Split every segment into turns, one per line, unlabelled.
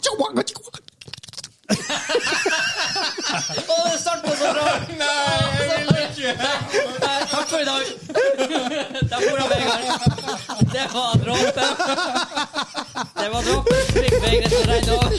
Chihuahua, Chihuahua.
Å, det starta så bra!
Nei, jeg vil ikke!
Eh, Takk for i dag. Der bor han Vegard. Det var dråpen. Det var dråpen. Trygg Vegard som renner over.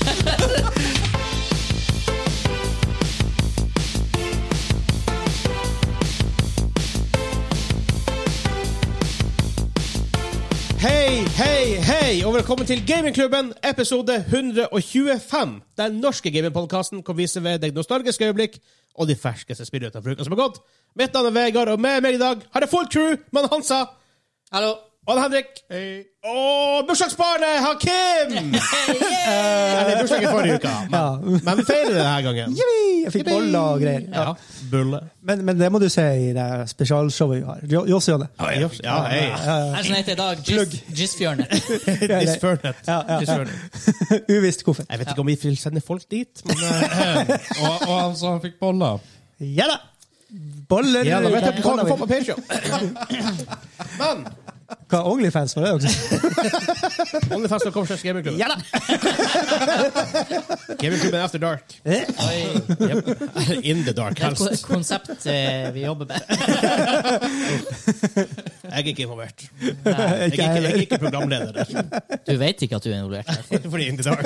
Hei, hei, hei, og velkommen til Gamingklubben, episode 125. Den norske gamingpodkasten kan vise ved deg nostalgiske øyeblikk og de ferskeste spillene fra uka som har gått. Mitt navn er Vegard, og med meg i dag har jeg full crew med Hansa
Hallo.
og Henrik. Og bursdagsbarnet har Kim! Eller bursdag i forrige uke, men, men vi feirer det denne gangen.
Yippee! Jeg fikk
Yippee!
boller og greier. Ja.
Ja, bulle.
Men, men det må du se i det spesialshowet vi har. Jo- Joss Jonne.
Ja, ja, hei.
Her som heter i dag Jizz- Jizzfjørnet.
Disfurnet.
Ja, ja, ja.
Disfurnet.
Uvisst hvorfor.
Jeg vet ikke om vi vil sende folk dit, men
Og, og han sa han fikk boller.
Ja da! Boller
Ja, da vet
Hva-
jeg hva du får på Patreon. Men
Hva Onlyfans var det også?
OnlyFans.com slags gamingklubben.
Ja da!
Gamingklubben after dark.
Oi.
Yep. In the dark,
Det er et
helst.
ko- konsept eh, vi jobber med.
Jeg er ikke involvert.
Nei,
Jeg er
Ikke
ikke, jeg er
heller.
ikke programleder.
Du vet ikke at du er involvert.
Fordi in the dark.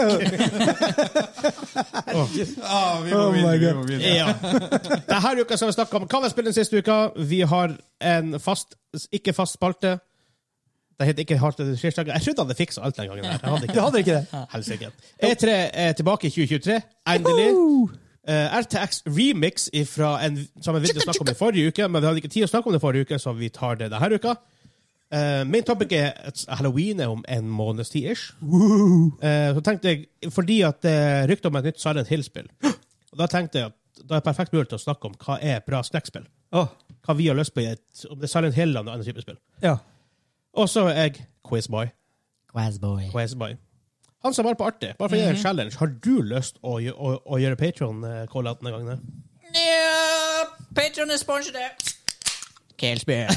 Ah, vi må
Oh my
videre, vi
God.
må videre.
Ja. Denne uka skal vi snakke om hva vi spilte den siste uka. Vi har en fast, ikke fast spalte. Det heter ikke Hardt eller Skirsdag. Jeg trodde han hadde fiksa alt den gangen. Der. Jeg hadde
Du
ikke
hadde ikke det?
Helsike. E3 E er tilbake i 2023. Endelig. Eh, RTX Remix fra en som en video snakket om i forrige uke, men vi hadde ikke tid å snakke om det forrige uke, så vi tar det denne uka. Eh, Main topic er at halloween er om en måneds tid ish. Eh, så tenkte jeg, fordi at det er rykte om et nytt Silent Hill-spill, og da tenkte jeg at da er det perfekt mulighet til å snakke om hva er bra skrekkspill.
Åh,
Hva vi har lyst på i et, om det er Silent Hill eller noe annet type spill.
ja.
Og så er jeg Quizboy.
Quazboy.
Quizboy. Han som var på artig, bare for å gjøre en challenge, har du lyst å, gjø- å, å gjøre Patron-call-out denne gangen?
Ja, Patron er sponset. Kelsbjørn.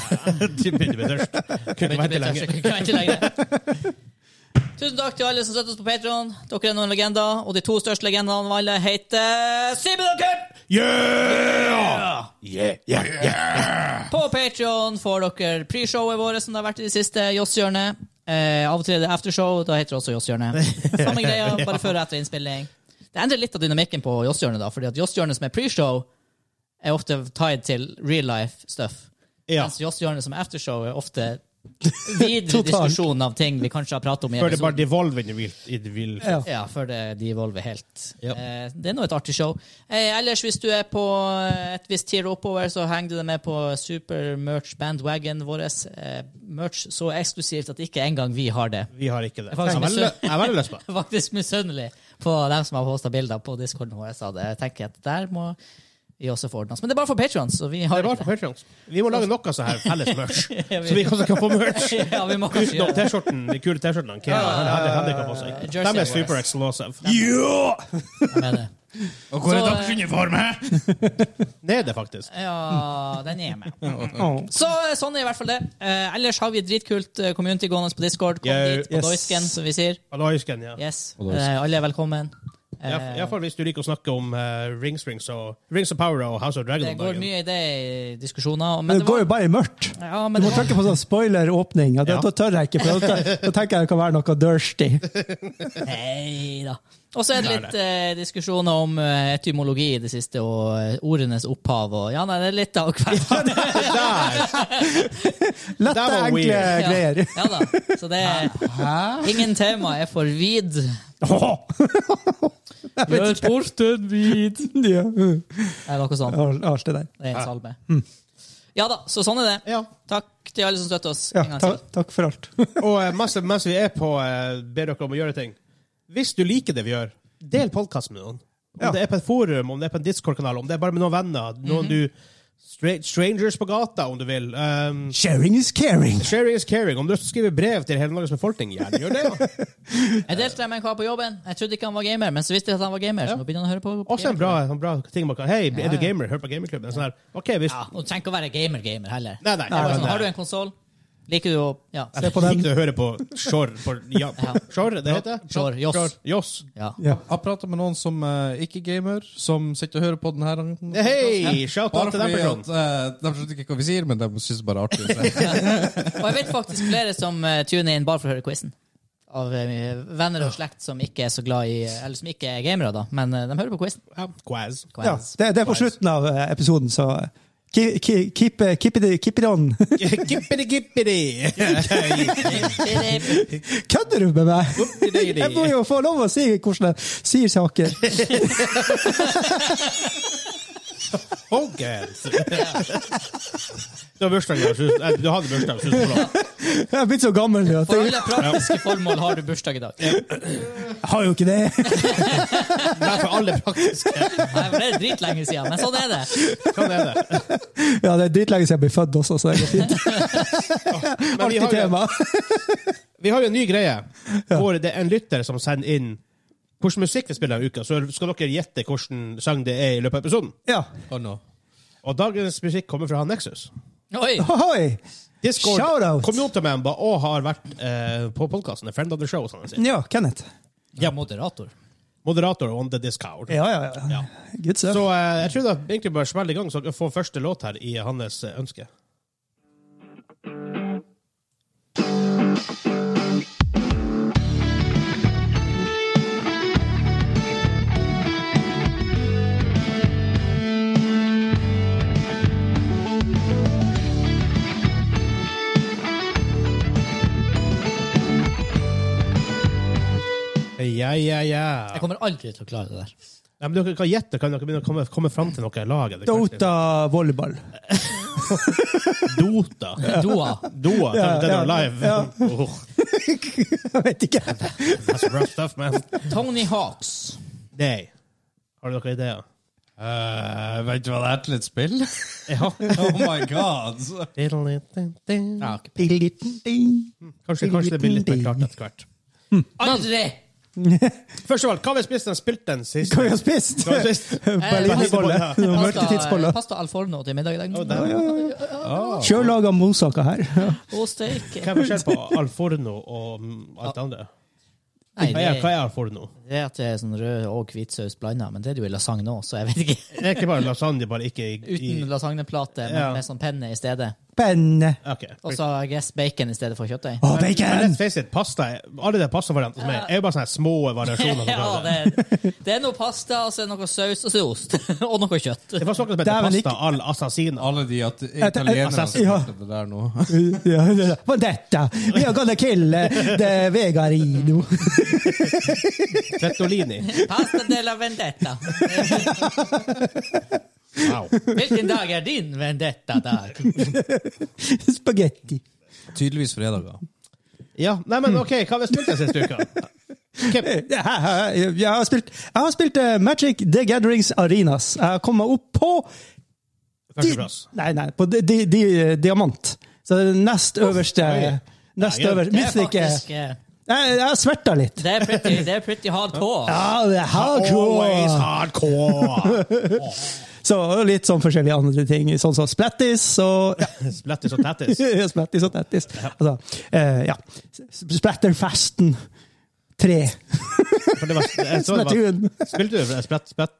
Du begynner å bli tørst. Kunne ikke vente lenge.
Kan vente lenge. Tusen takk til alle som støtter oss på Patron. Dere er noen legender, og de to største legendene av alle heter Simen og Kurt!
Yeah! Yeah, yeah,
På Patron får dere pre-showet vårt som det har vært i det siste, Josshjørnet. Eh, av og til er det aftershow, da heter det også Josshjørnet. Samme greia, bare før og etter innspilling. Det endrer litt av dynamikken på Josshjørnet, da, fordi at Josshjørnet som er pre-show, er ofte tied til real life stuff.
Ja.
Mens Josshjørnet som er aftershow, er ofte videre
Totalt.
diskusjon av ting vi kanskje har pratet om i
Før det
episoden.
bare devolver inn i vil. i det vil-
ja.
Ja, før det, de evolver helt.
Ja.
Eh, det er nå et artig show. Eh, ellers, hvis du er på eh, et visst tier oppover, så henger du deg med på super-merch-bandwagon vår. Eh, merch så eksklusivt at ikke engang vi har det.
Vi har ikke det.
Jeg er faktisk misunnelig.
Jeg har veldig jeg har veldig lyst på det.
Faktisk misunnelig på dem som har posta bilder på discorden vår. sa det. Jeg tenker at der må vi også få ordna oss. Men det er bare for patrons, så vi
Det
har
er bare
ikke
for
det.
Patrons. Vi må lage noe sånn her felles merch,
Ja, vi-
så vi også kan få merch.
ja, vi må kanskje
Utenom
gjøre det.
T-skjorten, de kule T-skjortene han Kea og Henrik- Henrik har på seg.
Jersey
De er
vår.
super explosive.
Jeg mener.
Og hvor er
Så, eh,
deres uniformer?
Nede, faktisk.
Ja, den er jeg med.
Åh.
Så sånn er i hvert fall det. Eh, ellers har vi et dritkult eh, community gående på Discord. Kom
Yeah.
dit på
Yes.
Doisken, som vi sier.
Aloysken, ja.
Yes.
Og Doisken.
Eh, alle er velkommen. Eh,
Ja, i hvert fall hvis du liker å snakke om eh, Rings, Rings, og, Rings of Power og House of Dragon.
det
om
går
dagen.
mye i det i diskusjoner.
Men
Men
det
det
går jo
var,
bare i mørkt.
ja,
Du
men
må
det var,
trykke på sånn spoiler-åpning. og Da,
Ja.
da tør jeg ikke, for da, da tenker jeg det kan være noe dirty.
nei da. Og så er det
Nei,
litt eh, diskusjoner om eh, etymologi i det siste, og eh, ordenes opphav og Ja, nei, det er litt av hvert.
Der!
Lette,
Det var
enkle
weird.
greier.
Ja, ja da. Så det er Ingen tema er for vid. Gjør porten vid.
Ja. mm.
Eh, Noe sånt.
Alt det der.
Det er en salme.
Mm.
Ja da, så sånn er det.
Ja.
Takk til alle som støtter oss.
Ja,
en gang
ta,
til.
takk for alt.
Og eh, mens, mens vi er på eh, ber dere om å gjøre ting. Hvis du liker det vi gjør, del podkasten med noen. Om
Ja.
det er på et forum, om det er på en Discord-kanal, om det er bare med noen venner, noen du stra Strangers på gata, om du vil. Um,
Sharing is caring.
sharing is caring. Om du skriver brev til hele Norges befolkning, gjerne gjør det.
Jeg delte med en kar på jobben. Jeg trodde ikke han var gamer, men så visste jeg at han var gamer. Så nå begynner han å høre på
Også en bra, en bra ting man kan Hei, er du gamer? Hør på Gamerklubben. Sånn her. OK, hvis
Ja, og du trenger ikke å være gamer-gamer heller.
Nei, nei.
Det er bare
men,
sånn,
eh,
har du en konsoll? Liker du å Ja.
Se på den.
Ikke å høre på Sjorr. på- Ja, på-
Ja.
Sjorr, det heter det?
Sjorr, Joss.
Joss.
ja.
Ja.
Jeg prater med noen som eh, ikke er gamer, som sitter og hører på den her.
Hei! Shout out
Bare
til den
fordi
personen.
at eh, de skjønner ikke hva vi sier, men de syns det bare er artig. Så.
Og jeg vet faktisk flere som eh, tuner inn bare for å høre quizen. Av eh, venner og slekt som ikke er så glad i eh, Eller som ikke er gamere, da. Men eh, de hører på quizen.
Ja, Quaz.
Ja, det, det er på slutten av eh, episoden, så eh, ki- ki- keep, eh, keep, it, keep it on.
Gippity, gippity.
Kødder du med meg?
Gippity.
Jeg må jo få lov å si hvordan jeg sier saker.
Hoggans. Du har bursdag, ja. Sus- nei, Du hadde bursdag. Sus, bra.
Jeg er blitt så gammel nå at
For
jeg
alle praktiske formål har du bursdag i dag.
jeg har jo ikke det.
Nei, for alle praktiske.
Nei, for det er dritlenge siden, men sånn er det.
Hva er det?
Ja, Det er dritlenge siden jeg ble født også, så det går fint.
Men vi har,
Artig
jo,
tema.
vi har jo en ny greie. Hvor det er en lytter som sender inn hvilken musikk vi spiller denne uka. Så skal dere gjette hvilken sang det er i løpet av episoden.
Ja.
Oh, no.
Og dagens musikk kommer fra han Nexus.
Oi!
Ohoi! Shout-out.
Discord community-member og har vært eh, på podkasten. Friend of the show, som han sier.
Ja, Kenneth.
Ja, moderator.
Moderator on the discord.
Ja, ja, ja. Good stuff.
Så eh, jeg tror da egentlig bare smell i gang, så dere får første låt her i hans eh, ønske. Ja, ja, ja.
Jeg kommer aldri til å klare det der.
Nei, men dere kan gjette, kan dere begynne å komme, komme fram til noe i laget? Det kan
Dota volleyball.
ikke- Dota.
Doa.
Doa.
Ja,
den
ja,
er live.
ja.
Oh,
Jeg vet ikke.
that's rough stuff, man.
Tony Hawks.
Nei. Har du noen ideer?
Eh, vet du hva det er til et spill?
Ja.
Oh my god!
Kanskje,
Ja, ok.
kanskje det blir litt mer klart etter hvert.
Aldri!
Først av alt, hva har vi spist den spilt den sist?
Hva har vi spist?
Hva har vi spist? Eh,
Eh,
Berlinerbolle.
Pasta-
Mørketidsbolle.
Pasta al forno til middag i dag.
Og den-
Sjøllaga mosaker her. Ja.
Og steik.
Hva er forskjellen på al forno og mm, alt det andre?
Nei,
Hva
det
er, hva
er,
er al forno?
det er at det er sånn rød og hvit saus blanda, men det er det jo i lasagne nå, så jeg vet ikke.
Det er ikke bare lasagne, bare ikke i, i
Uten lasagneplate, men
Ja.
med sånn penne i stedet.
Penne.
Ok.
Og så I guess bacon i stedet for kjøttdeig.
Å,
Men let's
bacon!
face it, pasta, er- alle de pastavariantene som er, er jo bare sånne små variasjoner. på
Ja,
det.
det, er- det er noe pasta, og så er det noe saus, og så er det ost. Og noe kjøtt.
Det var noe som
Dæven,
heter pasta
ikke-
al assassina.
Alle de at italienere som
Assassin.
Ja.
heter det der nå.
Ja, ja, ja. Vendetta! Vi har gonna kill eh, the vegarino.
Fettolini.
Pasta de la vendetta.
Wow.
Hvilken dag er din vendetta-dag?
Spagetti.
Tydeligvis fredager.
Ja, nei, men ok, hva har vi spilt den siste uka? Kip,
Ja, Jeg har spilt, jeg har spilt eh, Magic The Gatherings Arenas. Jeg har kommet opp på
førsteplass.
Nei, nei, på di, di, di, eh, diamant. Så det er den nest øverste
oi.
Nest
Ja, ja.
øverste.
Det er
Minst ikke
faktisk eh,
Jeg jeg har sverta litt.
Det er pretty, det er pretty hard på.
Ja, det er hardcore!
Always hardcore!
Så og litt sånn forskjellige andre ting, sånn som splattis og ja,
Splattis og tattis.
Splattis og tattis. Altså, eh, ja. Splatterfasten 3.
For det var- jeg så det var-
Splatoon.
Spilte du for splatt, splatt,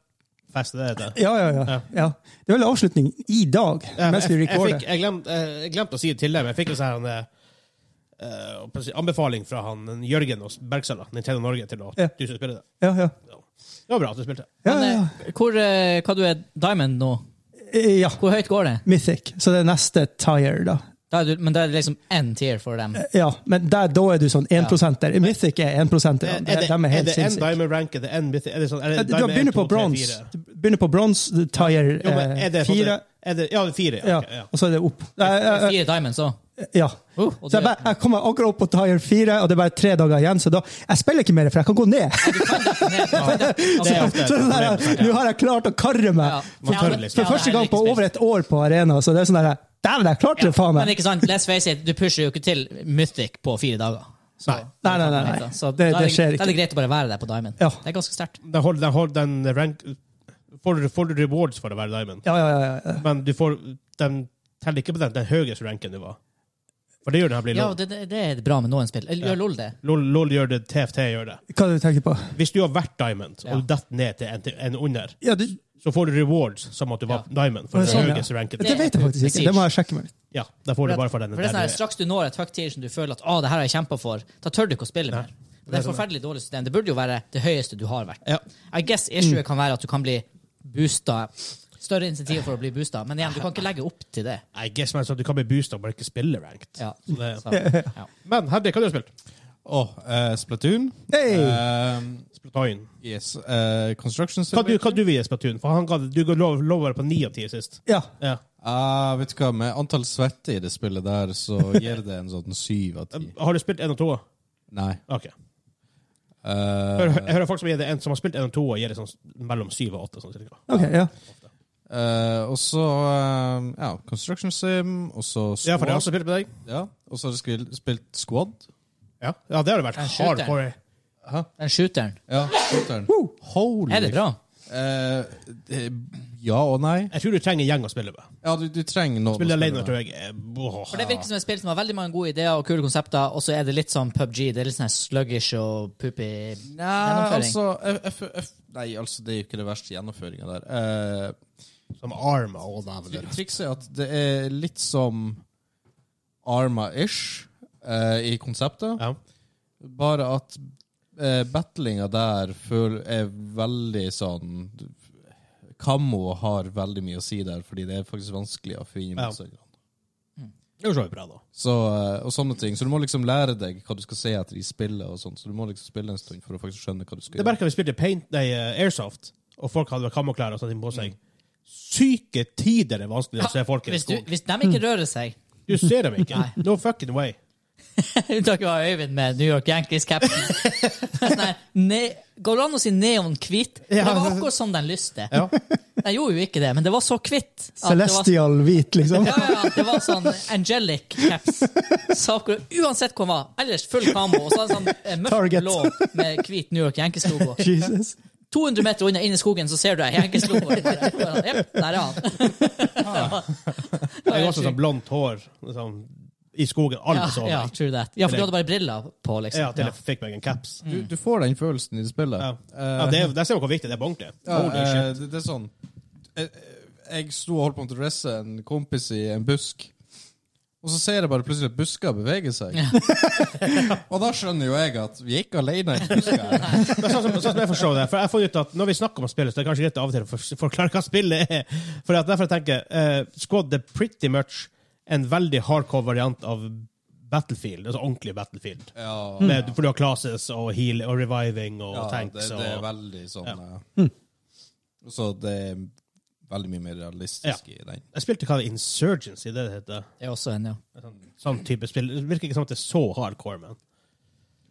fest, det heter det.
Ja, ja, ja, ja. Det er vel avslutning i dag,
Ja,
mens vi
jeg- jeg fikk-
recorder.
Jeg glemte eh, jeg glemte å si det til deg, men jeg fikk en sånn her, eh, eh, hva skal jeg si, anbefaling fra han Jørgen og Bergsala, Nintendo Norge, til å
Ja.
du skal spille det.
Ja, ja.
Det var bra at du spilte.
Ja,
Men,
ja,
eh, hvor, eh, hva du er diamond nå?
Eh, ja.
Hvor høyt går det?
Mythic. Så det er neste tire, da.
Da er du, men da er det liksom én tier for dem.
Ja, men der, da er du sånn 1-prosenter. Mythic er 1-prosenter.
Er
ja.
er
De,
det
de er
er
helt
det en
sinnssyke.
diamond rank? Er det en mythi- er det sånn- er
Du
det
du
diamond 1,
begynner på
2, 3,
bronse.
4?
Du Begynner på bronse, tire
Jo, men er
eh,
det på en
fire,
måte- er det- Ja, det er fire.
ja,
Ja, ok, ja. Uh,
og så er det opp. Eh, eh,
Fire diamonds òg.
Ja.
Oh, og
Så jeg,
det-
bare, jeg kommer akkurat opp på tire fire, og det er bare tre dager igjen. Så da, jeg spiller ikke mer, for jeg kan gå ned.
altså,
Det er ofte et
Så det
problem.
der, Nå har jeg klart å karre meg.
Ja.
Man tør liksom.
For første gang på
Ja, det er liksom-
over et år på arena, så det er sånn der Dæven, jeg klarte det, faen
Men
meg!
ikke sant, let's face it, du pusher jo ikke til Mythic på fire dager. Så,
Nei.
Nei, nei, nei. nei.
Så
Det,
da er
det skjer
Da er det
ikke.
greit å bare være der på Diamond.
Ja.
Det er ganske sterkt.
Den holder, den holder den rank får, du- får du rewards for å være diamond,
Ja, ja, ja. ja.
men du får, den teller ikke på den, den høyeste ranken du var. For det gjør det her blir
Ja,
LOL.
det, det, det er bra med noen spill. Eller Gjør LOL det?
LOL. LOL gjør det, TFT gjør det.
Hva er det du tenker på?
Hvis du har vært diamond,
Ja.
og du detter ned til en, til en under,
Ja, det,
så får du rewards som at du var diamond. For
Ja,
det
sånn,
er
ja.
høyeste ranken.
det vet jeg faktisk ikke.
Prestige.
Det må jeg sjekke meg litt.
Ja, da får du bare for den.
For det er sånn
der
her,
du er.
Straks du når et høyt tier som du føler at ah, det her har jeg kjempet for, da tør du ikke å spille mer. Det er et forferdelig dårlig system. Det burde jo være det høyeste du har vært.
Ja.
I guess issue kan være at du kan bli boosta. Større insentiv for å bli boosta. Men igjen, du kan ikke legge opp til det.
I guess, men så du kan bli boosta og bare ikke spille ranked.
Ja.
Så det-
Så, ja.
Men Henrik, hva har du spilt?
Åh, eh, Splatoon.
Hey!
Eh,
Splatoon.
yes. eh, Construction
Hva du,
Simulator.
hva du vil gi Splatoon? For han ga, det- du ga lov, lov å være på ni av ti sist.
Ja.
Ja.
Ah, vet du hva, med antall svette i det spillet der, så gir det en sånn syv av ti.
Har du spilt én og to?
Nei.
Ok.
Eh,
Hør, jeg hører folk som, gir det en, som har spilt én og to, og gir det sånn mellom syv og åtte. Sånn, cirka.
Ok, ja.
eh, og så eh, ja, Construction Sim, og så Squad.
Ja, for jeg har også spilt med deg.
Ja, og så har jeg skil- spilt Squad.
Ja, ja det har det vært
Jeg skyter.
hardcore.
Den shooteren.
Ja, shooteren. Holy
Er det bra?
Eh, det- ja og nei.
Jeg tror du trenger en gjeng å spille med.
Ja, du, du trenger noen
Spille
å
alene
med.
tror jeg er- åh.
For Det virker som et spill som har veldig mange gode ideer og kule konsepter, og så er det litt sånn PubG. Det er litt sånn her sluggish og poopy
Nei,
gjennomføring.
altså, jeg- jeg fø- jeg f nei, altså, det er jo ikke det verste gjennomføringa der. Eh,
Som Arma og dævler.
Tri- Trikset er at det er litt som Arma-ish eh, i konseptet,
Ja.
bare at eh, battlinga der føl er veldig sånn Kammo har veldig mye å si der, fordi det er faktisk vanskelig å finne
Ja.
motstanderne.
Det er jo så bra, da.
Så, eh, og sånne ting. Så du må liksom lære deg hva du skal se etter i spillet, og sånt. så du må liksom spille en stund for å faktisk skjønne hva du skal
Det merka vi spilte Paint, nei, eh, Airsoft, og folk hadde kammoklær og sånt på seg. Syke tider er vanskelig å se folk i
hvis, du,
skogen.
hvis de ikke rører seg
Du ser dem ikke. No fucking way.
Unntaket var Øyvind med New York Yankees-capsen. Går det an å si neon hvit? For Det var akkurat som den lyste.
Ja.
Den gjorde jo ikke det, men det var så hvitt. at det var-
Celestial hvit, liksom.
Ja, ja, ja, det var sånn angelic caps. Så akkurat, uansett hvor den var. Ellers full kamo. Og så hadde den sånn eh, mørkt
Target.
blå med hvit New York Yankees-logo.
Jesus.
200 meter unna inn i skogen, så ser du ei Yankees-logo. Bare, bare, Jep, der er han.
Jeg har også sånn blondt hår liksom, i skogen. Alle
Ja,
så
ja,
meg.
true that. Ja, for du hadde bare briller på, liksom.
Ja, til jeg fikk meg en caps.
Du, du får den følelsen i det spillet.
Ja.
Mm. Eh,
Ja, det er, der ser du hvor viktig det er på ordentlig.
Ja,
Holy shit.
eh, det, det er sånn jeg, jeg sto og holdt på å dresse en kompis i en busk, og så ser jeg bare plutselig at busker beveger seg. og da skjønner jo jeg at vi er ikke alene i buska. her.
Men sånn som, sånn som jeg forstår det, for jeg får ut at når vi snakker om spillet, så er det kanskje greit av og til å for- forklare hva spillet er. For at derfor jeg tenker eh, Squad er pretty much en veldig hardcore variant av Battlefield, altså ordentlig Battlefield.
Ja, Mm.
Med, for du har classes og heal og reviving og
ja det,
tanks og
det er veldig sånn
Ja.
eh, Så det er veldig mye mer realistisk i den.
Jeg spilte hva det er, Insurgency, det det heter.
Det er også en, ja.
Sånn, sånn type spill. Det virker ikke som at det er så hardcore, men.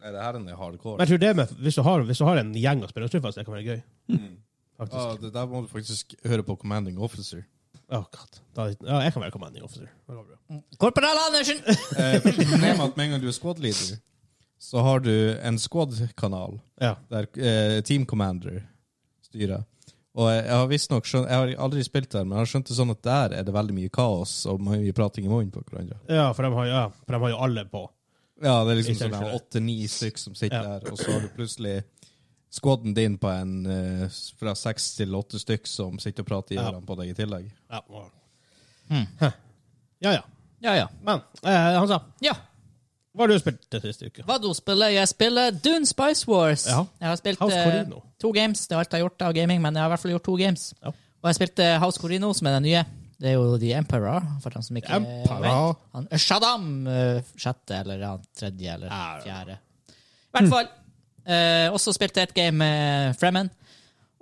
Nei, det her er en hardcore.
Men jeg tror det med, hvis, du har, hvis du har en gjeng å spille, så tror jeg faktisk det kan være gøy.
Mm.
Faktisk.
Ah.
Ja, det der må du faktisk høre på Commanding Officer.
Åh, god. Da, ja, jeg kan være commanding officer. Det går bra.
Korporal Andersen!
Eh, problemet er at med en gang du er squad leader, så har du en squad-kanal.
Ja.
der eh, Team Commander styrer. Og jeg, jeg har visstnok skjønt Jeg har aldri spilt der, men jeg har skjønt det sånn at der er det veldig mye kaos og mye prating i munnen på hverandre.
ja, for de har, ja, for de har jo alle på.
Ja, det er liksom
Ikke
sånn
sant.
åtte-ni stykk som sitter
Ja.
der, og så har du plutselig squaden din på en eh, fra seks til åtte stykk som sitter og prater i
Ja.
ørene på deg i tillegg.
Ja,
Mm.
Hæ. ja. ja.
Ja, ja.
Men eh, han sa
ja.
Hva har du spilt den siste uka?
Hva du spiller? Jeg spiller Dune Spice Wars.
Ja.
Jeg har spilt
House
eh,
Corino.
to games. Det er alt jeg har gjort av gaming, men jeg har i hvert fall gjort to games.
Ja.
Og jeg spilte House Corino, som er den nye. Det er jo The Emperor, for dem som ikke eh,
Emperor.
vet. Han, Shaddam! eh, Sjette, eller ja, tredje, eller
Ja.
fjerde. I hvert fall. Eh, også spilte jeg et game med Fremen.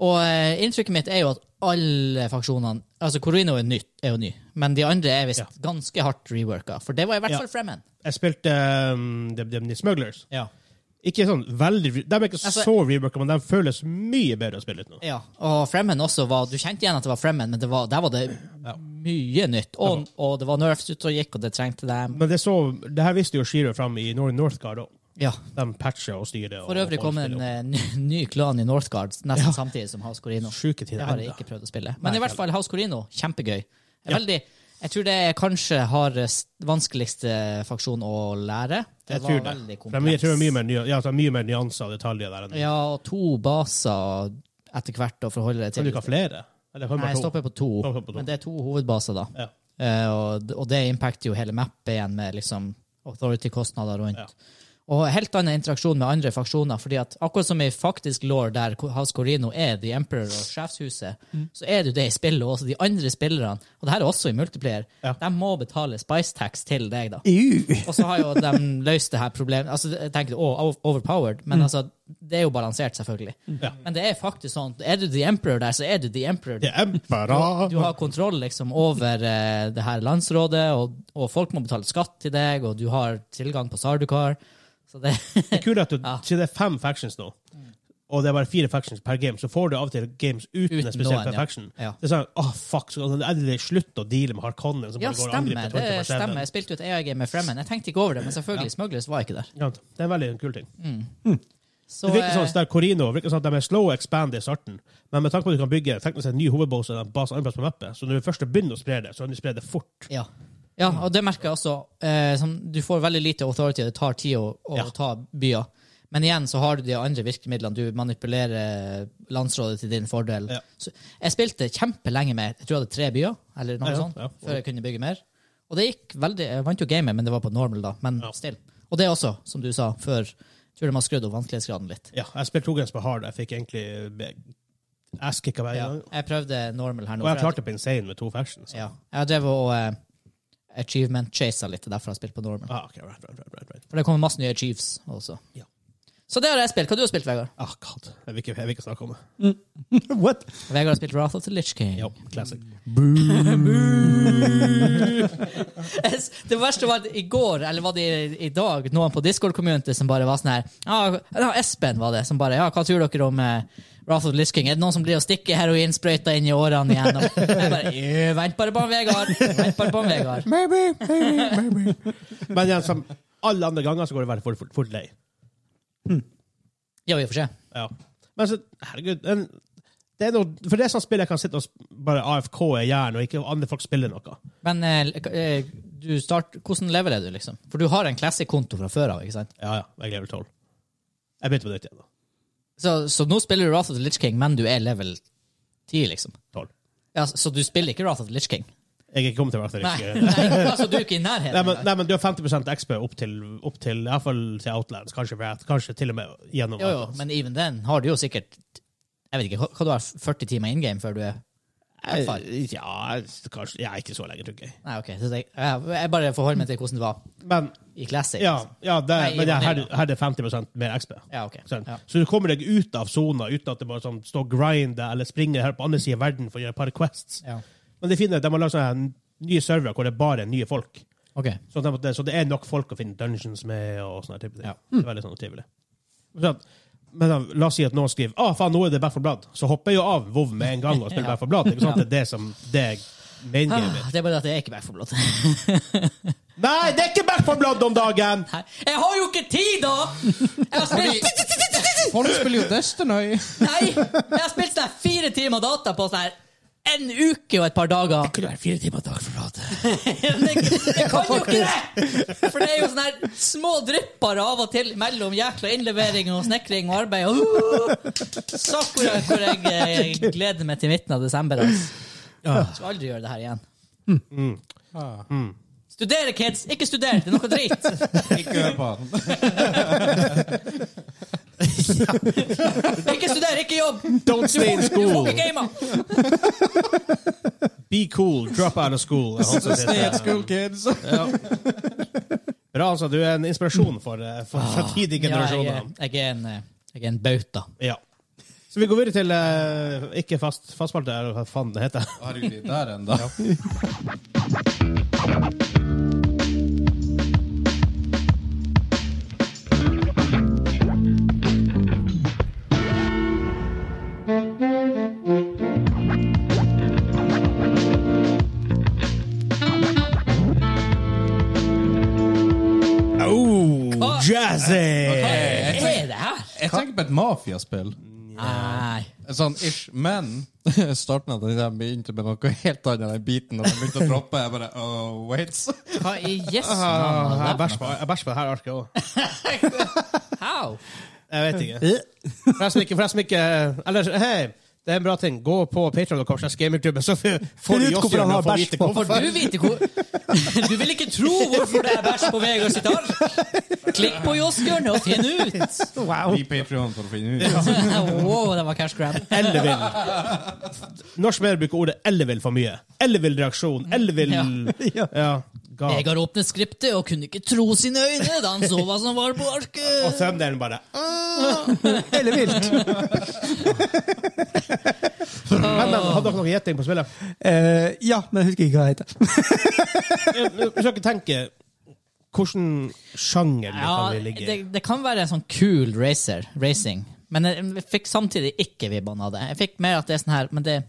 Og eh, inntrykket mitt er jo at alle faksjonene Altså, Corino er, nytt, er jo ny, men de andre er visst
Ja.
ganske hardt reworka. For det var i hvert
Ja.
fall Fremen.
Jeg spilte um, de, de, de Smugglers.
Ja.
Ikke sånn veldig re- De er ikke
Altså-
så reworka, men de føles mye bedre å spille ut nå.
Ja, og Fremmen også var Du kjente igjen at det var Fremmen, men det var, der var det mye nytt. Og, og det var nerfs ute og gikk, og det trengte dem.
Men det, så, det her viste jo Shiro fram i Nor- Northgard òg.
Ja.
De patcher og styrer.
For øvrig
og,
kom en eh, ny, ny klan i Northgard nesten samtidig som House Corino.
Sjuke
Det
tider
har jeg
enda.
ikke prøvd å spille. Men i hvert fall House Corino, kjempegøy. Er Veldig Jeg tror det er kanskje hardest, vanskeligste faksjon å lære. Det
Jeg
var
tror det.
veldig
For de- jeg
kompleks.
tror det er mye mer, ny- ja, det er mye mer nyanser og detaljer der enn
Ja, og to baser etter hvert å forholde deg
Kan
til.
du ikke ha flere? Eller kan du
Nei,
bare
jeg
to?
stopper på to.
Stopper på to.
Men det er to hovedbaser, da.
Ja.
Eh, og, og det impacter jo hele mappet igjen med liksom authority-kostnader rundt.
Ja.
Og helt annen interaksjon med andre faksjoner. fordi at akkurat som i faktisk law, der House Corino er The Emperor og sjefshuset,
Mm.
så er det jo det i spillet. Og også de andre spillerne, og det her er også i multiplayer,
Ja.
de må betale spice tax til deg, da.
Ew.
Og så har jo de løst det her problemet. Altså, jeg tenker, å, overpowered, men altså, det er jo balansert, selvfølgelig.
Mm. Ja.
Men det er faktisk sånn, er du The Emperor der, så er du The Emperor.
Det er
Du, har- du
emperor.
har kontroll liksom over eh, det her landsrådet, og, og folk må betale skatt til deg, og du har tilgang på Sarducar. Så det,
Det er kult at du
Ja. Mm.
sier det er fem factions nå, og det er bare fire factions per game, så får du av og til games uten,
Uten
en spesiell
noen, ja.
faction.
Ja.
Det er sånn, åh, fuck, så kan det endelig slutte å deale med Harkonnen som
ja,
bare går og
stemmer.
angriper
Det
24
stemmer. Jeg spilte jo et AI-game med Fremmen. Jeg tenkte ikke over det, men selvfølgelig, Smugglers var ikke der.
Ja, det er en veldig kul ting.
Så,
det virker
eh,
sånn som der Corino, virker sånn at de er slow og expand i starten, men med tanke på at du kan bygge teknisk sett en ny hovedbase og en base andre plass på mappet, så når du først begynner å spre det, så kan du spre det fort.
Ja. ja, og det merker jeg også. Eh, som, du får veldig lite authority, og det tar tid å, å
Ja.
ta byer. Men igjen så har du de andre virkemidlene. Du manipulerer landsrådet til din fordel.
Ja.
Så jeg spilte kjempelenge med jeg tror jeg hadde tre byer, eller noe
Ja,
sånt,
ja.
før jeg kunne bygge mer. Og det gikk veldig Jeg vant jo gamet, men det var på normal, da. Men
Ja.
still. Og det også, som du sa, før jeg tror de har skrudd opp vanskelighetsgraden litt.
Ja, jeg spilte to games på hard, og jeg fikk egentlig eh, ass-kicka hver
Ja.
gang.
Jeg prøvde normal her nå.
Og jeg
for jeg-
klarte på insane med to factions.
ja. Jeg drev og eh, achievement-chasa litt, derfor har jeg spilt på normal.
Ah, ok, right, right, right, right, right.
For det kommer masse nye Chiefs også.
Ja.
Så det har jeg spilt. Hva har du spilt, Vegard?
Ah, god. Jeg vil ikke, jeg vil ikke snakke om det.
Mm.
What?
Vegard har spilt Wrath of the Lich King.
Jo, classic.
Yes, Det verste var at i går, eller var det i, i dag, noen på Discord-community som bare var sånn her ah, ja, Espen var det, som bare Ja, hva tror dere om eh, Wrath of the Lich King? Er det noen som blir å stikke heroinsprøyta inn i årene igjen? Og jeg bare «Øh, Vent bare på han, Vegard! Vent bare på han, Vegard.
Maybe, maybe, maybe.
Men igjen, som alle andre ganger så går det veldig fort, fort, fort lei.
Ja, vi får se.
Ja. Men så, herregud den, det er noe, For det er sånn spill jeg kan sitte og sp- bare AFK i hjernen, og ikke andre folk spiller noe.
Men eh, eh, du start, hvordan lever er du, liksom? For du har en classic-konto fra før av, ikke sant?
Ja, ja. Jeg er level 12. Jeg begynte på nytt igjen. da.
Så, så nå spiller du Wrath of the Lich King, men du er level 10, liksom.
12.
Ja, så- så du spiller ikke Wrath of the Lich King?
Jeg er ikke kommet til å være
Nei,
der. ikke-
nei altså, du er ikke i nærheten.
Nei, men,
engang.
nei, men du har 50 XP opp til, opp til i hvert fall til Outlands. Kanskje, Wrath, kanskje til og med gjennom
jo, jo,
Outlands.
men even then har du jo sikkert Jeg vet ikke, hva- hva du har 40 timer in game før du er erfaren?
Eh, Ja, kanskje Jeg er ikke så lenge, tror jeg.
Nei, OK. Så jeg, jeg jeg bare forholder meg til hvordan det var
Men
i Classic.
ja, ja, det,
Nei,
men ja, her,
Vanilla.
her er det 50 mer XP.
Ja, ok.
Sånn.
Ja.
Så du kommer deg ut av sona uten at det bare sånn, står og grinder eller springer her på andre siden av verden for å gjøre et par quests.
Ja.
Men det fine er at de har lagd sånne her nye servere hvor det bare er nye folk.
OK.
Så det, så det er nok folk å finne dungeons med. og sånne type ting.
Ja.
Det er veldig sånn trivelig. Sånn, men da, la oss si at noen skriver ah, faen, nå er det Back for Blood. Så hopper jeg jo av WoW med en gang og spiller
Ja.
Back for Blood. Ikke sant? Det er det som det er main game.
Ah, det er bare det at jeg er ikke back for blood.
Nei, det er ikke Back for Blood om dagen!
Nei, Jeg har jo ikke tid, da! Jeg har spilt
Folk spiller jo Destiny.
Nei! Jeg har spilt sånn her fire timer data på sånn her en uke og et par dager.
Kunne være fire timer dag for Blood.
Men Jeg jeg kan jo ikke det! For det er jo sånne her små drypper av og til mellom jækla innlevering og snekring og arbeid. Uh, Sakura, hvor jeg eh, gleder meg til midten av desember. Altså. Jeg skal aldri gjøre det her igjen.
Mm.
Ah,
Studere, kids! Ikke studer! Det er noe drit!
ikke hør på han.
Ikke studer, ikke jobb!
Don't stay in
Du får
school.
ikke gama!
Be cool. Drop out of school. er han som
Stay
sier
at
det.
school, kids.
Bra, altså. Du er en inspirasjon for, eh, for
Ah, Ja, jeg, er-
framtidige generasjoner.
jeg er en, eh, jeg er en bauta.
Ja. Så vi går videre til eh, ikke fast, fastsparte, eller hva faen det heter.
Herregud, de er der ennå.
Oh,
Hva?
jazzy!
Hva er det her?
Mm.
Jeg tenker på et mafiaspill.
Nei.
Et Sånn ish. Men starten av den der begynte med noe helt annet enn den biten, og den begynte å droppe. Jeg bare oh, wait.
Hva i yes
Ah,
navn
jeg
var det?
bæsjer på, jeg bæsjer på det her arket òg.
How?
Jeg vet ikke. For jeg som ikke, for jeg som ikke Eller hei, det er en bra ting. Gå på Patreon og kanskje gamingklubben, så får
Finn
du
ut hvorfor
Jåsshjørnet
han har
og får
bæsj
vite
på.
hvorfor.
Får du vite hvor Du vil ikke tro hvorfor det er bæsj på Vegard sitt ark! Klikk på Jåsshjørnet og finn ut!
Wow.
Bli Patreon for å finne ut.
Wow, det var cash grab.
Eller vil. Norsk medier bruker ordet 'eller vil' for mye. Eller vil reaksjon. Eller vil
Ja.
Ja. Ga.
Vegard åpnet skriptet og kunne ikke tro sine øyne da han så hva som var på
Og
arket.
thumbnailen bare
Eller vilt.
Men, men, hadde dere noen gjetting på spillet?
Eh, ja, men jeg husker ikke hva det heter.
Jeg- jeg- Hvis dere tenker Hvordan sjanger det
Ja,
kan vi ligge
det,
i?
det kan være en sånn cool racer, racing, men jeg fikk samtidig ikke vibbene av det. Jeg fikk mer at det er sånn her, men det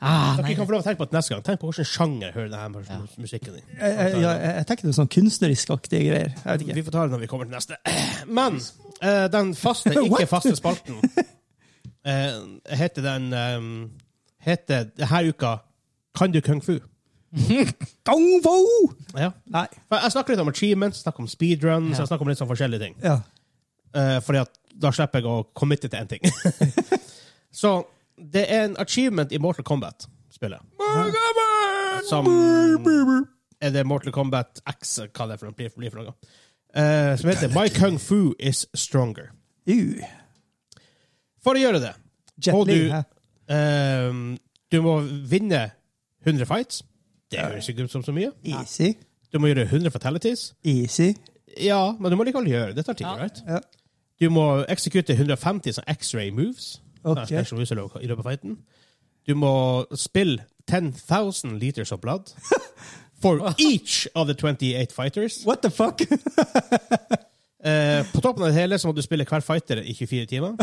ah,
Dere
nei.
kan få lov å tenke på det neste gang. Tenk på hvilken sjanger hører denne musikken i.
Jeg, jeg, Eh, ja, jeg, jeg tenker det er sånn kunstnerisk-aktige greier. Jeg vet
Vi
ikke.
får ta det når vi kommer til neste. Men eh, den faste, ikke faste spalten eh, heter den um, Heter denne uka Kan du kung fu?
Kung fu!
Ja.
Nei.
For Jeg snakker litt om achievements, snakker om speedruns, jeg snakker om litt sånn forskjellige ting.
Ja.
Eh, fordi at da slipper jeg å committe til én ting. Så det er en achievement i Mortal Kombat-spillet. Som Er det Mortal Kombat X, hva det er for noe, blir blir for noe? Eh, som heter My Kung Fu Is Stronger.
Uh.
For å gjøre det
Jet
må
Li,
du
hæ?
eh, Du må vinne 100 fights. Det høres ikke ut som så mye.
Easy.
Du må gjøre 100 fatalities.
Easy.
Ja, men du må likevel gjøre det. Det tar tid,
Ja.
right?
Ja.
Du må eksekute 150 sånne X-ray moves.
Ok.
Sånne special moves i løpet- i løpet av fighten. Du må spille 10,000 liters of blood for each of the 28 fighters.
What the fuck?
Eh, på toppen av det hele så må du spille hver fighter i 24 timer.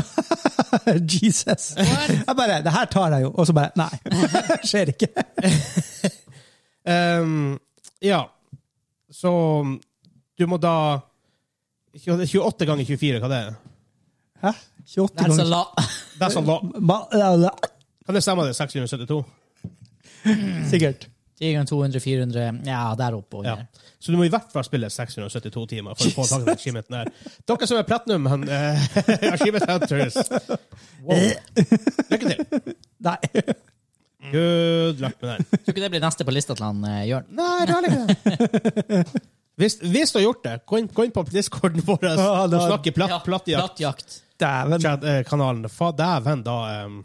Jesus. Jeg bare Det her tar jeg jo. Og så bare Nei. Skjer ikke.
Ehm, ja. Så um, du må da 28 ganger 24, hva det er?
Hæ? 28
That's a
ganger
lot.
That's a lot.
Ma- la- la-
Kan det stemme det? 672?
Sikkert.
10 ganger 200, 400, ja, der oppe og
Ja.
under.
Så du må i hvert fall spille 672 timer for å få tak i den achievementen der. Dere som er platinum han, eh, achievement hunters, wow. lykke til.
Nei.
Good luck med den.
Tror ikke det blir neste på lista til han eh, Jørn.
Nei, det har ikke det. Hvis, hvis du har gjort det, gå inn, gå inn på discorden vår
Ja,
og
da-
snakk i platt,
Ja,
plattjakt.
plattjakt.
Dæven.
Chat, eh, kanalen. Fa dæven, da. em.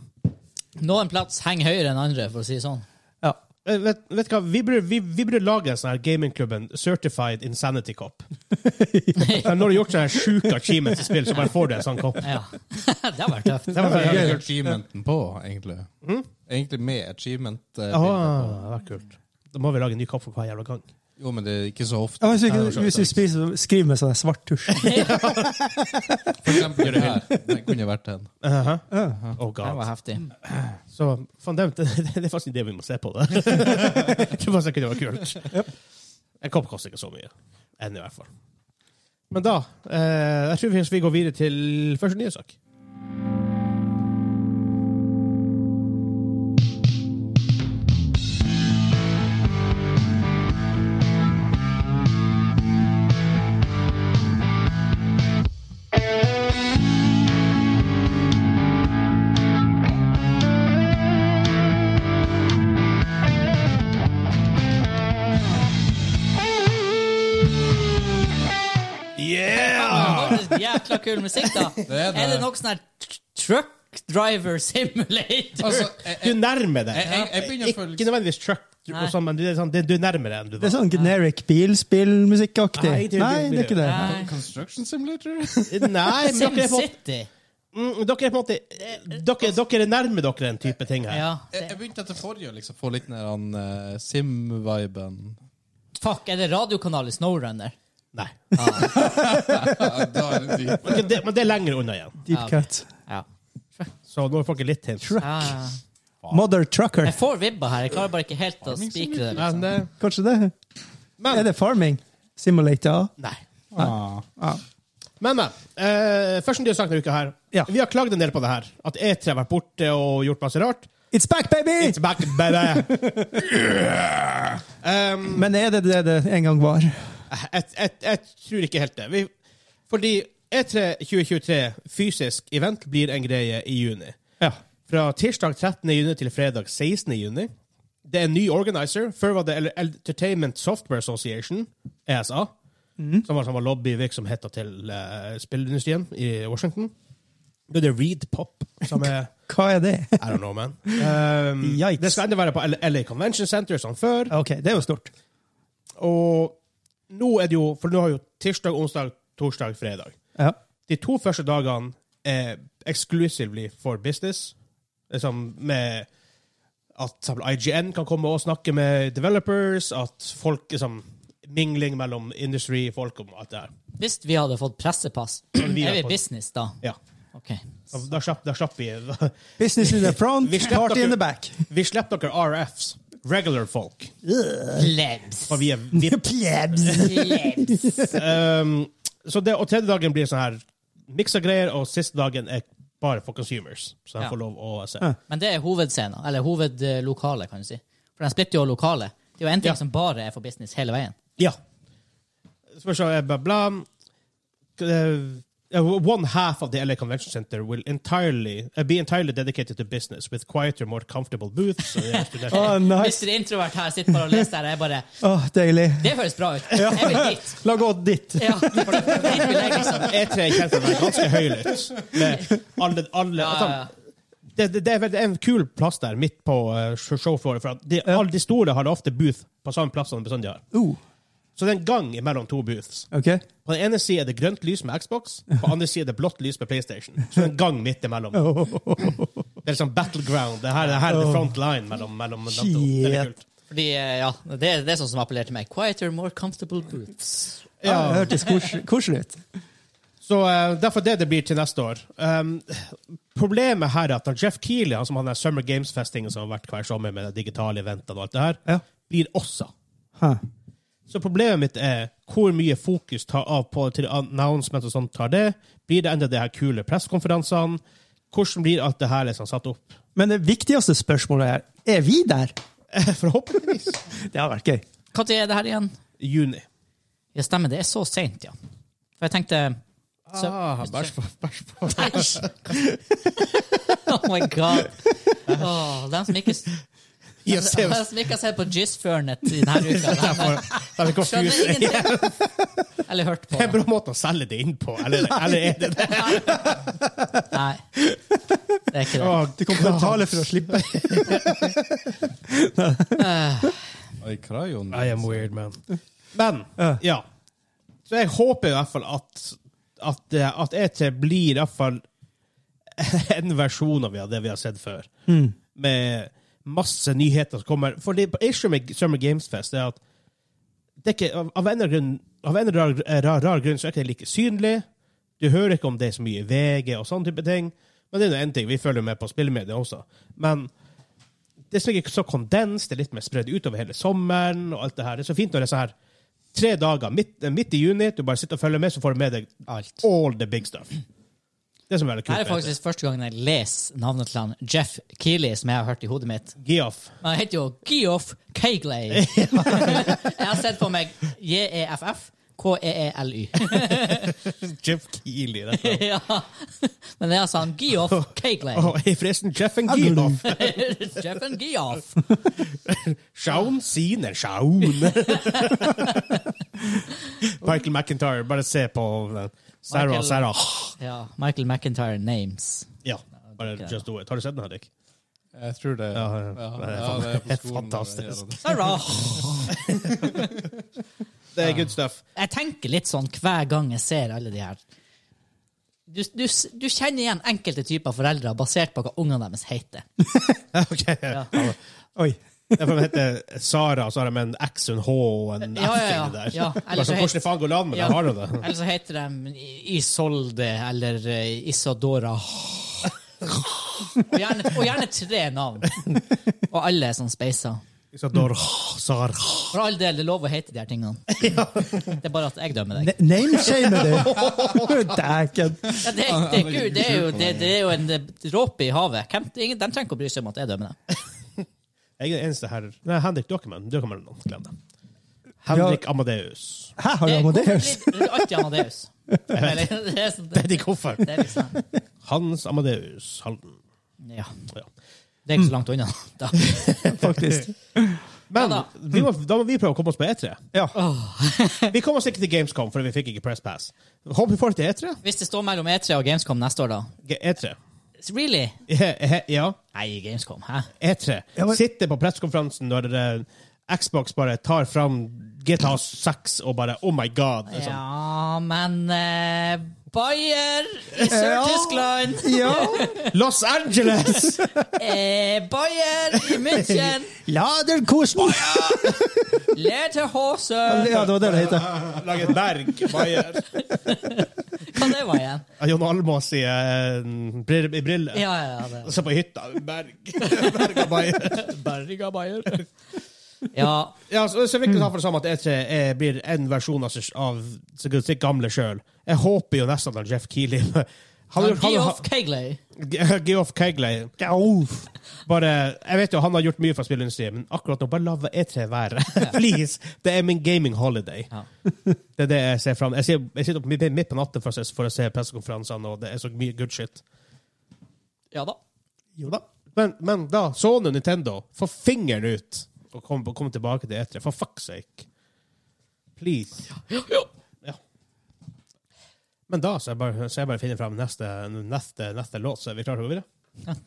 Noen plats henger høyere enn andre, for å si det sånn.
Ja.
Eh, vet, vet du hva, vi burde, vi, vi burde lage en sånn her gamingklubben Certified Insanity Cop. For Når du har gjort sånne her sjuke achievements i spill, så bare får du en sånn kopp.
Ja. det har vært tøft.
Det var
Hva
veldig
er
kult.
achievementen på, egentlig? Egentlig med achievement. eh,
Aha,
bildet på.
det var kult. Da må vi lage en ny kopp for hver jævla gang.
Jo, men det er ikke så ofte.
Ja, hvis vi- hvis vi spiser, skriver med sånn svart tusj.
For eksempel den her. Den kunne vært en.
Aha. Oh
Det
god.
var heftig.
Så fan, det, det, det er faktisk det vi må se på. Det Det var sikkert det var kult. En kopp koster ikke så mye. Enn i hvert fall. Men da eh, Jeg tror vi- vi går videre til første nye sak. Yeah!
Faktisk Jækla kul musikk, da.
Det er det.
Er det nok sånn her tr- truck driver simulator?
Altså, jeg,
Du
jeg,
nærmer deg.
jeg, jeg begynner å føle
Ikke nødvendigvis truck, du-
Nei.
og sånn, men du er, sånn, det- du er nærmere enn du
Det
var.
er sånn generic bilspillmusikkaktig.
Nei, det er jo ikke-
Nei, det er ikke det.
Nei.
Construction simulator?
Nei, men
Sim
dere er på,
City.
mm, dere er på en måte dere, dere er nærme dere en type ting her.
Ja.
Jeg, jeg begynte etter forrige å liksom, få litt den der, eh, sim-viben.
Fuck, er det radiokanal i Snowrunner?
Nei.
Ja, da er det dypt.
Men det, men det er lenger unna igjen.
Deep
Ja, ok.
cut.
Ja.
Så nå får dere litt hint.
Truck.
Ah.
Mother Trucker.
Jeg får vibba her. Jeg klarer bare ikke helt å spikre det.
Men,
Liksom.
eh,
Kanskje det?
men
Er det farming? Simulator?
Nei.
Ah.
Men, men. Eh, første nye sak denne uka her.
Ja.
Vi har klagd en del på det her. At E3 har vært borte og gjort masse rart.
It's back, baby!
It's back, baby! um,
Men er det det det en gang var?
jeg, jeg, jeg tror ikke helt det. Vi, fordi E E3 2023, fysisk event, blir en greie i juni.
Ja.
Fra tirsdag 13. juni til fredag 16. juni. Det er en ny organizer. Før var det Ele- Entertainment Software Association, ESA,
Mhm.
som var, som var lobbyvirksomheten til eh, spillindustrien i Washington. Nå er det Reed Pop, som er
Hva er det?
I don't know, man. Um,
Yikes.
det skal enda være på L- LA Convention Center som før.
OK, det er jo stort.
Og nå er det jo For nå har jo tirsdag, onsdag, torsdag, fredag.
Ja.
De to første dagene er exclusively for business. Liksom med at for eksempel IGN kan komme og snakke med developers, at folk liksom Mingling mellom industry-folk om alt det her.
Hvis vi hadde fått pressepass, er
vi
vi
fått-
business da?
Ja.
Ok.
Da slapp, da slapp vi
Business in the front,
Vi slipper
party in
dere-
the back.
Vi slapp dere RFs. Regular folk.
Plebs.
For vi er vi
Plebs.
Plebs.
Um, så det, og tredje dagen blir sånn her miksa greier, og siste dagen er bare for consumers. Så de
Ja.
får lov å se.
Ja.
Men det er hovedscenen, eller hovedlokalet, kan du si. For den splitter jo lokale. Det er jo en ting
Ja.
som bare er for business hele veien.
Ja. Spørsmålet er eh, bla, bla. Uh, one half of the LA Convention Center will entirely uh, be entirely dedicated to business, with quieter, more comfortable booths. Så det er
Å,
studenter.
nice.
Mr. Introvert her sitter bare og leser her, og jeg bare
Åh, deilig.
Det høres bra ut. Jeg vil dit.
La gå dit.
Ja, for det er dit vi legger sånn. oss.
E3 er kjent for å være ganske høylytt. Med alle, alle, altså,
Ja, ja, ja.
Det, det, det er vel- det er en kul plass der, midt på uh, showflooret. For at de, alle de store har ofte booth på samme plass som de bestandig har.
Oh,
Så det er en gang mellom to booths.
OK.
På den ene siden er det grønt lys med Xbox, på den andre siden er det blått lys med PlayStation. Så det er en gang midt imellom.
Oh.
Det er liksom battleground. Det her, det her er the front line mellom, mellom de to. Det er
Shit.
litt kult.
Fordi, eh, ja, det er det er sånn som appellerer til meg. Quieter, more comfortable booths.
Ja. Det hørtes kos- koselig ut.
Så eh, derfor det det blir til neste år. Um, problemet her er at når Jeff Keeley, han som han der Summer Games-festingen som har vært hver sommer med de digitale eventene og alt det her,
Ja.
blir også.
Hæ.
Så problemet mitt er hvor mye fokus tar av på til announcement og sånt tar det. Blir det enda de her kule pressekonferansene? Hvordan blir alt det her liksom satt opp?
Men det viktigste spørsmålet er er vi der.
Forhåpentligvis.
Det har vært gøy.
Når er det her igjen?
Juni.
Ja, stemmer. Det er så seint, ja. For jeg tenkte så,
Ah, bæsj på, bæsj på.
Æsj! Oh my god. Åh, dem som ikke
Gi oss- se
dem
oss.
som ikke har sett på Jizzfernet denne uka, dem
Det
skjønner
er confusing.
ingenting. Eller hørt på.
Det er
det.
en bra måte å selge det inn på. Eller, eller er det det?
Nei. Det er ikke det.
Du kommer til å betale for å slippe.
Ai, krajon.
I am weird, man. Men,
Ja.
ja. Så jeg håper i hvert fall at, at, eh, at E3 blir i hvert fall en versjon av det vi har sett før. Med masse nyheter som kommer. For det issue med Summer Games Fest er at det er ikke, av- av en, eller grunn, av en eller annen rar, rar, rar grunn så er det ikke like synlig. Du hører ikke om det er så mye i VG og sånne type ting. Men det er nå en ting. Vi følger med på spillmedia også. Men det er så ikke så kondens, det er litt mer spredd utover hele sommeren. og alt Det her. Det er så fint når det er sånn her tre dager midt, midt i juni, du bare sitter og følger med, så får du med deg
Alt.
all the big stuff. Det som er veldig kult.
Her er faktisk første gangen jeg leser navnet til han Jeff Keeley, som jeg har hørt i hodet mitt.
Geoff.
Men Han heter jo Geoff Kegley. jeg har sett på meg JEFF. K-E-E-L-Y.
Jeff Keeley. rett og slett.
ja. Men det er altså han Geoff Kegley.
Og i forresten, Jeff and Geoff.
Jeff and Geoff.
Shaun Siner, Shaun. Michael McIntyre, bare se på den. Sarah,
Michael- Ah,
Sarah.
Ja, Michael McIntyre names.
Ja, bare just do it. Har du sett den, Henrik?
Jeg tror det.
Ja, ja. Det er fan-
det er på
det er
skolen.
fantastisk.
Sarah.
Det er good stuff.
Jeg tenker litt sånn hver gang jeg ser alle de her. Du, du, du kjenner igjen enkelte typer foreldre basert på hva ungene deres heter.
Ok.
Oi.
Derfor den heter Sara, og så har de en X, en H og en F
Ja, ja, ja.
inni der.
Ja, eller
Bare
så
sånn,
helt-
Hvordan faen går det an med
Ja.
det? Har du det?
Eller så heter de Isolde eller eh, Isadora. Og gjerne, og gjerne tre navn. Og alle er sånn speisa.
Isador Sar
For all del, det er lov å hete de her tingene. Det er bare at jeg dømmer deg.
Ne- Nameshame det! Dæken.
Ja, det, er- det, er gud, det, er jo, det, det er jo en eh, dråpe i havet. Hvem, ingen, de trenger ikke å bry seg om at jeg dømmer dem.
Jeg er den eneste her Nei, Henrik Dockerman. Dockerman glem det. Henrik Amadeus.
Her har du Amadeus.
Eh, Det er alltid Amadeus. Eller, Det er sånn-
Det er de hvorfor.
det er liksom
Hans Amadeus Halden.
Ja.
Ja.
Det er ikke så langt unna. Da.
Faktisk.
Men
Ja da.
vi må, da må vi prøve å komme oss på E3.
Ja.
Vi kom oss ikke til Gamescom, for vi fikk ikke Press Pass. Håper vi får det til E3.
Hvis det står mellom E3 og Gamescom neste år, da
G- E3.
Really?
He- he- Ja,
Nei, Gamescom, hæ?
E3.
Ja, men-
Sitte på pressekonferansen når eh, Xbox bare tar fram GTA 6 og bare Oh my God! Det er sånn.
Ja, men eh, Bayer i Sør-Tyskland!
ja.
sånn, Los Angeles!
Eh, Bayer i München!
Laderkosen!
Lederhose!
Ja, det var det det het.
Lag et berg. Bayer.
Hva det var igjen?
Ja, Jon Almaas i, eh, brill- i briller.
Ja, ja, ja,
Og
det.
så på hytta. Berg. Berg av Bayer.
Berga Bayer. Ja.
Ja, så, så er det viktig å ta for det samme at E3 er, blir en versjon av, seg- av sikkert sitt gamle sjøl. Jeg håper jo nesten at Jeff Keeley han, han,
Geoff Kegley.
Ge- Geoff Kegley. Bare, jeg vet jo han har gjort mye for spillindustrien, men akkurat nå, bare la E3 være. Please! Det er min gaming holiday.
Ja.
Det er det jeg ser fram Jeg sitter- jeg sitter opp midt, midt på natten for å se, for å se pressekonferansene, og det er så mye good shit.
Ja da.
Jo da. Men, men da, Sony og Nintendo, få fingeren ut og kom, og kom tilbake til E3. For fuck's sake. Please. Ja. Men da, så jeg bare, så jeg bare finner fram neste, neste, neste låt, så er vi klare til å gå videre.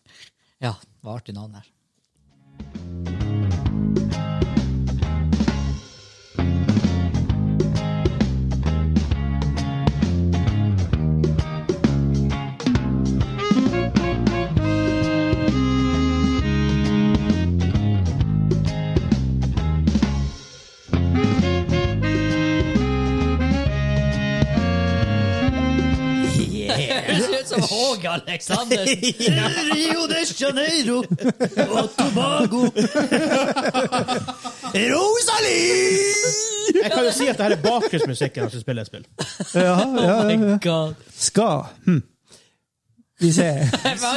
Ja, det var artig navn her. Det høres ut som Åge Aleksandersen.
Rio de Janeiro og Tobago. Rosalie!
Jeg kan jo si at det her er bakgrunnsmusikken når du spiller et spill.
Ja, ja,
Oh
ja.
my god.
Skal hm. Vi ser.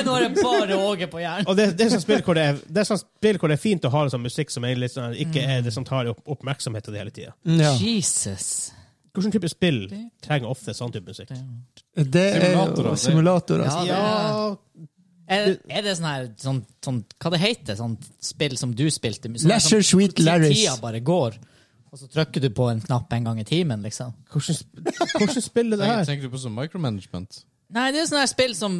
Nå er det bare Åge på hjernen.
Og det, det, er sånn spill hvor det, er, det er sånn spill hvor det er fint å ha sånn musikk som er litt sånn, ikke er det som tar opp, oppmerksomheten din hele tida.
Ja.
Jesus.
Hvilken type spill trenger ofte sånn type musikk?
Det er jo
Simulatorer.
simulatorer.
Ja,
altså.
Ja,
Er, er det sånn her sånn, sånn, Hva det heter sånn spill som du spilte? Sånn,
Leisure
som-
Suite
hvor
Larrys.
Tida bare går, og så trykker du på en knapp en gang i timen, liksom.
hvordan, sp- hvordan spill er det her?
Tenker du på sånn micromanagement?
Nei, det er sånn her spill som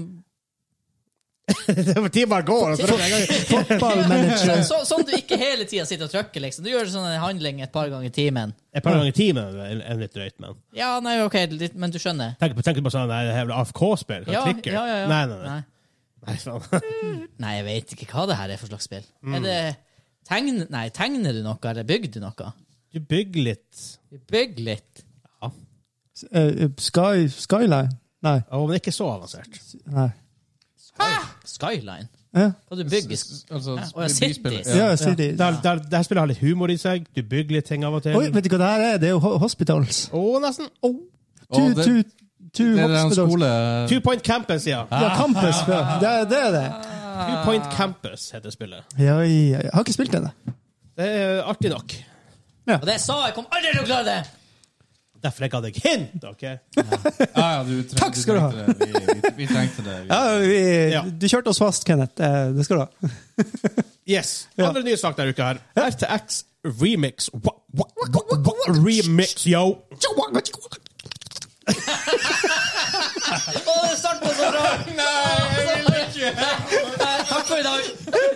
Det var Tiden bare går. og så-
Fotballmanager.
så, Sånn du ikke hele tida sitter og trykker, liksom. Du gjør sånn en handling et par ganger i timen.
Et par ganger i timen er er litt drøyt, men
Ja, nei, OK, litt, men du skjønner.
Tenk på, tenk på sånn der jævla AFK-spill.
Ja,
klikker.
ja, ja, ja.
Nei, nei, nei.
Nei.
nei faen.
Nei, jeg vet ikke hva det her er for slags spill. Er det tegn, Nei, tegner du noe, eller bygger du noe?
Du bygger litt.
Bygg litt.
Eh, Sky, skyline? Nei.
Å, men ikke så avansert.
Nei.
Skyline.
Ja,
Hva du bygger
S- s- Altså,
Ja, og jeg
sp-
sitter i-
byspillet.
ja
Ja.
jeg sier det.
Der, der, der spillet har litt humor i seg. Du bygger litt ting av og til.
Oi,
Å,
vet du hva det her er? Det er jo ho- hospitals.
nesten. Oh.
Tu,
Å, det-
tu, tu
Det er en
hospitals.
skole
Two Point Campus, ja.
Ja, campus. Ja. Det, er- det er det.
Two Point Campus heter spillet.
Ja, ja, ja. Har ikke spilt den, jeg.
Det er artig nok.
Og det sa jeg! Kom aldri til å klare det!
Derfor jeg ga deg hint, OK?
Ja, ja, du treng-
Takk skal du ha.
trengte det. Vi, vi, vi trengte det. Vi.
Ja, vi,
Ja.
Du kjørte oss fast, Kenneth. Eh, Det skal du ha.
Yes.
Ja.
Andre nye sak denne uka her. RTX Remix. Wa- wa- wa- wa- wa- Remix, yo!
Å, det starta så bra! Nei, jeg vil ikke! Takk for i dag.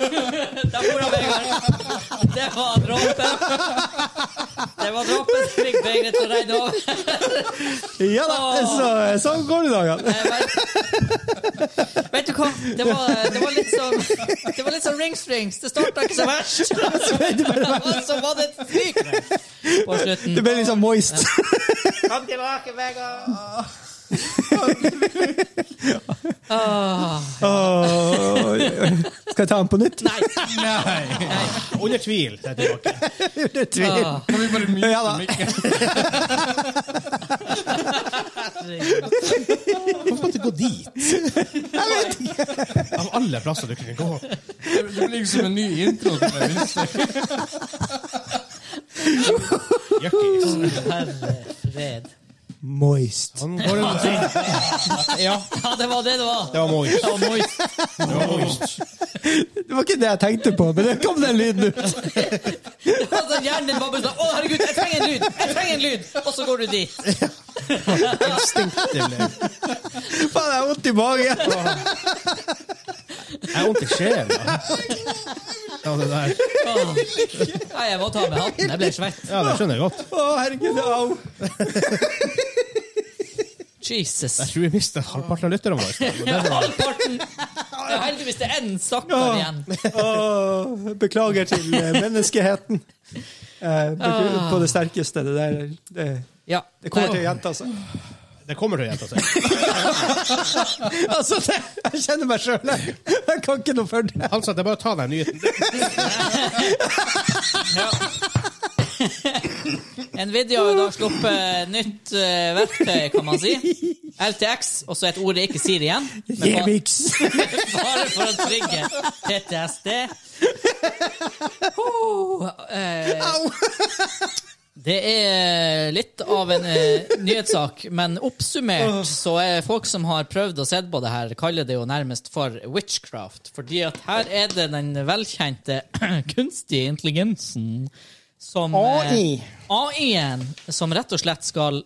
Der bor han, Vegard. Det var dråpen. Det var dråpen som fikk begeret til å regne over.
Ja da, så, sånn går det i dag. ja.
Eh, vet- Vet du hva? Det var, det var litt som Det var litt som Rings Rings. Det starta ikke så verst. Og så var det et fyk på
Det
slutten.
ble liksom moist.
Kom tilbake, Vegard.
Åh, Skal jeg ta den på nytt?
Nei!
Nei!
Under tvil. så er jeg tilbake.
Under tvil.
Ah,
Kan vi bare myte
Ja da.
Mikkel?
herregud.
Hvorfor måtte du gå dit? Av alle plasser du kunne gå.
Det blir liksom en ny intro til det minste.
Jøkkis.
Herre fred.
Moist.
Han går rundt Ja,
Ja, det var det det var.
det var moist.
Det var moist.
Det var moist.
Det var ikke det jeg tenkte på, men det kom den lyden ut.
Altså, hjernen din bare bare sånn Å, herregud, jeg trenger en lyd! Jeg trenger en lyd! Og så går du dit.
Det ble-
Faen, jeg har vondt i magen.
Jeg har vondt i sjela. Ja, det der.
Åh. Nei, jeg må ta med hatten. Jeg ble svett.
Ja, det skjønner jeg godt.
Å, herregud, au.
Jesus.
Jeg tror vi mistet halvparten av lytterne våre. Men det var-
Halvparten! Det er heldigvis det er én stakkar igjen.
Å, beklager til eh, menneskeheten. Eh,
Ah.
beklager på det sterkeste. Det der det,
Ja.
det kommer til å gjenta seg.
Det kommer til å gjenta seg.
Altså, det, jeg kjenner meg sjøl. Jeg, jeg kan ikke noe for det.
Han sa at Altså, det er bare å ta den nyheten.
Nvidia har jo da sluppet nytt eh, verktøy, kan man si. LTX, og så et ord jeg ikke sier igjen. Men ba-
Jevix.
bare for å trygge PTSD. Oh, eh, det er litt av en eh, nyhetssak, men oppsummert så er folk som har prøvd og sett på det her, kaller det jo nærmest for witchcraft. Fordi at her er det den velkjente kunstige intelligensen som eh,
AI.
AI-en som rett og slett skal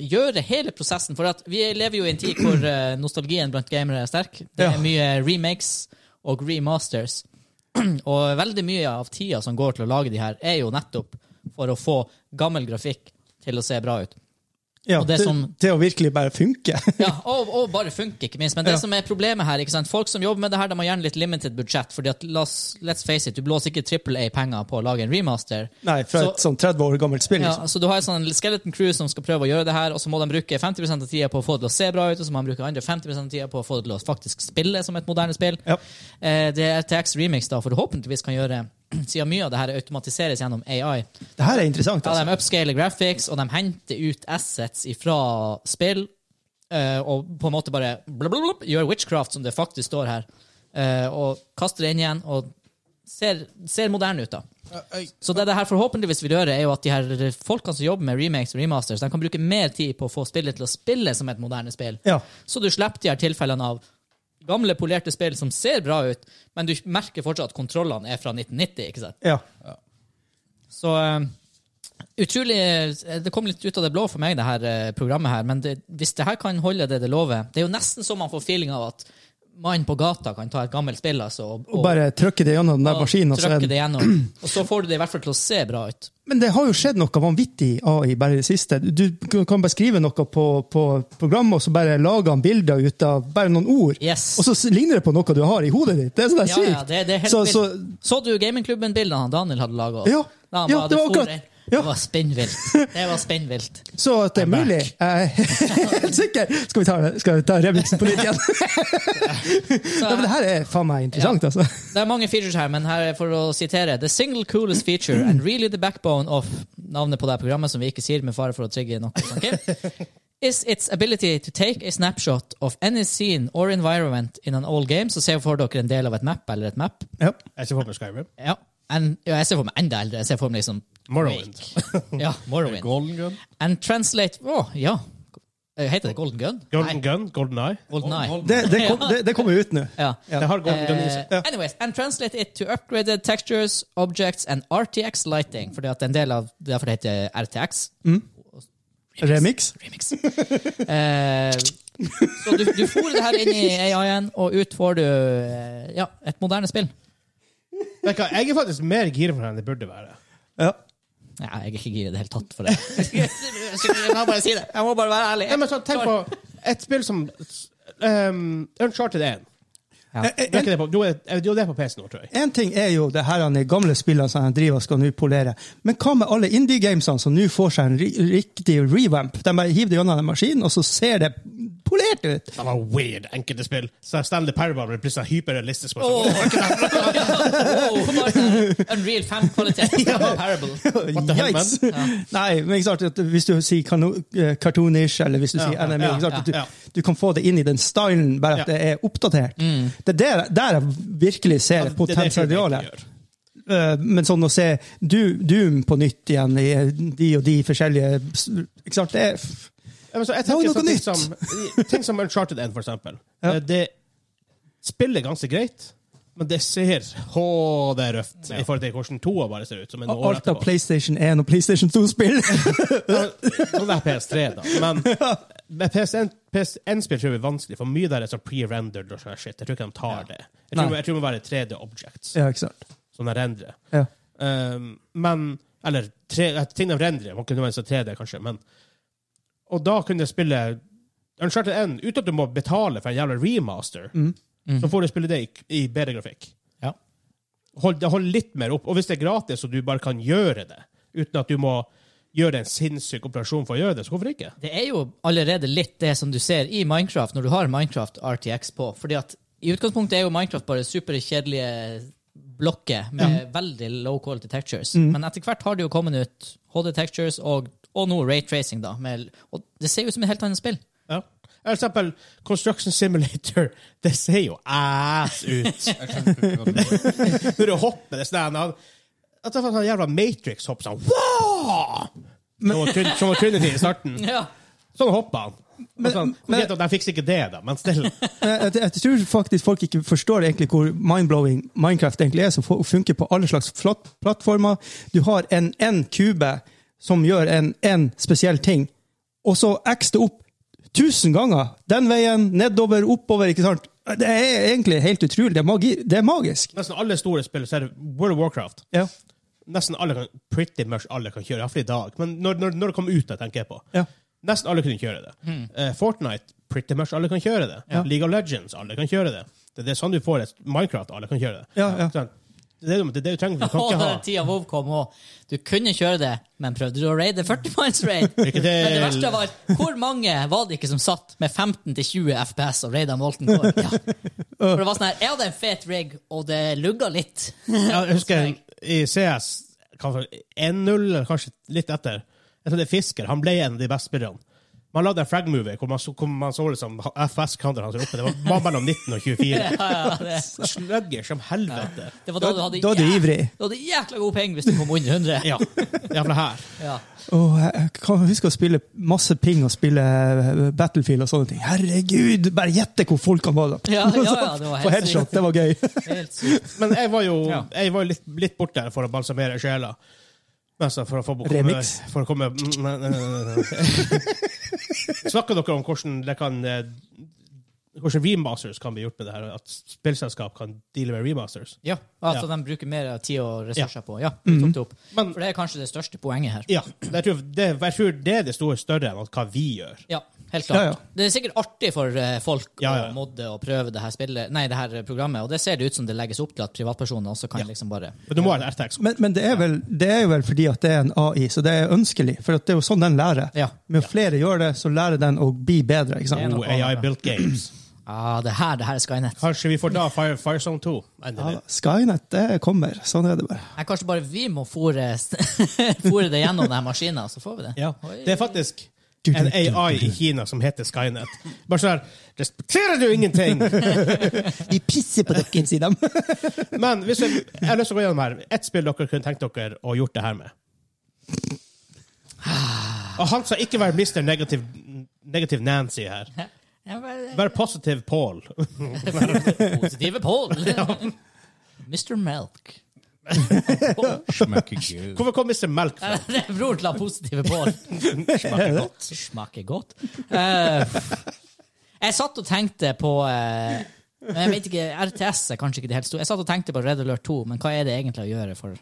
gjøre hele prosessen. For at vi lever jo i en tid hvor eh, nostalgien blant gamere er sterk. Det
Ja.
er mye remakes og remasters. Og veldig mye av tida som går til å lage de her, er jo nettopp for å få gammel grafikk til å se bra ut.
Ja,
Og det sånn-
det,
som-
det å virkelig bare funke.
Ja, og, og bare funker, ikke minst. Men det
Ja.
som er problemet her, ikke sant? folk som jobber med det her, de har gjerne litt limited budsjett. fordi at, la oss- let's face it, du blåser ikke trippel A-penger på å lage en remaster.
Nei, fra
Så-
et sånn 30 år gammelt spill.
Ja,
Liksom.
så du har en sånn skeleton crew som skal prøve å gjøre det her, og så må de bruke 50 av tida på å få det til å se bra ut, og så må de bruke andre 50 av tida på å få det til å faktisk spille som et moderne spill.
Ja.
Eh, det er TX Remix da forhåpentligvis kan gjøre, siden mye av det her automatiseres gjennom AI.
Det her er interessant.
Ja,
Altså.
de upscaler graphics, og de henter ut assets ifra spill, eh, og på en måte bare blablabla, gjør witchcraft, som det faktisk står her, eh, og kaster det inn igjen, og ser, ser moderne ut, da. Så det det her forhåpentligvis vil gjøre, er jo at de her folkene som jobber med remakes og remasters, de kan bruke mer tid på å få spillet til å spille som et moderne spill.
Ja.
Så du slipper de her tilfellene av gamle, polerte spill som ser bra ut, men du merker fortsatt at kontrollene er fra 1990. ikke sant?
Ja.
Så eh, utrolig eh, Det kom litt ut av det blå for meg, det her eh, programmet her, men det, hvis det her kan holde det det lover Det er jo nesten så man får feeling av at mannen på gata kan ta et gammelt spill altså, og,
Og bare trykke det gjennom den der
og
maskinen. og så er
trykke
den-
det gjennom. Og så får du det i hvert fall til å se bra ut.
Men det har jo skjedd noe vanvittig i AI bare i det siste. Du kan bare skrive noe på, på programmet, og så bare lager han bilder ut av bare noen ord.
Yes.
Og så s- ligner det på noe du har i hodet ditt. Det er sånn der
Ja,
sykt.
ja, det, det er helt
så,
vilt.
så,
Så, du Gamingklubben-bildene han Daniel hadde laga?
Ja, ja, det var akkurat- ja.
Det var spinnvilt. Det var spinnvilt.
så at det er mulig Jeg er helt sikker. Skal vi ta, skal vi ta remixen på nytt igjen?
Så,
Nei, men det her er faen meg interessant, altså.
Det er mange features her, men her er for å sitere The single coolest feature and really the backbone of navnet på det her programmet, som vi ikke sier med fare for å trigge noe. ok? Is its ability to take a snapshot of any scene or environment in an old game. Så ser for dere en del av et map eller et map.
Ja.
Jeg ser for meg Skyrim.
Ja, en, ja jeg ser for meg enda eldre. Jeg ser for meg liksom
Morrowind.
Ja, Morrowind.
Golden Gun?
And translate Å, ja. Eh, Heter det Golden Gun?
Golden
Nei,
Gun, Golden Eye.
Golden Eye.
Det, det, kom, det, det kommer ut nå.
Ja.
Det har Golden Gun i seg.
Eh, anyways, and translate it to upgraded textures, objects and RTX lighting. Fordi at en del av det er derfor det heter RTX.
Remix.
Remix. Eh, så du, du får det her inn i AI-en, og ut får du eh, ja, et moderne spill.
Vet du hva, Jeg er faktisk mer gira for den enn det burde være.
Ja.
Nei, jeg er ikke gira i det hele tatt for det. Jeg må bare si det. Jeg må bare være ærlig.
Nei, men sånn, Tenk på et spill som um, Uncharted 1.
Eh,
Det er ikke det på, jo, det er jo det på PC nå, tror jeg.
En ting er jo det her han er gamle spillene som han driver og skal nå polere, men hva med alle indie-gamesene som nå får seg en ri riktig revamp? De bare hiver det gjennom den maskinen, og så ser det polert ut!
Det var weird enkelte spill. Så Stanley Parable ble plutselig hyperrealistisk. på
Åh,
sånn,
wow, bare sånn Unreal 5-kvalitet. Parable.
What the hell,
Yikes! Nei, men ikke sant, at hvis du sier kano- eh, cartoonish, eller hvis du sier
ja,
anime,
ja,
ikke sant,
ja,
at du,
ja.
du kan få det inn i den stylen, bare
Ja. Mm.
at det er oppdatert. Det er der, der jeg virkelig
Ja,
ser
det- det er det jeg
potensialet.
egentlig gjør.
Eh, men sånn å se du, Doom på nytt igjen i eh, de og de forskjellige Ikke sant? Det er,
Ja, men så jeg
Det var
tenker
noe
sånn ting
nytt.
som, ting som Uncharted 1, for eksempel.
Ja.
Eh, Det spiller ganske greit, men det ser Å, det er røft i forhold til hvordan toa bare ser ut. som en år
alt av
etterpå.
PlayStation 1 og PlayStation 2-spill!
Nå er det PS3, da. Men med PS1, PS1-spill tror jeg er vanskelig, for mye der er sånn pre-rendered og sånn shit. Jeg tror ikke de tar det. Jeg tror,
Nei.
jeg tror det må være 3D-objects
ja, ikke sant?
som de rendrer.
Ja.
Um, men Eller tre, at ting de rendrer. Man kunne være så 3D, kanskje. Men, og da kunne jeg spille Uncharted 1 uten at du må betale for en jævla remaster. Så får du spille det i, i bedre grafikk.
Ja.
Hold, det holder litt mer opp. Og hvis det er gratis, og du bare kan gjøre det uten at du må gjøre en sinnssyk operasjon for å gjøre det, så hvorfor ikke?
Det er jo allerede litt det som du ser i Minecraft, når du har Minecraft RTX på. Fordi at i utgangspunktet er jo Minecraft bare superkjedelige blokker med veldig low quality textures. Men etter hvert har det jo kommet ut HD textures og, og nå raytracing, da. Med, og det ser jo ut som et helt annet spill.
Ja. For eksempel Construction Simulator. Det ser jo ass ut.
Jeg skjønner ikke hva du mener.
Når du hopper det stedet han At det var sånn jævla Matrix-hopp sånn wow! Som var Trin- Som var Trinity i starten.
Ja.
Sånn hoppa han. Men, sånn,
men-
greit at de fikk ikke det, da, men still.
Eh, Jeg, jeg, jeg tror faktisk folk ikke forstår egentlig hvor mindblowing Minecraft egentlig er, som fu- funker på alle slags flat- plattformer. Du har en, en kube som gjør en, en spesiell ting, og så x det opp tusen ganger. Den veien, nedover, oppover, ikke sant? Det er egentlig helt utrolig. Det er, magi, det er magisk.
Nesten alle store spill så er det World of Warcraft.
Ja.
Nesten alle kan, pretty much alle kan kjøre, iallfall i dag. Men når, når, når det kom ut, det tenker jeg på.
Ja.
Nesten alle kunne kjøre det. Eh, Fortnite, pretty much alle kan kjøre det.
Ja.
League of Legends, alle kan kjøre det. Det det er sånn du får et Minecraft, alle kan kjøre det.
Ja, ja.
Sånn. Det er det du- det er det du trenger. Du kan
Og
ikke ha
den tida WoW kom òg. Du kunne kjøre det, men prøvde du å raide 40 minds raid?
Lykke til.
Men det verste var hvor mange var det ikke som satt med 15-20 FPS og raida Molten Core? Ja. For det var sånn her, Jeg hadde en fet rig, og det lugga litt.
Ja, jeg husker i CS kanskje 1-0, eller kanskje litt etter. Jeg tror det er Fisker. Han ble en av de beste spillerne. Man lagde en frag-movie hvor man så, hvor man så liksom FS-counteren hans oppe. Det var, var mellom 19 og 24.
Ja, ja, det,
Slugger som helvete.
det var da du hadde
Da er du
jæ-
ivrig.
du hadde jækla god peng hvis du kom under 100.
Ja. Jævla her.
Ja.
Åh, jeg jeg kan huske å spille masse ping og spille eh, Battlefield og sånne ting. Herregud, bare gjette hvor folkene var da.
Ja, ja, ja, det var helt
På headshot, det var gøy.
Helt sykt.
Men jeg var jo,
Ja.
jeg var jo litt, litt borte for å balsamere sjela. Altså for å få
Remix.
For å komme mm, nei, nei, nei, nei. Snakker dere om hvordan det kan eh, hvordan remasters kan bli gjort med det her? At spillselskap kan deale med remasters?
Ja, altså
Ja.
de bruker mer tid og ressurser
Ja. Mm.
på. Ja, du tok det opp.
Men-
For det er kanskje det største poenget her.
Ja, jeg tror det, jeg tror det er det store større enn at hva vi gjør.
Ja, helt klart.
Ja, ja.
Det er sikkert artig for eh, folk
Ja, ja.
å modde og prøve det her, spillet, nei, det her programmet, og det ser det ut som det legges opp til at privatpersoner også kan liksom bare
Men du må ha en RTX.
Men, men det, er vel, det er jo vel fordi at det er en AI, så det er ønskelig. For at det er jo sånn den lærer.
Ja.
Med flere gjør det, så lærer den å bli bedre. ikke
Det er
sant?
noe.
Oh, AI built games.
Ah, det her, det her er Skynet.
Kanskje vi får da Fire, Firezone 2.
Ja,
Endelig.
da. Skynet, det kommer. Sånn er det bare.
Nei, kanskje bare vi må fôre, fôre det gjennom denne maskinen, så får vi det.
Ja.
Oi.
Det er faktisk en AI i Kina som heter Skynet. Bare sånn her Respekterer du ingenting?!
Vi pisser på dere, sier de.
Men hvis jeg, jeg har lyst til å gå gjennom her. Ett spill dere kunne tenkt dere å gjort det her med. Og han skal ikke være Mr. Negative, negative Nancy her.
Ja, bare-
Vær positive Paul.
Positive Pål! Mr. Melk.
Smaker gud.
Hvorfor kom Mr. Melk fra?
Det er Bror til han positive Pål. Smaker godt. Smaker godt. Eh, jeg satt og tenkte på eh, men Jeg vet ikke, RTS er kanskje ikke det helt store. Jeg satt og tenkte på Red Alert 2, men hva er det egentlig å gjøre for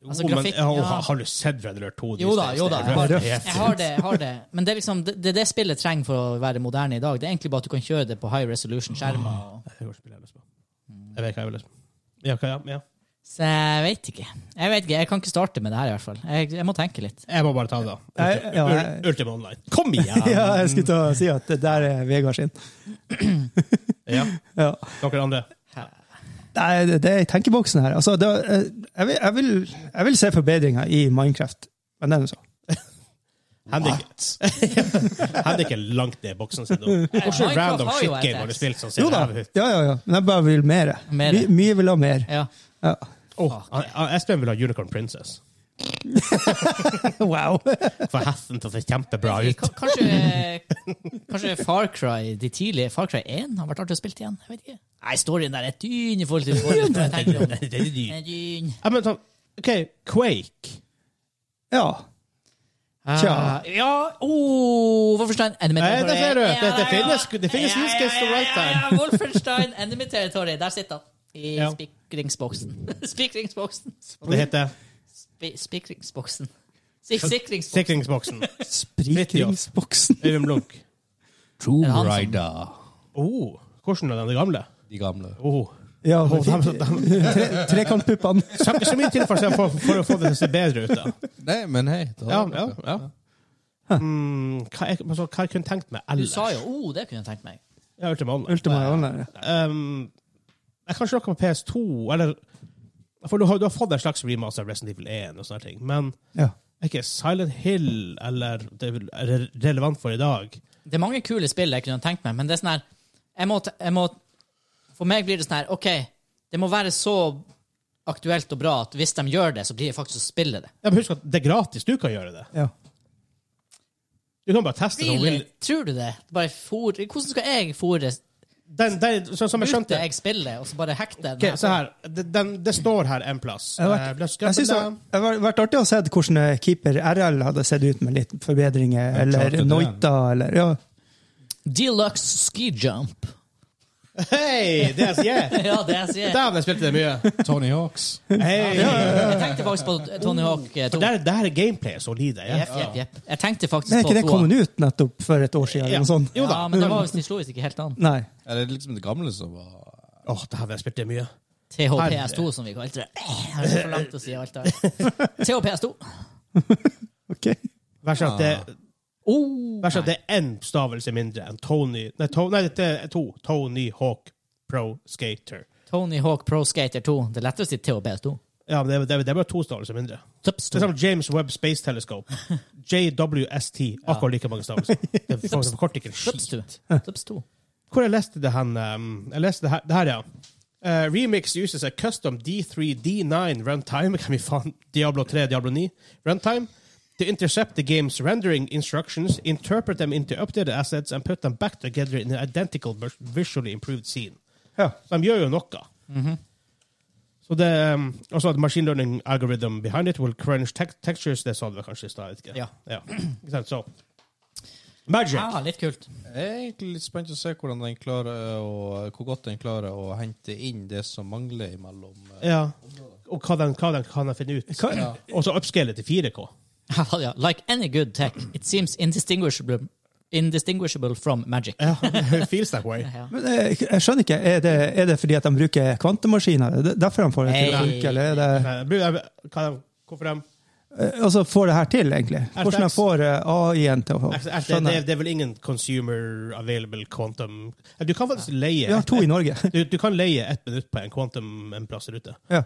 Altså,
Jo, men,
grafikk,
ja,
ja.
Har du sett Red Alert 2?
Jo da, jo da. Jeg har,
Det er
jeg
heftig.
har det. jeg har det. Men det er liksom, det, det er det spillet trenger for å være moderne i dag. Det er egentlig bare at du kan Ah. kjøre det på high resolution-skjermer. og-
Jeg vet hva jeg vil. Ja, hva, ja, ja.
Så jeg vet ikke. Jeg vet ikke, jeg kan ikke starte med det her, i hvert fall. Jeg, jeg må tenke litt.
Jeg må bare ta det, da.
Jeg- ja, jeg-
Ul- Ultima Online. Kom igjen!
Ja, jeg skulle til å si at det der er Vegard sin.
Ja.
Ja.
Dere andre?
Nei, det, det er tenkeboksen her. Altså, det, jeg, vil, jeg, vil, jeg vil se forbedringer i Minecraft. Men det er noe så.
Henrik Henrik er langt ned i boksen sin nå. Hvordan
Eh, Minecraft
random
har jo et
shitgame har du
X.
spilt som ser
Jo da,
ræv ut?
ja, ja, ja. Men jeg bare vil mer.
Mere.
My, mye vil ha mer.
Ja.
Ja.
Åh, han- Espen vil ha Unicorn Princess.
Wow.
For hesten til å se kjempebra ut.
K- Kanskje, kanskje Far Cry de tidlige Far Cry 1 har vært artig å spille igjen? Jeg vet ikke. Nei, storyen der er dyn i forhold til forrige. når jeg tenker om Eh. det.
Det er dyrt.
Den er dyn.
Ja, men sånn, OK, Quake.
Ja. Tja.
Ah, Ja, oh, Wolfenstein Enemy
Nei,
Territory.
der ser du.
Ja,
Det- det
ja, ja.
finnes- det finnes
Ja, ja, ja,
huskes og alt der.
ja, ja, Wolfenstein Enemy Territory. Der sitter han. I
Ja.
spikringsboksen. Spikringsboksen.
Og det heter
Spi- Spikringsboksen. Sik sikringsboksen.
Sikringsboksen.
Sprikringsboksen.
Øyvind Blunk.
Er det han
Tomb
som-
Raider.
Oh, hvordan er den gamle?
De gamle.
Oh.
Ja,
Oh, dem-
tre, Trekantpuppene.
Så, så mye til for, å se- for, for å få det til å se bedre ut, da.
Nei, men hei. det
Ja,
hadde
ja,
vært det.
ja. Mm, hva, jeg, altså, hva jeg kunne tenkt meg
Du
ellers?
sa jo oh, det kunne jeg tenkt meg.
Ja, Ultima Online.
Ultima Online.
Um, jeg kan ikke noe på PS2, eller For du har, du har fått en slags remaster av Resident Evil 1 og sånne ting, men
Ja.
er ikke Silent Hill eller det er vel re- relevant for i dag?
Det er mange kule spill jeg kunne tenkt meg, men det er sånn her jeg må, t- jeg må, For meg blir det sånn her OK, det må være så aktuelt og bra at hvis de gjør det, så blir jeg faktisk å spille det.
Ja, men husk at det er gratis. Du kan gjøre det.
Ja.
Du kan bare teste det. om du vil.
Tror du det? Bare for, hvordan skal jeg fòre
Den, den, så, som jeg
ute
skjønte
jeg spiller, og så bare hekte den?
Ok, se her. Det- Den, det står her en plass.
Jeg har
Eh,
vært,
ble
jeg synes det
skrøpet der.
det har vært artig å se hvordan eh, keeper RL hadde sett ut med litt forbedringer,
klart
eller
det er.
noita, eller ja.
Deluxe ski jump.
Hei, det jeg sier!
Ja, det jeg sier.
Dæven, jeg spilte det mye.
Tony Hawks.
Hei.
Jeg tenkte faktisk på Tony Hawk 2.
For der, der er gameplayet solide. Ja.
Jepp, jepp, jepp. Jeg tenkte faktisk
Er ikke det
på toa.
kommet ut nettopp for et år siden?
Ja.
Eller noe sånt?
Jo da.
Ja, men det var visst, de slo visst ikke helt an.
Nei.
Er det liksom det gamle som var
Åh, dæven, jeg spilte det mye.
THPS2, som vi kalte det. Jeg har for langt å si alt der. THPS2.
Ok.
Vær så at
Ah.
det
Oh,
Vær så at det er én stavelse mindre enn Tony Nei, to, nei det er to. Tony Hawk Pro Skater.
Tony Hawk Pro Skater 2. Det er lettere å si THPS2.
Ja, men det, er- det, er- det er bare to stavelser mindre. Det er sånn
Tøpstor.
som James Webb Space Telescope. JWST. Akkurat like mange stavelser. Det for- det forkorter ikke en skit.
Tøpstor. Tøpstor.
Hvor jeg leste det hen ehm, Jeg leste det her, det her ja. Eh, Remix uses a custom D3D9 runtime Hvem i faen? Diablo 3, Diablo 9 runtime to intercept the game's rendering instructions, interpret them into updated assets and put them back together in an identical but visually improved scene.
Ja.
Så de gjør jo noe. Så det ehm, også at machine learning algorithm behind it will crunch te textures, det sa du vel kanskje i stad? jeg vet ikke.
Ja. Ah.
Ikke sant? Så Magic.
Ja, litt kult.
Jeg er egentlig litt spent å se hvordan den klarer å, hvor godt den klarer å hente inn det som mangler imellom. eh,
Ja. Og hva den, hva den kan jeg finne ut. Og så upscale til 4K.
Ja, Like any good tech, it seems indistinguishable, indistinguishable from magic.
Ja, it feels that way.
Men eh, jeg, jeg skjønner ikke. Er det, er det fordi at de bruker kvantemaskiner? Er det derfor de får det til
Nei.
å funke? Eller er det,
Men, bru- jeg- hva de, hvorfor de
eh, altså, får det her til, egentlig? Hvordan de får eh, AI-en til å
altså, altså, det,
skjønne?
er- det er vel ingen consumer available quantum Du kan faktisk leie
Vi har to i Norge.
du, du kan leie ett minutt på en quantum en plass der ute.
Ja.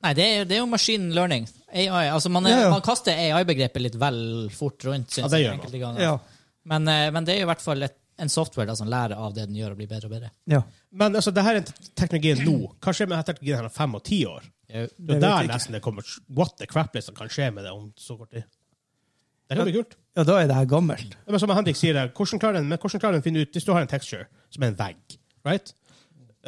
Nei, det er, det er jo machine learning. AI. Altså, man, er,
Ja, ja.
man kaster AI-begrepet litt vel fort rundt,
Ja,
syns
det
jeg.
gjør man.
enkelte ganger.
Ja.
Men, eh, men det er jo i hvert fall et, en software da, som lærer av det den gjør, og blir bedre og bedre.
ja.
Men altså, det her er te- teknologien nå. Hva skjer med denne teknologien her om fem og ti år? Det er
vet jeg
der
ikke.
nesten det kommer What the crap liksom kan skje med det om så kort tid. Det kan bli kult.
ja, da er det her gammelt.
Ja, Men som Henrik sier, her, hvordan klarer den, men hvordan klarer den å finne ut Hvis du har en texture som er en vegg right?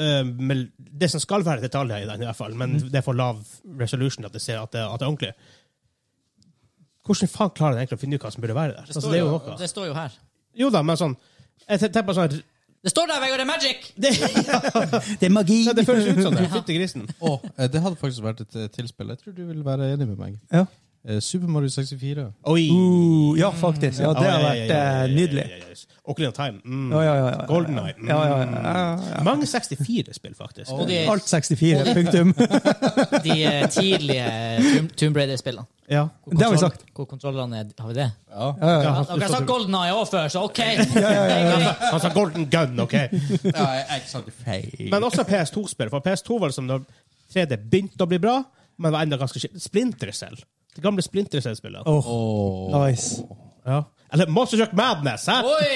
Eh, men Det som skal være detaljer i den, i hvert fall,
Mhm.
men det er for lav resolution at det, ser, at det, at det er ordentlig. Hvordan faen klarer den egentlig å finne ut hva som burde være der? altså, det er jo noe.
det står jo her.
Jo da, men sånn jeg ten- tenker på sånn,
Det står der, Vegard! Det er magic!
det,
Det er magi!
det føles ut som det. Fytti grisen.
Å, eh, det hadde faktisk vært et eh, tilspill. Jeg tror du vil være enig med meg.
Ja.
Eh, Super Mario 64.
Oi.
Uh, ja, faktisk. Ja, det
Ja,
har
ja, ja,
vært
ja, ja,
eh,
ja, ja,
nydelig.
ja, ja, ja. Ocarina of Time. Mm.
Ja, ja, ja, ja.
Golden Eye. Mm.
Ja, ja, ja, ja, ja.
Mange 64-spill, faktisk.
Og de,
Alt 64, punktum.
de eh, tidlige Tomb- Tomb Raider-spillene.
Ja.
Hvor
Det har vi
kontroll-
sagt.
Hvor kontrollene er Har vi det?
Ja.
Ja, ja.
Ja, dere har sagt Golden Eye òg før, så OK!
Han sa Golden Gun, OK?
Ja, jeg, jeg sa det feil.
Men også PS2-spill. For PS2 var liksom da 3D begynte å bli bra, men var enda ganske skitt. Splinter Cell. Det gamle Splinter Cell-spillet.
Åh,
Åh.
nice.
Ja. Eller Monster Truck Madness! Hæ?
Oi!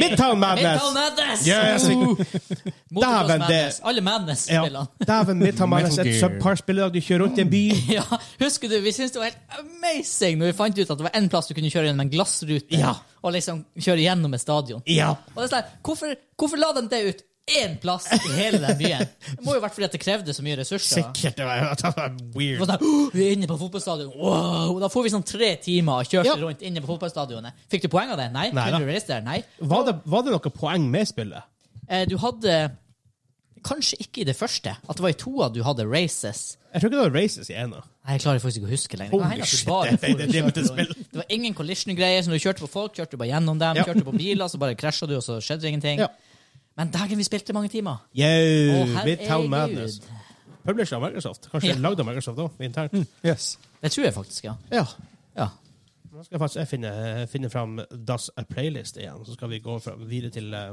Midtown Madness!
Midtown Madness!
Yes!
Motocross
Dæven, det-
Madness. Alle Madness-spillene.
Ja. Dæven, Midtown Madness er et
Metal Gear.
subpar-spill i dag. Du kjører rundt i en by.
Ja, husker du, Vi syntes det var helt amazing når vi fant ut at det var én plass du kunne kjøre gjennom en glassrute
Ja.
og liksom kjøre gjennom et stadion.
Ja.
Og det er sånn, her, hvorfor, hvorfor la de det ut én plass i hele den byen? Det må jo ha vært fordi at det krevde så mye ressurser.
Sikkert. Det var, det var
Det
weird.
var sånn, «Åh, vi er inne på fotballstadion. Wow! Da får vi sånn tre timer og kjørte
Ja.
rundt inne på fotballstadionet. Fikk du poeng av det? Nei.
Nei da.
Kunne du reise der? Nei.
Var det, var det noe poeng med spillet?
Eh, Du hadde Kanskje ikke i det første. At det var i toa du hadde races.
Jeg tror ikke det var Races i ena.
Nei, Jeg klarer faktisk ikke å huske lenger. Det
Holy
kan hende at du
shit,
bare
det-
for
det- det-
og
det-
kjørte
det- det-
rundt. det var ingen collision-greier. Så når du kjørte på folk, kjørte du bare gjennom dem.
Ja.
Kjørte på biler, så bare krasja du, og så skjedde det ingenting.
Ja.
Men dagen vi spilte mange timer
Yo,
Å,
Midtown
herregud.
Madness. Published av Microsoft. Kanskje
Ja.
lagd av Microsoft òg, internt.
Yes.
Det tror jeg faktisk, ja.
Ja.
ja.
Nå skal jeg faktisk jeg finne, finne fram Das a Playlist igjen, så skal vi gå fra, videre til, eh,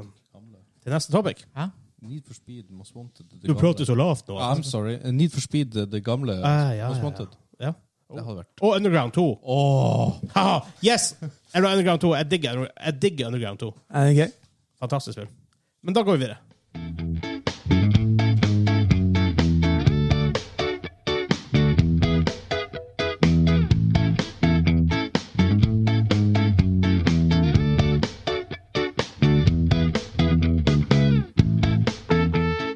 til neste topic.
ja.
Need for speed most wanted. det
Du
gamle.
prater så lavt nå.
Ah, I'm sorry. Need for speed, eh, det gamle
Ah, ja,
most
ja,
wanted.
ja. ja.
Det hadde vært
Og Underground 2. Haha, yes! Eller Underground 2. Jeg digger, jeg digger Underground 2.
Er det gøy?
Fantastisk spill. Men da går vi videre.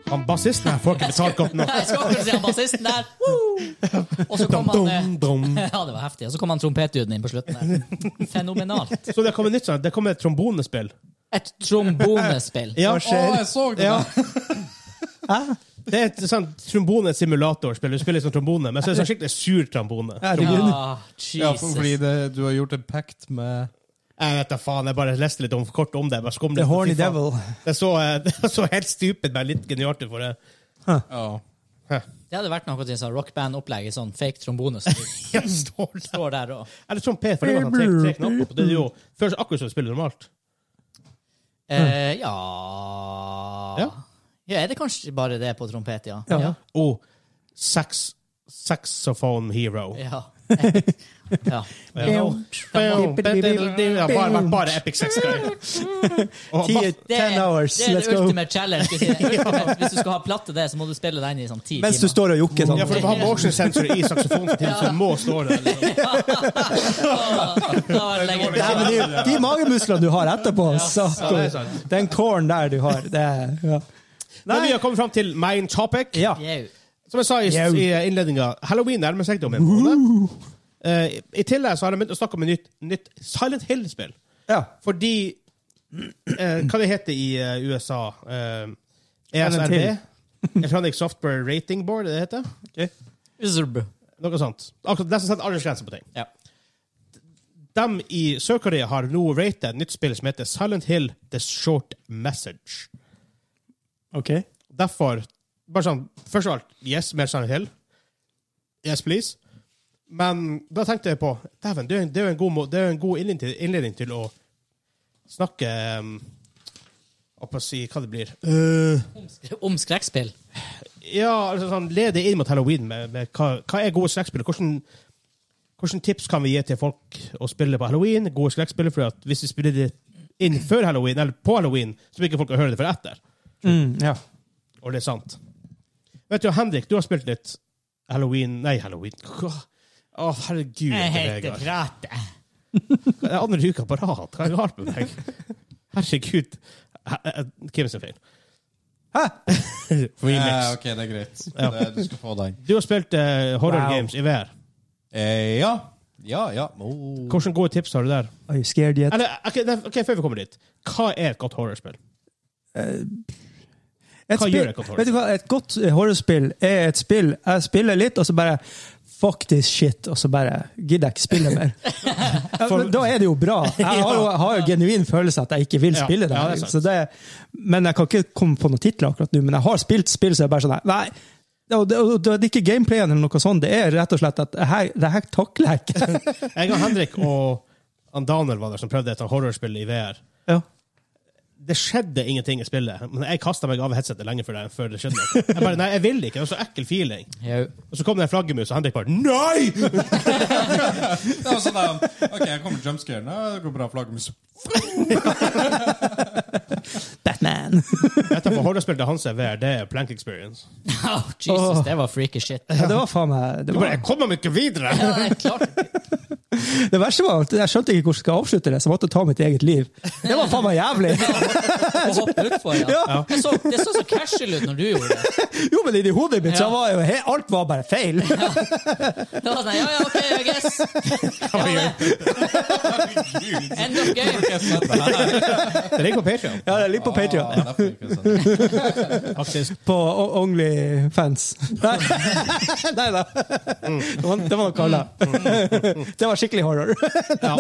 Han bassisten her får ikke betalt godt nok.
Nei, jeg skal akkurat si han bassisten der. Woo! Og så kom han eh,
Dum, dum.
Ja, det var heftig. Og så kom han trompetduden inn på slutten der. Fenomenalt.
Så det kommer nytt sånn. Det kommer et trombonespill.
Et trombonespill.
Ja,
Å, jeg så det!
Ja.
der.
Det er et sånn trombonesimulatorspill. Du spiller som trombone, men så er det sånn skikkelig sur trombone.
Herregud.
Ja,
Ja, for, fordi
Jesus.
det, du har gjort en pact med
Jeg vet da faen, jeg bare leste litt om, kort om det. Bare skumlet.
The Horny
Fy faen.
Devil.
Det så, eh, det så helt stupid, men litt genialt ut for det.
Ja.
Det hadde vært noe til sånn rockband-opplegg i sånn fake trombone som
Ja, står det.
står der og
Eller trompet, for det var sånn tre, tre knapper på. Det er jo føles akkurat som å spille normalt.
Eh, ja.
Ja.
ja Er det kanskje bare det på trompet, ja?
Ja.
Og sax, saxophone hero.
Ja. ja.
Ja. Bam, bam, bam, bam, bam. Ja, Bare, bare- bare Epic Sex.
Ti-
Det er,
Ten hours,
det er
let's
the
go.
ultimate challenge. Skal jeg si. Ultimate, hvis du skal ha platt til det, så må du spille den i sånn ti
Mens du
timer.
står og jokker sånn.
Ja, for du har motion sensor i saksofonen til, så må stå der. liksom.
Da var det lenge.
Nei, men det er jo de magemusklene du har etterpå. Så.
det er sant.
Den corn der du har, det er ja.
Men vi har kommet fram til main topic.
ja.
Jau.
Som jeg sa i,
Jau.
i innledninga, halloween nærmer seg om en måned. Eh, I i tillegg så har de begynt å snakke om et nytt, nytt Silent Hill-spill.
ja.
Fordi eh, Hva det heter i eh, USA? Eh,
Silent
ESRB?
Hill.
Electronic Software Rating Board, er det det heter?
Uzzurb.
Noe sånt. Akkurat Det som setter aldersgrense på ting.
Ja.
De i Sør-Korea har nå ratet et nytt spill som heter Silent Hill The Short Message.
OK.
Derfor bare sånn, Først av alt, yes, mer Silent Hill. Yes, please. Men da tenkte jeg på Dæven, det er jo en- det er jo en god, må- det er jo en god innledning, til, innledning til å snakke um, Opp og si hva det blir. Eh,
Om skrekkspill.
ja, altså sånn, lede inn mot halloween med, med hva, hva er gode skrekkspill? Hvordan, hvordan tips kan vi gi til folk å spille på halloween? Gode skrekkspill, for at hvis vi spiller det inn før halloween, eller på halloween, så blir ikke folk å høre det før etter.
Mm, ja.
Og det er sant. Vet du, Henrik, du har spilt litt Halloween Nei, Halloween. Hva? Å, herregud.
Jeg heter
Vegard.
Prate.
Det er andre uka på rad. Hva er galt med meg? Herregud. He- eh, Kim sin feil.
Hæ?
Eh,
Remix.
ok, det er greit.
Ja.
Det, du skal få den.
Du har spilt eh, horror
Wow.
games i VR.
Eh, ja. Ja, ja. Oh.
Hvilke gode tips har du der?
Are you scared yet?
Eller, ok, nei, ok, Før vi kommer dit, hva er et godt horrorspill?
Et
Hva
spill-
gjør et godt horrorspill?
Vet du hva, Et godt eh, horrorspill er et spill jeg spiller litt, og så bare faktisk shit, og så bare gidder jeg ikke spille mer. Ja, men da er det jo bra. Jeg har jo, jeg har jo genuin følelse at jeg ikke vil
Ja,
spille det.
ja, det er sant.
så det men jeg kan ikke komme på noen titler akkurat nå, men jeg har spilt spill, så jeg bare sånn Nei, det, det, det er ikke gameplayen eller noe sånt, det er rett og slett at det her, det her takler jeg ikke.
Jeg og Henrik og han Daniel var der som prøvde et sånt horrorspill i VR.
Ja.
Det skjedde ingenting i spillet, men jeg kasta meg av headsetet lenge før det, før det skjedde noe. Jeg bare, nei, jeg vil ikke. Det var så ekkel feeling.
Jau.
Og så kom det en flaggermus, og Henrik bare Nei!
Det var sånn der, OK, jeg kommer til jumpscaren. Ja, det går bra. Flaggermus.
Batman!
Etterpå horrorspill til Hanse VR, det er plank experience.
Åh, Jesus, det var freaky shit.
Ja, det var faen meg det,
Du bare
var,
Jeg kommer meg ikke videre!
Ja, jeg klarte ikke.
det verste var at jeg skjønte ikke hvordan jeg skulle avslutte det, så jeg måtte ta mitt eget liv. Det var faen meg jævlig!
Å hoppe utfor, ja. Det så, det så så casual ut når du gjorde det.
Jo, men inni hodet mitt så
Ja.
var jo he- alt var bare feil.
Det var sånn, ja, ja, ok, I guess. Ja, det.
altså.
End of game.
Jeg sa det her.
Det ligger på Patreon,
Ja, det ligger på Patreon.
Ah, derfor ikke jeg sa det.
faktisk.
På O- Onlyfans. Nei Nei da. Det var det var noe annet. Det var skikkelig horror.
Ja.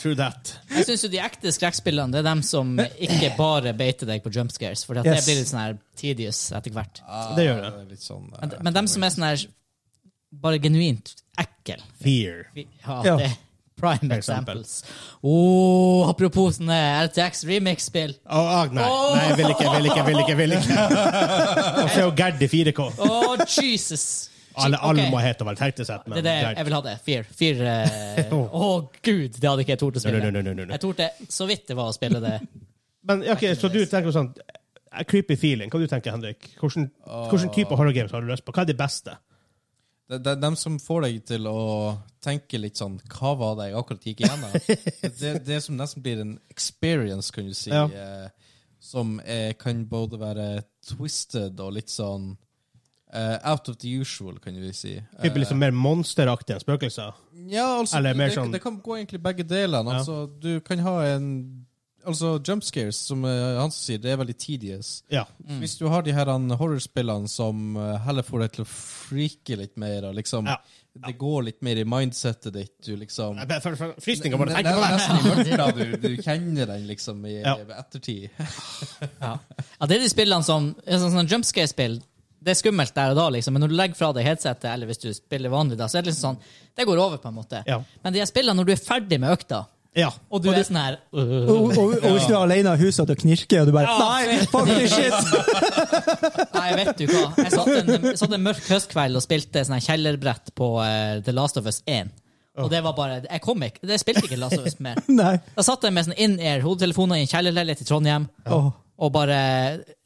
True that.
Jeg syns jo de ekte skrekkspillene det er dem som ikke bare beiter deg på jump scares. For at det
Yes.
blir litt sånn her tedious etter hvert.
Ah,
Det gjør det.
er Litt sånn,
Men, men dem som er sånn her bare genuint ekkel
Fear.
Vi- Ja,
Ja.
det er prime
Eksempel.
examples. Åh, apropos sånne RTX remix-spill.
Å, ah, nei. nei, jeg vil ikke, jeg vil ikke, jeg vil ikke. Jeg vil ikke. Og så er jo Gerd i 4K.
Åh, Jesus!
Alle, alle
Ok,
må hete vel tenkesett, men
Det er det jeg- jeg vil ha det. Fear. Fear eh, Åh, gud! Det hadde ikke jeg tort å spille.
Nei, nei, nei, nei, nei.
Jeg torde så vidt det var å spille det.
Men ok, så du tenker sånn eh, Creepy feeling. Hva du tenker Henrik? Hvordan, hvordan type horror games har du lyst på? Hva er de beste?
Det det er dem som får deg til å tenke litt sånn Hva var det jeg akkurat gikk igjennom? Det, det som nesten blir en experience, kan du si,
Ja.
eh, som eh, kan både være twisted og litt sånn eh, out of the usual, kan vi si. Eh,
Type liksom mer monsteraktige enn spøkelser?
ja, altså,
eller mer
det,
sånn-
det kan gå egentlig begge delene.
Ja.
Altså, du kan ha en Altså, jump scares, som eh, han sier, det er veldig tedious.
Ja.
Hvis du har de her han, horrorspillene som eh, heller får deg til å freake litt mer, og liksom
Ja.
Det går litt mer i mindsettet ditt, du liksom
Nei, for- for- Frysninger bare
Ne-
tenker på
ne-
det!
Nesten i mørket, da. Du, du kjenner den liksom i
Ja.
ettertid.
Ja. ja, det er de spillene som er sånn, sånn jumpscare-spill. Det er skummelt der og da, liksom, men når du legger fra deg headsetet, eller hvis du spiller vanlig, da, så er det liksom sånn Det går over, på en måte.
Ja.
Men de her spillene, når du er ferdig med økta,
Ja.
og du er sånn her
Og, og, og hvis du er alene i huset og det knirker, og du bare
Ja.
Nei, fucking shit!
Nei, vet du hva. Jeg satt en, jeg satt en mørk høstkveld og spilte sånn her kjellerbrett på eh, The Last of Us 1. Og det var bare Jeg kom ikke. Det spilte ikke Last of Us mer.
Nei.
Da satt jeg med sånn in-air hodetelefoner i en kjellerleilighet i Trondheim.
Åh.
Og bare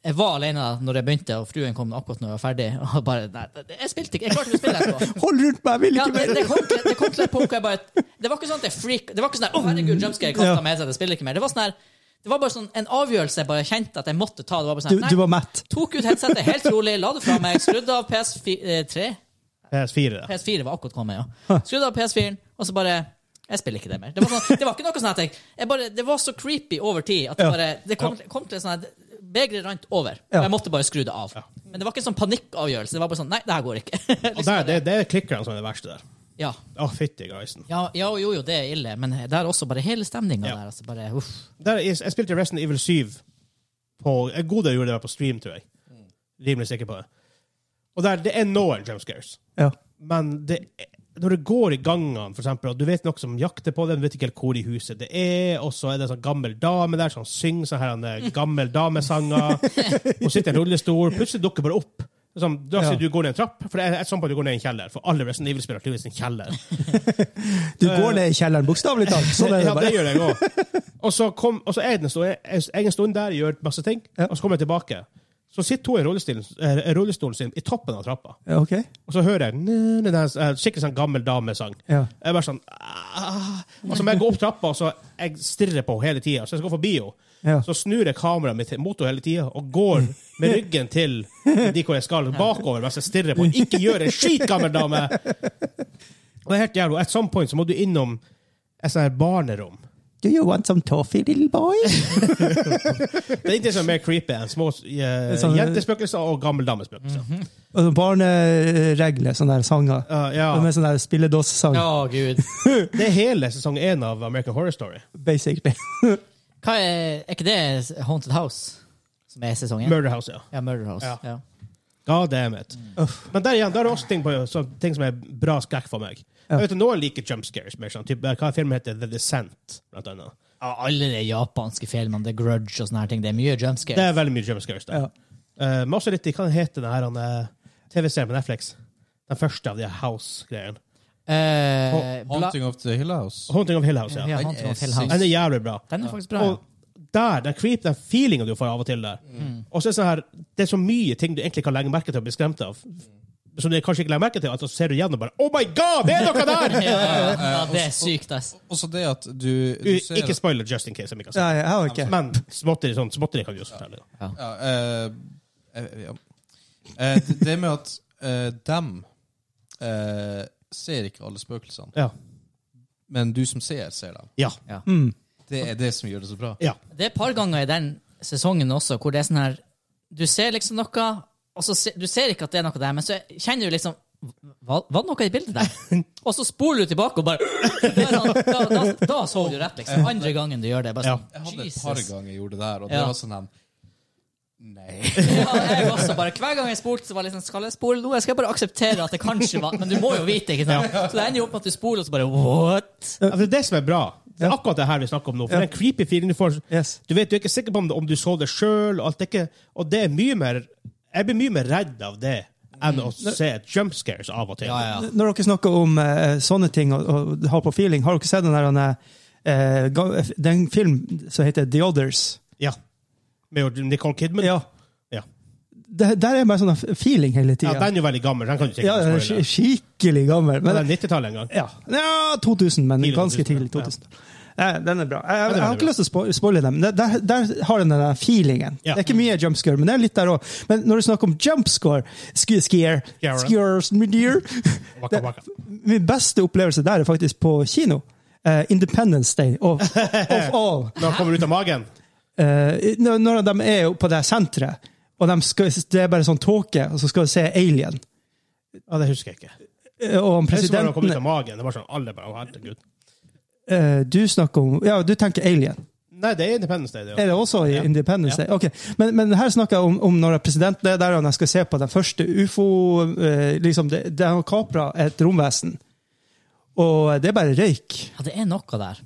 Jeg var alene da når jeg begynte, og fruen kom akkurat når jeg var ferdig. Og bare Nei, det- jeg spilte ikke. Jeg klarte ikke å spille etterpå.
Hold rundt meg, jeg vil
Ja,
ikke
det,
mer!
det, kom til, det kom til et punkt hvor jeg bare Det var ikke sånn at jeg freak Det var ikke sånn der, Å, herregud, jumpscare, jeg
Ja.
kasta meg, jeg spiller ikke mer. Det var sånn her Det var bare sånn en avgjørelse jeg bare kjente at jeg måtte ta. Det var bare
Du,
sånn her,
du var mett.
Tok ut headsetet helt rolig, la det fra meg, skrudde av PS3
PS4. da.
PS4 var akkurat kommet, ja. Skrudde av PS4-en, og så bare Jeg spiller ikke det mer. Det var, sånn, det var ikke noe sånn at jeg, jeg bare, Det var så creepy over tid at det,
Ja.
bare, det kom, kom til sånn at Begeret rant over,
Ja.
og jeg måtte bare skru det av. Men det var ikke en sånn panikkavgjørelse. Det var bare sånn Nei, det her går ikke.
Og
liksom,
der, det, det er klikkerne som er det verste der.
ja.
Å, fytti greisen.
Ja, ja, jo, jo, det er ille, men der også bare hele stemninga der. Altså, bare, uff.
Der, jeg, jeg spilte Resident Evil 7 på En god del gjorde det på stream, tror jeg. Rimelig sikker på det. Og der, det er noen jump scares.
Ja.
Men det, når det går i gangene, for eksempel, og du vet noen som jakter på det, du vet ikke helt hvor i huset det er, og så er det en sånn gammel dame der som synger sånn her en gammel damesanger, hun sitter i en rullestol, plutselig dukker bare opp. Det er Sånn, da sier du går ned en trapp, for det er et sånt på at du går ned i en kjeller, for alle Resident Evil-spillere har tydeligvis en kjeller.
Du går ned i kjelleren, bokstavelig talt. Sånn er
Ja,
det
det
bare.
gjør jeg òg. Og så kom, og så er det en stund, jeg jeg er en stund der, gjør masse ting,
Ja.
og så kommer jeg tilbake. Så sitter hun i rullestolen, eh, rullestolen sin i toppen av trappa.
Ja, ok.
Og så hører jeg nø, nø, nø, eh, skikkelig sånn gammel damesang.
Ja.
Jeg er bare sånn ah. Og så må jeg gå opp trappa, og så jeg stirrer på henne hele tida. Så jeg skal gå forbi henne.
Ja.
Så snur jeg kameraet mitt mot henne hele tida og går med ryggen til de hvor jeg skal, bakover mens jeg stirrer på henne. Ikke gjør en skit, gammel dame! Og det er helt jævlig. Og at some point så må du innom et sånt her barnerom.
Do you want some toffee, little boy?
Det er ikke det som er mer creepy enn små eh,
Sånn-
jentespøkelser og gammeldamespøkelser.
Og sånn Barneregler, sånne der sanger.
Ja, Eh, ja.
Og Med sånn der spilledåssang,
Å, gud.
Det er hele sesong én av American Horror Story.
basically.
Hva er, er ikke det Haunted House? Som er sesongen?
Murder House, ja.
ja, Murder House.
Ja.
Ja.
God damn it.
Uff.
Men der igjen, der er også ting, på, så, ting som er bra skrekk for meg.
Ja.
Jeg vet, Noen liker jump scares. Mer, sånn, typ, hva filmen heter The Descent, blant annet.
Ja, Alle de japanske filmene, The Grudge og sånne her ting, det er mye jump
Det
scares.
er veldig mye jump scares der.
Ja.
Eh, men også litt i hva heter den her han, eh, TV-serien på Netflix? Den første av de House-greiene.
Eh, bla-
Haunting of the Hill House.
Haunting of Hill House, ja.
ja,
Den
Haunting
er
of Hill
Den
House.
er jævlig bra.
Den er faktisk bra.
Og der, den creep, den feelingen du får av og til der. Og så er det sånn her, det er så mye ting du egentlig kan legge merke til og bli skremt av. Som du kanskje ikke legger merke til, at så ser du igjen og bare Oh my god, det er noe der!
Ja, ja, ja. ja, det er sykt, ass.
Også det at du, du ser
Ikke
at,
spoiler just in case. Om ikke, altså.
Nei, jeg har ikke.
Men småtteri sånn, småtteri kan vi også fortelle. da.
ja, eh, eh, ja. Eh, det- Det med at eh, dem eh, ser ikke alle spøkelsene,
Ja.
men du som ser, ser dem.
Ja.
Det er det som gjør det så bra.
ja.
Det er et par ganger i den sesongen også hvor det er sånn her Du ser liksom noe, og så se, du ser ikke at det er noe der, men så kjenner du liksom var, var det noe i bildet der? Og så spoler du tilbake og bare da, er sånn, da, da, da så du rett, liksom. Andre gangen du gjør det. Bare
Jeg
sånn,
hadde et par
Jesus.
ganger jeg gjorde det der, og det
Ja.
var sånn her Nei.
Ja, jeg også bare, Hver gang jeg spolte, så var det liksom Skal jeg spole nå? Jeg skal bare akseptere at det kanskje var Men du må jo vite, ikke sant? Så det ender jo opp med at du spoler, og så bare What?
Ja, for Altså, Det er det som er bra. Det er
Ja.
akkurat det her vi snakker om nå. For
Ja.
den creepy feeling du får
Yes.
Du vet, du er ikke sikker på om, om du så det sjøl, og, alt det ikke- og det er mye mer Jeg blir mye mer redd av det enn å se jump scares av og til.
Når dere snakker om eh, sånne ting og, og har på feeling, har dere sett den der eh, ga- den film som heter The Others?
Ja. Med jo Nicole Kidman.
Ja.
Ja.
Det, der er bare sånn feeling hele
Ja,
tida.
den er jo veldig gammel. Den kan du sikkert
Ja, den er
spoile.
sk- skikkelig gammel.
Den
Men,
er 90-tallet en gang.
ja. ja, 2000, men
Tidlig
ganske
2000,
tidlig.
ja.
2000. Nei, Den er bra.
den
Jeg,
er
jeg har ikke
bra.
lyst til å spo- spoile dem. Der, der, der har den den der feelingen.
Ja.
Det er ikke mye jumpscare, men det er litt der òg. Men når du snakker om jumpscore Skier
Scare. Waka, waka.
Min beste opplevelse der er faktisk på kino. Eh, Independence Day of, of all.
Når han kommer ut av magen.
Eh, når- når de er jo på det senteret, og de skal, det er bare sånn tåke, og så skal de se Alien.
Ja, Det husker jeg ikke.
Eh, Og han
Jeg husker bare når han kom ut av
presidenten
magen. Det var sånn, alle bare, å, herregud.
eh, Du snakker om Ja, du tenker Alien.
Nei, det er Independence Day. Det,
Er
ja.
det også i
Ja.
Independence Day? Ok, Men, men her snakker jeg om, om når presidenten det er der han skal se på den første ufo eh, liksom, det, det har kapra et romvesen. Og det er bare røyk.
Ja, det er noe der.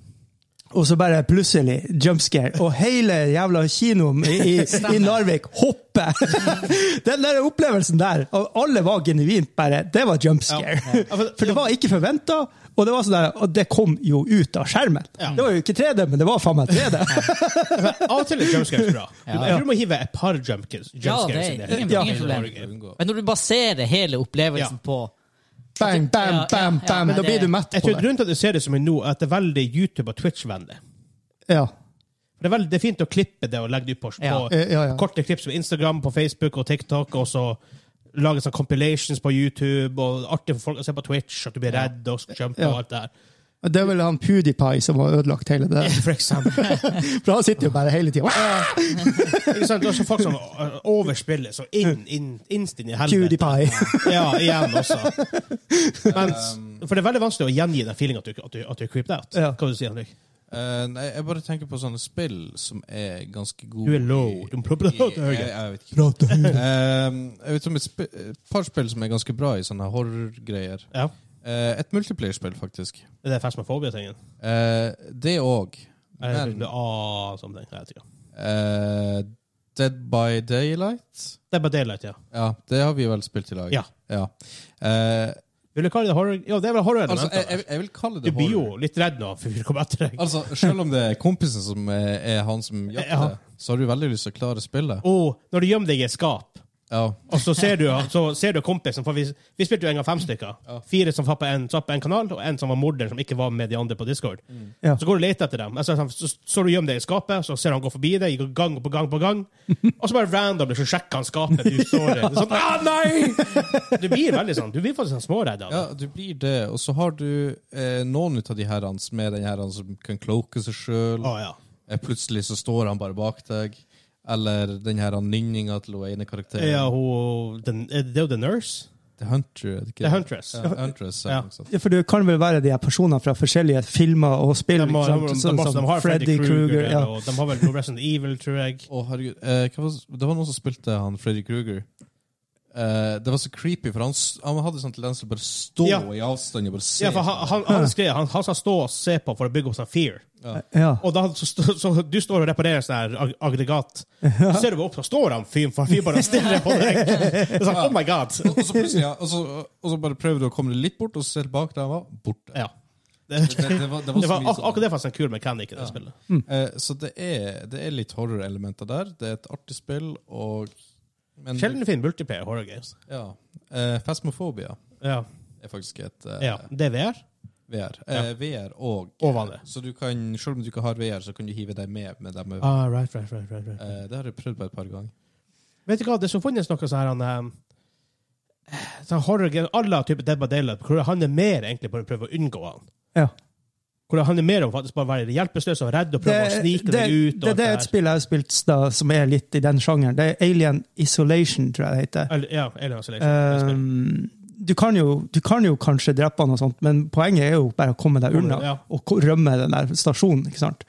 Og så bare plutselig jumpscare, og hele jævla kinoen i, i, i Narvik hopper! Den der opplevelsen der, og alle var genuint bare Det var jumpscare. For det var ikke forventa, og det var sånn der, og det kom jo ut av skjermen.
Ja.
Det var jo ikke 3D, men det var faen meg 3D.
Av og til er jump scares bra.
Ja.
Jeg tror du må hive et par jump scares jump
Ja, det
scares
er ingen,
Ja.
ingen
Det
problem.
er unngå.
Men når du baserer hele opplevelsen
Ja.
på
Bang, bam,
Ja, ja,
bam,
ja,
bam.
men
Da blir
det-
du mett
Jeg
på
tror
det.
Grunnen til at du ser det som en nå, er at det er veldig YouTube- og Twitch-vennlig.
Ja.
For Det er, veldig, det er fint å klippe det og legge det ut på,
Ja.
på
Ja, ja, ja.
korte klipp som Instagram, på Facebook og TikTok, og så lage sånn compilations på YouTube, og artig for folk å se på Twitch, at du blir redd og skal jumpe
Ja.
og alt det der.
Og Det er vel han PewDiePie som har ødelagt hele det.
For eksempel.
For han sitter jo bare hele tida
Ikke sant? Det er også folk som øh, overspiller så inn, inn, innst inn i helvete.
PewDiePie.
Ja, igjen også. Mens, for det er veldig vanskelig å gjengi den feelingen at du, at du, at du er creeped out.
Ja.
Hva vil du si, Henrik?
Eh, nei, jeg bare tenker på sånne spill som er ganske gode
Du er low.
i-
Du må prøve å
i-
prate
jeg,
høyere.
jeg vet ikke. Ehm, jeg vet om et sp et par spill som er ganske bra i sånne horrorgreier.
Ja.
Eh, et multiplayer-spill, faktisk.
Det er fasmofobia-tingen.
Eh, det òg.
Eller
Men
ah, sånn ting. Jeg vet ikke.
eh, Dead by Daylight
Det er bare daylight, ja.
Ja, det har vi vel spilt i lag.
Ja.
Eh,
Vil du kalle det horror? Ja, det er vel horror
altså, jeg, jeg, jeg vil kalle
Du
det
blir jo
horror.
litt redd nå, for vi kommer etter deg.
Altså, Selv om det er kompisen som er, er han som jakter,
Ja.
så har du veldig lyst til å klare spillet.
Og når du gjemmer deg i et skap,
Ja.
Og så ser du, så ser du kompisen, for vi, vi spilte jo en gang fem stykker. Fire som satt på en, satt på en kanal, og en som var morderen, som ikke var med de andre på Discord.
Mm.
Ja.
Så går du og leter etter dem. Altså, sånn, Så, så du gjemmer deg i skapet, så ser han gå forbi deg i gang på gang på gang. Og så bare randomly så sjekker han skapet du står i. Det er Sånn, ah, nei! Du blir veldig sånn, du blir faktisk sånn småredd av
ja,
det.
du blir det. Og så har du eh, noen ut av de herrene som er den herren som kan cloake seg sjøl.
Å, ja.
Eh, Plutselig så står han bare bak deg. Eller den her nynninga til hun ene karakteren.
Ja, hun, den, er det er jo The Nurse.
The Hunter, er det ikke?
The Huntress.
Ja, Huntress, ja.
Ja.
noe sånt.
Ja, for det kan vel være de her personene fra forskjellige filmer og spill?
De
ikke
har,
sant?
de,
Sånn
masse-
som
de har Freddy Krueger,
ja.
og de har vel noe Resident Evil, tror jeg.
Å, herregud. Eh, hva var, det var noen som spilte han Freddy Kruger. Eh, det var så creepy, for han, s- han hadde sånn tendens til å bare stå
Ja.
i avstand og bare se.
Ja, for han, han, han skrev han, han skal stå og se på for å bygge opp sånn fear.
Ja.
Og da, så, stå- så du står og reparerer sånn her ag- aggregat. Så ser du bare opp, så står han fyren for fyren bare stirrer på deg. Det er sånn, oh my god.
og, så plutselig, ja, og, så, og så bare prøvde du å komme deg litt bort, og så ser du bak der han var. Borte.
Ja.
Det, det var,
Det
det var så
var,
mye
ak
sånn.
akkurat det fantes en kul mekanikk i det spillet.
Eh, så det er, det er litt horrorelementer der. Det er et artig spill, og men,
Sjelden fin multiplayer horror games.
Ja. Eh, Phasmophobia
Ja.
er faktisk et eh,
ja. DVR?
VR. Eh, VR og
Og vanlig.
Så du kan, selv om du ikke har VR, så kan du hive deg med med dem.
Ah, right, right, right, right, right.
Eh, det har jeg prøvd på et par ganger.
Vet du hva, det som finnes noe sånn her han, eh, sånn horror game, Alle typer Dead by Daylight, hvor det handler mer egentlig på å prøve å unngå han.
ja.
Hvor det handler mer om faktisk bare å være hjelpeløs og redd og
Det,
prøve å snike
det,
deg ut. og
det,
alt
det er
her.
et spill jeg har spilt da, som er litt i den sjangeren. Det er Alien Isolation, tror jeg det heter.
Eller, ja, Alien Isolation. det spillet.
Um, du, kan jo, du kan jo kanskje drepe han og sånt, men poenget er jo bare å komme deg unna
Ja.
og ko- rømme den der stasjonen. ikke sant?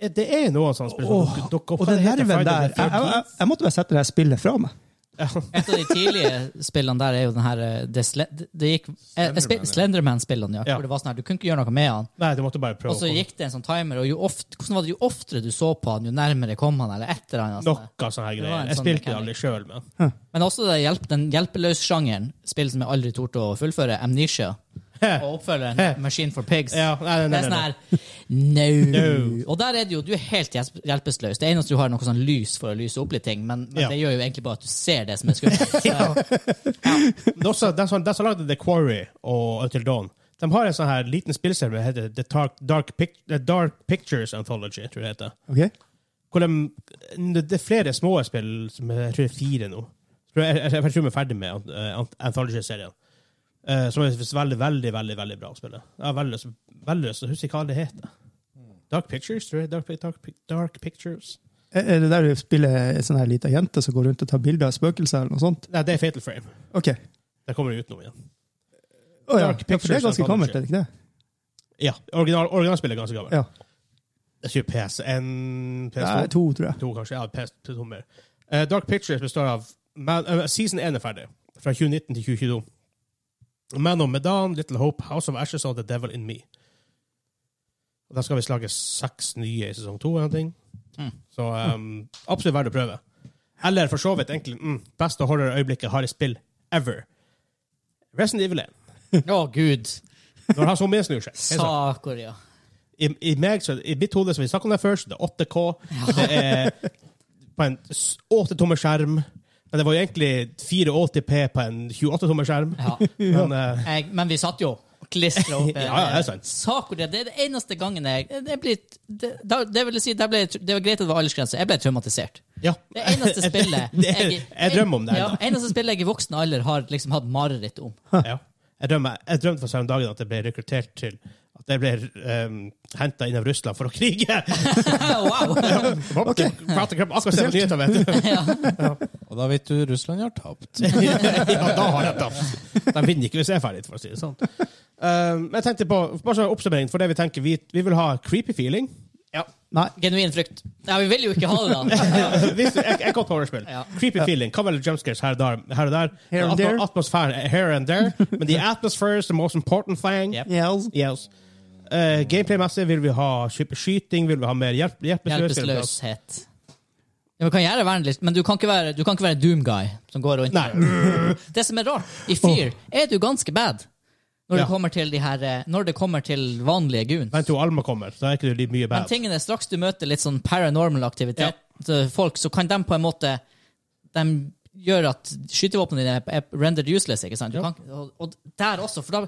Det- det er noe sånn sånt spill som
Åh,
dukker- dukker opp.
og den
Hva heter det?
nerven der
Friday
jeg,
the 13th?
jeg, jeg, jeg måtte bare sette det her spillet fra meg.
Et av de tidlige spillene der er jo den her eh, det, sle, det gikk, eh,
Slenderman,
spi-
ja.
Slenderman-spillene, ja.
Ja.
Hvor det var sånn her, du kunne ikke gjøre noe med han.
Nei, du måtte bare prøve.
Og så
å-
gikk det en sånn timer, og jo, oft, hvordan var det, jo oftere du så på han, jo nærmere kom han, eller etter han. Altså.
Noe sånne her
Det var
greier.
en
Jeg
sånn
spilte det
mekanikk.
aldri sjøl, men
Men også det hjelp, den hjelpeløs-sjangeren, spill som jeg aldri torde å fullføre, Amnesia, og oppfølgeren Machine for Pigs.
ja, nei, nei,
Det
nei,
er sånn
nei.
her no. Og der er det jo du er helt hjelp- hjelpeløs. Det eneste du har, er noe sånn lys for å lyse opp litt ting, men, men
Ja.
det gjør jo egentlig bare at du ser det som er skummelt. Så-
Men også, De som, de som lagde The Quarry og Until Dawn, de har en sånn her liten spillserie som heter The Dark, Dark, Pic The Dark Pictures Anthology, tror jeg det heter.
Ok?
Hvor de, det er flere små spill, som jeg tror det er fire nå. Jeg, jeg, jeg, jeg tror vi er ferdig med eh, Anth- Anthology-serien. Eh, som er veldig, veldig veldig, veldig bra å spille. Jeg har veldig lyst veldig lyst til å huske hva det heter. Dark Pictures, tror jeg. Dark, Pic- dark, Pic- dark Pictures.
Er er det der du spiller ei sånn her lita jente som går rundt og tar bilder av spøkelser eller noe sånt?
Nei, det er Fatal Frame.
Ok.
Det kommer ut nå igjen.
Å ja.
Dark
ja, for det
Pictures
er ganske
and
gammelt, er det ikke det?
Ja, original, originalspillet er ganske gammelt.
Ja.
Jeg tror PS1, PS2
Nei, to, tror jeg.
to, kanskje. Ja, PS, to mer. Eh, Dark Pictures består av Man, eh, Season 1 er ferdig, fra 2019 til 2022. Man of Medan, Little Hope, House of Ashes og The Devil in Me. Og Da skal vi lage seks nye i sesong to. eller noe ting.
Mm.
Så ehm, absolutt verdt å prøve. Eller for så vidt egentlig mm, beste horrorøyeblikket har i spill ever. Resident Evil 1.
Å, gud.
Når han zombier snur seg. Helt sant.
Sakoria.
I, i, meg, så, I mitt hode, som vi snakket om det før, så det er 8K. Det er på en s- 8-tommer skjerm. Men det var jo egentlig 480P på en 28-tommer skjerm.
Ja.
Men eh,
Jeg, men vi satt jo og klistra opp.
Ja, ja, det er sant.
Sakoria, det er det eneste gangen jeg Det, blir, det, da- det vil si, det, ble, det var greit at det var aldersgrense. Jeg ble traumatisert.
ja.
Det eneste spillet
Det er- jeg drømmer om det
Ja,
ennå.
eneste spillet jeg i voksen alder har liksom hatt mareritt om.
ja. Jeg, drømmer, jeg drømte for seg om dagen at jeg ble rekruttert til At jeg ble um, henta inn av Russland for å krige!
wow!
Okay. Akkurat som nyheter, vet du.
Og da vet du Russland har tapt.
ja, da har jeg tapt. De vinner ikke hvis jeg er ferdig, for å si det sånn. Eh, men jeg tenkte på, bare sånn oppsummering for det vi tenker, vi, vi vil ha creepy feeling.
Nei.
Genuin frykt. Ja, vi vil jo ikke ha det, da.
Hvis du- et, et godt horrorspill.
Ja.
Creepy feeling. Kan vel jumpscares her og der. Her og der.
Here and
Atmo-
there.
Atmosfæren er here and there. Men the atmosphere is the most important thing.
Yep.
Yes. Eh, Gameplay-messig vil vi ha sky- skyting, vil vi ha mer hjelp, hjelpeløs-
Hjelpeløshet. Ja, men kan gjerne være en litt, men du kan ikke være, du kan ikke være doom guy som går rundt
Nei.
Det som er rart, i Fear er du ganske bad når,
Ja.
det kommer til de her, eh, når det kommer til vanlige goons.
Vent til Alma kommer, så er ikke du like mye
Men
bad.
tingen er, straks du møter litt sånn paranormal aktivitet, eh, folk, så kan de på en måte De gjør at skytevåpnene dine er- er rendered useless. ikke sant? Du kan, og, og der også, for da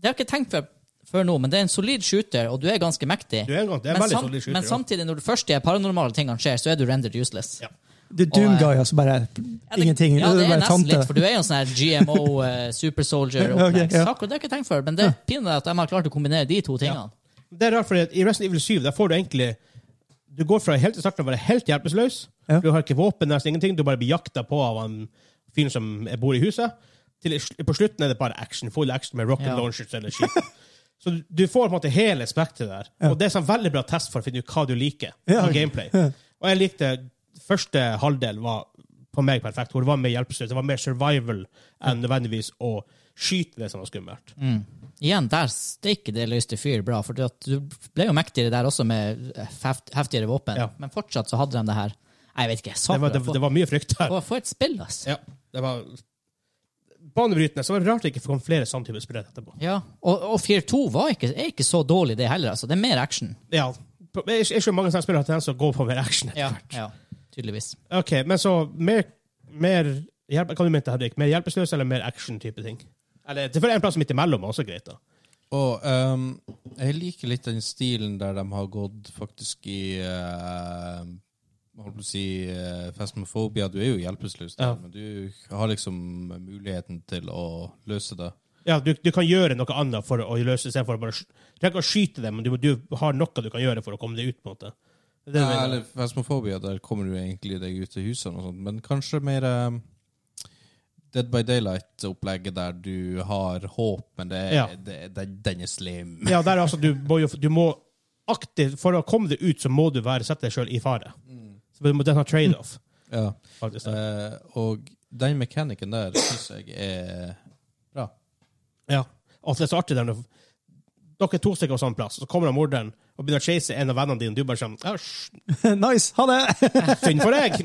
Det har jeg ikke tenkt før, før nå, men det er en solid shooter, og du er ganske mektig.
Du er en gang- det er en
men,
veldig solid shooter,
men
ja.
samtidig, når det først de paranormale tingene skjer, så er du rendered useless.
Ja.
Det er Doom
Og, eh,
Guy, altså. Bare
Ja, det-
ingenting.
Ja, det er
bare
nesten
tante.
litt, for du er jo en sånn her GMO eh, super soldier.
Ja, ok,
opplegg. Så Akkurat det
ja.
har jeg ikke tenkt før, men det er pinlig at de har klart å kombinere de to tingene.
Det er rart, for i Resident Evil 7 der får du egentlig Du går fra helt til starten å være helt hjelpeløs.
Ja.
Du har ikke våpen, nesten ingenting. Du bare blir jakta på av han fyren som bor i huset. Til, på slutten er det bare action. Full action med rocket
Ja.
launchers eller skip. Så du, du får på en måte hele spekteret der. Og det er sånn veldig bra test for å finne ut hva du liker
Ja.
av gameplay. Og jeg likte første halvdel var på meg perfekt. Hvor det var mer hjelpeløst. Det var mer survival enn nødvendigvis å skyte det som var skummelt.
Mm.
Igjen, der steiker det løste fyr bra, for du ble jo mektigere der også med heft, heftigere våpen.
Ja.
Men fortsatt så hadde de det her. Nei, Jeg vet ikke.
Det
Sakura,
var, det, det var mye frykt der.
Få, få et spill, ass. Ja.
Ja, det var banebrytende. Så var det rart det ikke kom flere sånne typer spill etterpå.
Og, og 4-2 var ikke, er ikke så dårlig, det heller. altså. Det er mer action.
Ja, jeg, jeg skjønner mange sånne spill har tendens til å gå på mer action.
Ja, ja Tydeligvis.
Ok, men så mer, mer hjelp, Hva du mente du, Henrik? Mer hjelpeløs eller mer action-type ting? Eller, det er en plass midt imellom er også greit, da.
Og ehm, jeg liker litt den stilen der de har gått faktisk i uh, Holdt på å si uh, Phasmophobia. Du er jo hjelpeløs,
Ja.
der, men du har liksom muligheten til å løse det.
Ja, du, du kan gjøre noe annet for å løse det, istedenfor å bare sk- Du trenger ikke å skyte dem, men du, du har noe du kan gjøre for å komme deg ut. på en måte. Det er det
Ja,
jeg mener.
eller Phasmophobia, der kommer du egentlig deg ut til husene og sånt, men kanskje mer ehm, Dead by Daylight-opplegget der du har håp, men det, er-
Ja.
det, det, den er slim.
Ja, der er altså, du, må jo, du må aktivt, For å komme deg ut, så må du være, sette deg sjøl i fare. Så du må den ha trade-off.
Ja.
faktisk. da.
Eh, og den mekanikken der syns jeg er bra.
Ja. Og det er så artig der når dere er to stykker på samme plass, og så kommer han morderen og begynner å chase en av vennene dine, og du bare sånn «Ja, sj,
nice! Ha det!
Synd for deg!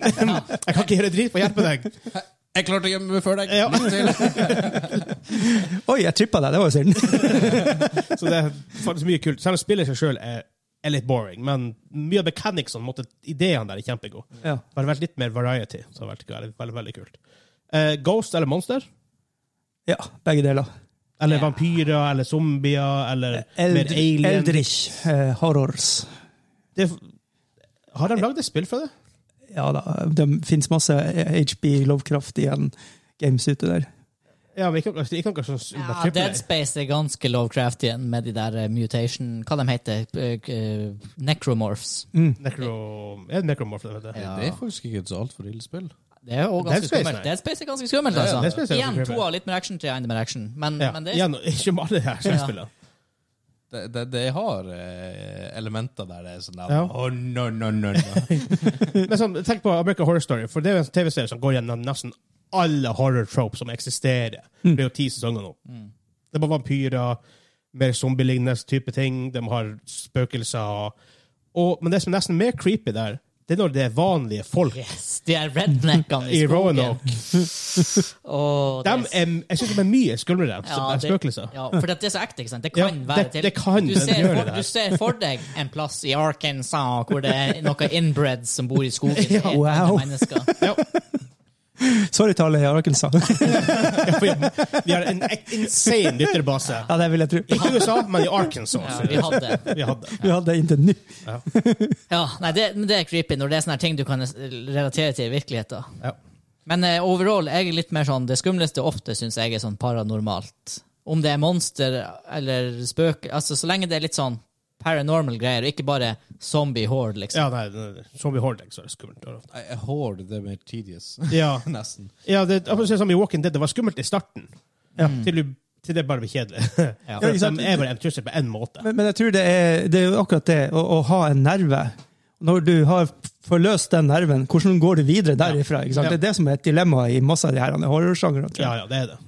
Jeg kan ikke gjøre dritt for å hjelpe deg.
Jeg klarte å gjemme meg før deg!
Ja.
Lykke til!
Oi, jeg trippa deg. Det var jo synd.
Så det er faktisk mye kult. Selv om spillet i seg sjøl er, er litt boring, men mye av mechanicsene, måtte, ideene der, er kjempegode.
Ja.
Bare vært litt mer variety, så det har vært veldig, veldig, veldig kult. Eh, Ghost eller monster?
ja, begge deler.
Eller
Ja.
vampyrer, eller zombier, eller mer
Eld,
alien?
Eldrich eh, Horrors.
Det, har de lagd et spill fra det?
Ja da, det fins masse HB Lovecraft igjen games ute der.
Ja, men ikke, ikke noe sånn super
Ja,
triple A.
Dead Space er ganske lovecrafty igjen med de der eh, mutation Hva de heter eh, Necromorphs.
Mm. Necro... Er det Necromorph det heter?
Ja.
Det er faktisk ikke et så altfor ille spill.
Det er jo også
Dead
ganske
Space,
skummelt.
nei.
Dead Space er ganske skummelt,
Ja, ja,
altså.
Dead Space er ganske
Igjen to
skummelt.
av litt mer action til enda mer action. Men,
Ja.
Mm, men det er
Igjen, ikke med alle de her skjermspillene.
Det, det, det har eh, elementer der det er sånn der
Ja.
oh, no, no, no, no.
Men sånn, tenk på American Horror Story, for det er jo en TV-serie som går gjennom nesten alle horror tropes som eksisterer. Det er jo ti sesonger nå.
Mm.
Det er bare vampyrer, mer zombielignende type ting, de har spøkelser og, Men det som er nesten mer creepy der, det er når det er vanlige folk
Yes, de er redneckene i
i
skogen.
Roanoke.
Åh, det
De
er
er, jeg syns de er mye skumlere enn
det-
spøkelser.
Ja, for det er så ekte, ikke sant? Det kan
Ja,
være
det-
til.
det kan
du,
den
ser
gjøre
for,
det her.
du ser for deg en plass i Arkansas hvor det er noen inbreds som bor i skogen. Det er
wow.
andre mennesker.
Sorry til alle i Arkansas.
Vi har en insane lytterbase.
Ja, det vil jeg tro.
Ikke i USA, men i Arkansas.
Ja, vi hadde.
Vi hadde.
Vi hadde det inntil nå.
Ja, nei, det, men det er creepy når det er sånne her ting du kan relatere til i virkeligheten.
Ja.
Men eh, overall, jeg er litt mer sånn, det skumleste ofte synes jeg er sånn paranormalt. Om det er monster eller spøk, altså så lenge det er litt sånn paranormal greier, og ikke bare zombie horde, liksom.
Ja, nei, nei, nei. Zombie Hordex var det skummelt. Det var ofte.
I- I Horde, det er mer tedious.
Ja,
Nesten.
ja det, akkurat sånn som i Walking Dead, det var skummelt i starten. Mm. Til, du, til det bare blir kjedelig.
Ja.
For at de er bare en trussel på én måte.
Men, men jeg tror det er, det er jo akkurat det, å, å ha en nerve. Når du har forløst den nerven, hvordan går du videre derifra? Ikke sant?
Ja.
Det er det som er et dilemma i masse av de her horrorsjangrene. tror jeg.
Ja, ja, det er det.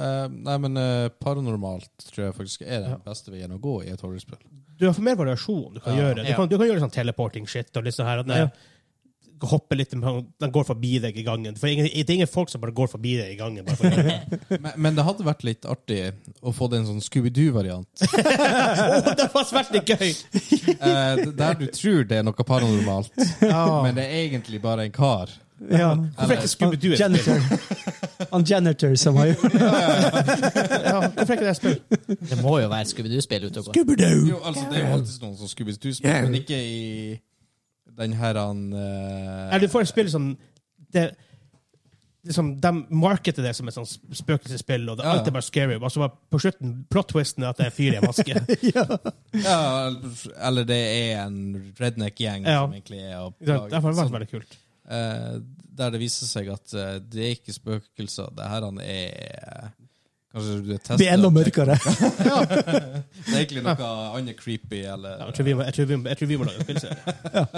Eh, nei, men eh, paranormalt tror jeg faktisk er den beste veien å gå i et horrorspill.
Du har for mer variasjon du kan
Ja.
gjøre. Du
Ja.
kan, du kan gjøre sånn teleporting-shit og litt sånn her. At den, hopper litt, den går forbi deg i gangen. For ingen, det er ingen folk som bare går forbi deg i gangen. Bare for å gjøre det.
Men, men det hadde vært litt artig å få det en sånn Scooby-Doo-variant.
Å, det var veldig gøy!
Eh, d- der du tror det er noe paranormalt,
Ja.
men det er egentlig bare en kar.
Ja.
Hvorfor er ikke Scooby-Doo et spill?
Janitor. Han janitor som har gjort
Ja, hvorfor er ikke det et spill?
Det må jo være Scooby-Doo-spill ute og går.
Scooby-Doo!
Jo, altså, det er jo alltid noen som skulle bli tusen, men ikke i den her han eh,
Nei, du får et spill som det, liksom, De marketer det som et sånn spøkelsesspill, og det,
Ja, ja.
alt er bare scary. Og så bare på slutten plot-twisten er at det er fyr i en maske.
Ja, eller det er en redneck-gjeng
Ja.
som egentlig er og
Ikke sant? Derfor var det
sånn,
veldig kult.
eh, Der det viser seg at eh, det er ikke spøkelser, det her han er eh, Kanskje du er testet
Det er enda mørkere.
Det er egentlig noe annet creepy, eller
Ja, jeg, tror vi må, jeg, tror vi, jeg tror vi må lage en spillserie.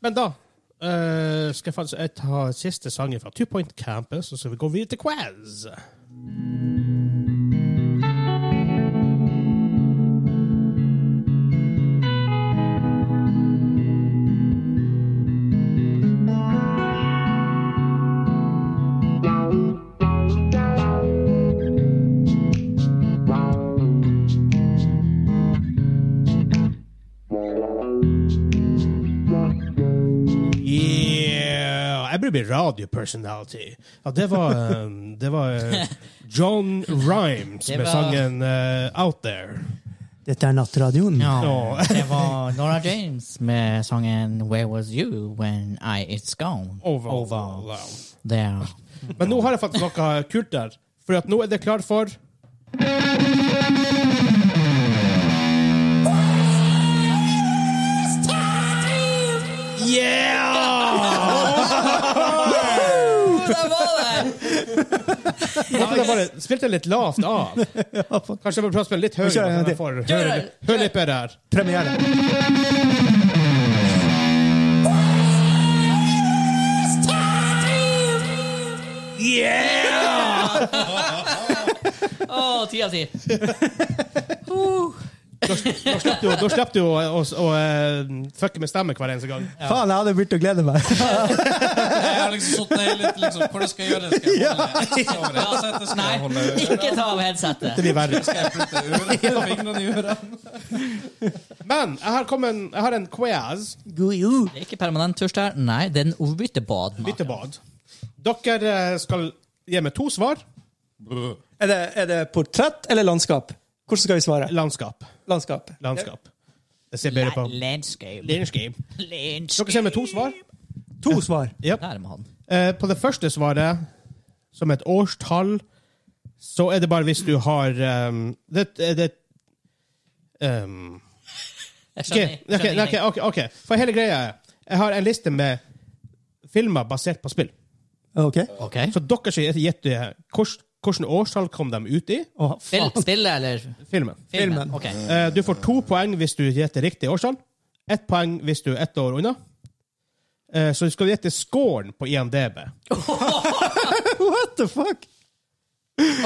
Men da eh, skal jeg faktisk ta siste sangen fra Two Point Campus, og så skal vi gå videre til Quaz. Yeah! Jeg burde bli radiopersonality. Ja, det var, eh, det var eh, John Rhymes
Det
med
var-
sangen eh, Out There.
Dette er Nattradioen.
Ja.
det var Nora James med sangen Where Was You When I It's Gone.
Over.
Der.
Men nå har jeg faktisk noe kult der. For at nå er det klart for Yeah!
det var det!
Hvorfor det bare spilte jeg litt lavt av? Kanskje jeg bør prøve å spille litt høyere?
Kjør en gang til.
for å
Kjør
høre-
det.
høre litt bedre her.
Premiere.
Yeah!
Å, ti av ti.
Da slipper du, da slapp du å, å, å eh, fucke med stemme hver eneste gang.
Faen, jeg hadde begynt å glede meg.
Jeg har liksom sittet her litt liksom, Hvordan skal jeg gjøre det? Skal jeg holde over det? Setet, Skal jeg holde øret?
Ikke ta av headsetet.
Det blir verre.
Skal jeg putte øret fingrene i øret?
Men jeg har, kommet en, jeg har en quiz.
Det er ikke permanent tørst her. Nei, det er en overbyttebad. Mark.
Byttebad. Dere eh, skal gi meg to svar.
Er det, er det portrett eller landskap? Hvordan skal vi svare?
Landskap.
Landskap.
Landskap. Det ser bedre på.
Landscape.
Landscape.
Landscape.
Dere ser med to svar.
To svar.
Der må han.
Eh, på det første svaret, som et årstall, så er det bare hvis du har um, Det er det um,
Jeg
ok,
skjønner.
ok,
skjønner
ok, ok, ok. For hele greia er Jeg har en liste med filmer basert på spill.
OK.
ingenting.
Så dere skal gjette hvilket årstall kom de ut i.
Å,
Spill,
faen.
spille, eller? Filmen.
Filmen.
Filmen.
Ok.
Eh, du får to poeng hvis du gjetter riktig årstall. Ett poeng hvis du er ett år unna. Eh, så du skal gjette scoren på IMDb.
What the fuck?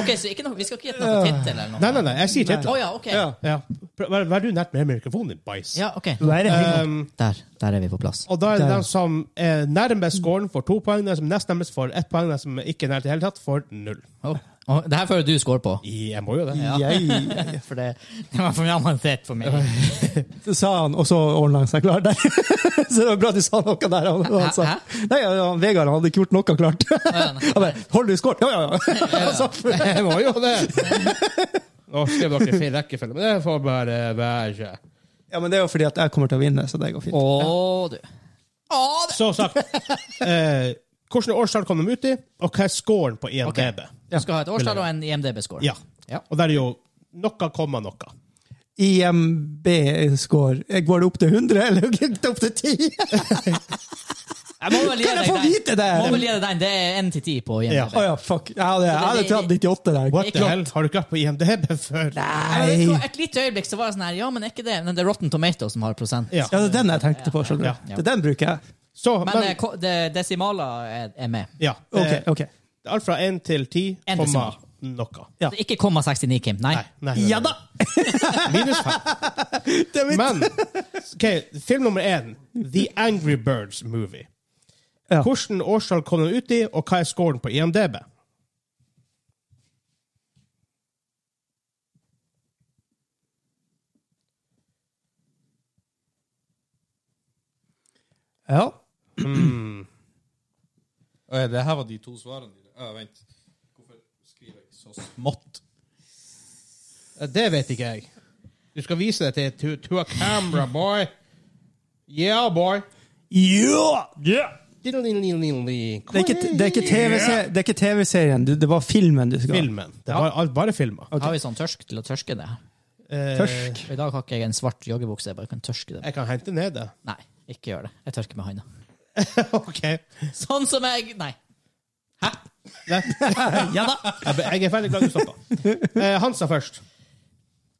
Ok, så ikke noe, vi skal ikke gjette noe på tittel eller noe?
Nei, nei, nei, jeg sier
Å
tittelen.
ja, ok.
Ja.
Ja. Prøv- Vær, vær du nært med mikrofonen din, bæsj.
Ja, ok.
Hva er det?
Um,
Der, der er vi på plass.
og da er det
Der.
den som er nærmest scoren, får to poeng. Den som nest nærmest får ett poeng. Den som ikke er nær i det hele tatt, får null.
Oh. Og det her føler du score på.
Jeg må jo det.
Jeg,
For det, det var for mye avansert for meg.
så sa han, og så ordna han seg klar der. så det var bra du sa noe der. Han, han sa.
Hæ?
Nei, han, Vegard han hadde ikke gjort noe klart.
ja,
han
nei.
bare 'Holder du skåret?' Ja, ja, ja.
Jeg må jo det. Nå skrev dere i feil rekkefølge, men det får bare være.
ja, men det er jo fordi at jeg kommer til å vinne, så det går fint.
Å, du. Å, det.
Så sagt. Eh, hvordan årstall kom de ut i, og hva er scoren på IMDb?
Du skal ha et årstall og en IMDb-score.
Ja. Og der er jo noe komma noe.
IMB-score eh, Går det opp til 100, eller gikk det opp til 10?
Jeg må vel gi
Kan jeg
deg
få
den.
vite det?
Må vel gi deg den. Det er 1 til 10 på
Ja.
Å
IMDb.
ja, fuck. Jeg hadde, jeg hadde tatt 98 der.
What the hell? Har du ikke vært på IMDb før?
Jeg vet ikke,
Nei.
Et lite øyeblikk så var jeg sånn her, ja, men er ikke det. Men det er Rotten Tomatoes som har prosent.
Ja.
Ja, det er den jeg tenkte på. skjønner
Ja.
du. Det er den bruker jeg.
Så,
Men eh, ko- det- desimaler er, er med.
ja.
Ok,
Eh,
ok.
Alt fra 1 til 10,
En
komma
desimal.
noe.
Ja.
Det er Ikke komma 69, Kim. Nei.
Nei, nei, nei,
Ja
nei.
da!
Minus fem.
Det er mitt.
Men ok, film nummer én, The Angry Birds Movie.
Ja.
Hvilket årstall kom den ut i, og hva er scoren på IMDb?
Ja.
Å, ja, det her var de to svarene dine. Ja, vent. Hvorfor skriver jeg så smått?
Eh, Det vet ikke jeg. Du skal vise det til to, to a camera, boy. Yeah, boy.
Ja! Det er ikke, det er
Filmen.
ikke TV-se- det er ikke TV-serien, TV det var filmen du skal
Det var alt- bare filmer.
Har vi sånn tørsk til å tørske det?
Eh,
Tørsk.
For I dag har ikke jeg en svart joggebukse, jeg bare kan tørske det.
Jeg kan hente ned det.
Nei, ikke gjør det. Jeg tørker med hånda.
OK.
Sånn som jeg Nei. Hæ?
Nei,
Ja da.
Jeg jeg er veldig glad du stoppa. Eh, Hansa først.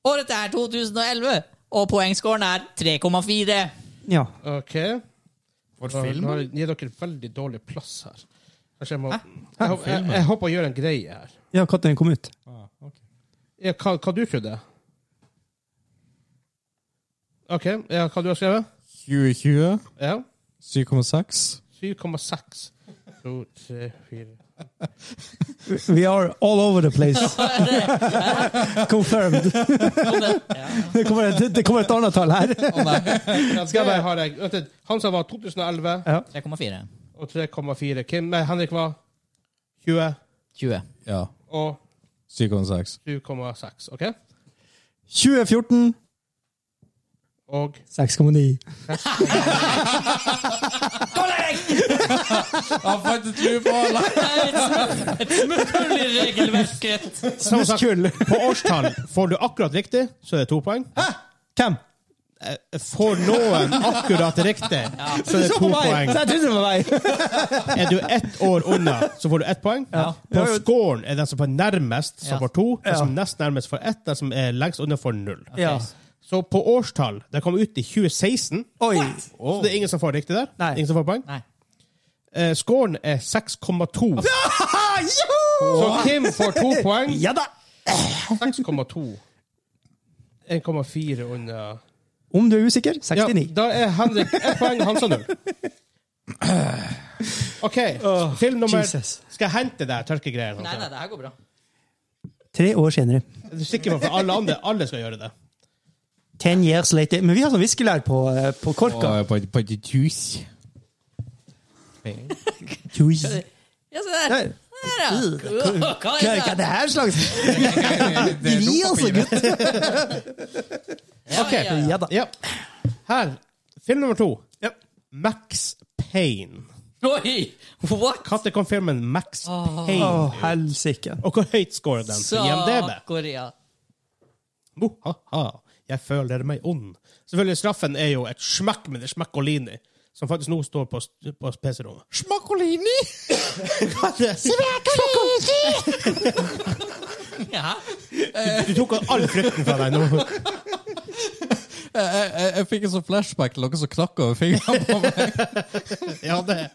Året er 2011, og poengscoren er 3,4.
Ja.
OK.
For
Nå
film?
nå gir dere veldig dårlig plass her. Kanskje jeg må jeg, håper- jeg, jeg håper å gjøre en greie her.
ja, når den kom ut.
Ah, ok.
Ja, hva, hva du trodde? OK. Ja, hva du har skrevet?
2020.
Ja.
7,6.
7,6. To, tre, fire
We are all over the place. Confirmed. Det kommer, et, det kommer et annet tall her.
Ja, det har jeg. Vent litt. Hansa var 2011
3,4.
og 3,4. Kim nei, Henrik var 20
20.
Ja.
og
7,6.
7,6. OK?
2014
Og
6,9.
Han fant et lue på alle!
Det er et smutt- Et smutthull i regelverket.
som sagt,
Smutthull.
på årstall får du akkurat riktig, så er det to poeng.
Hvem?
Får noen akkurat riktig, så er det to poeng.
Så jeg trodde det var meg!
Er du ett år unna, så får du ett poeng. På scoren er den som får nærmest, som
Ja.
får to. Den
Ja.
som nest nærmest får ett, den som er lengst unna, får null.
Ja.
Så på årstall Det kom ut i 2016,
Oi.
så det er ingen som får riktig der.
Nei.
Ingen som får poeng.
Nei.
Eh, scoren er 6,2.
Ah, joho!
Så Kim får to poeng.
Ja da!
6,2. 1,4 under
Om du er usikker,
ja,
69.
Da er Henrik ett poeng, Hansa null. OK, film nummer
Jesus.
Skal jeg hente deg tørkegreier?
Nei, nei, det her går bra.
Tre år senere.
Er du sikker på at alle andre alle skal gjøre det?
Ten years later. Men vi har sånn viskelær på, eh, på korka.
på, på the juice.
Juice.
Ja, se der.
Nei.
Der, ja. Hva hva
Hva
er
hva er
det?
det her slags
Det er
Gi oss,
dopapir.
gutt!
Ja,
Ok.
ja, ja.
Ja da.
Ja. Her. Film nummer to.
Ja.
Max Payne.
Oi! What?
Når kom filmen Max Payne?
Å, helsike.
Og hvor høyt scorer den på IMDb?
Korea.
Mohaha, jeg føler meg ond. Selvfølgelig, straffen er jo et smekk med det smekkolini, som faktisk nå står på, på PC-rommet.
Smakolini!
Hva er det?
Ja.
Du tok all frykten fra deg nå.
Jeg, jeg, jeg fikk en sånn flashback til noen som knakk over fingrene på meg.
Ja, det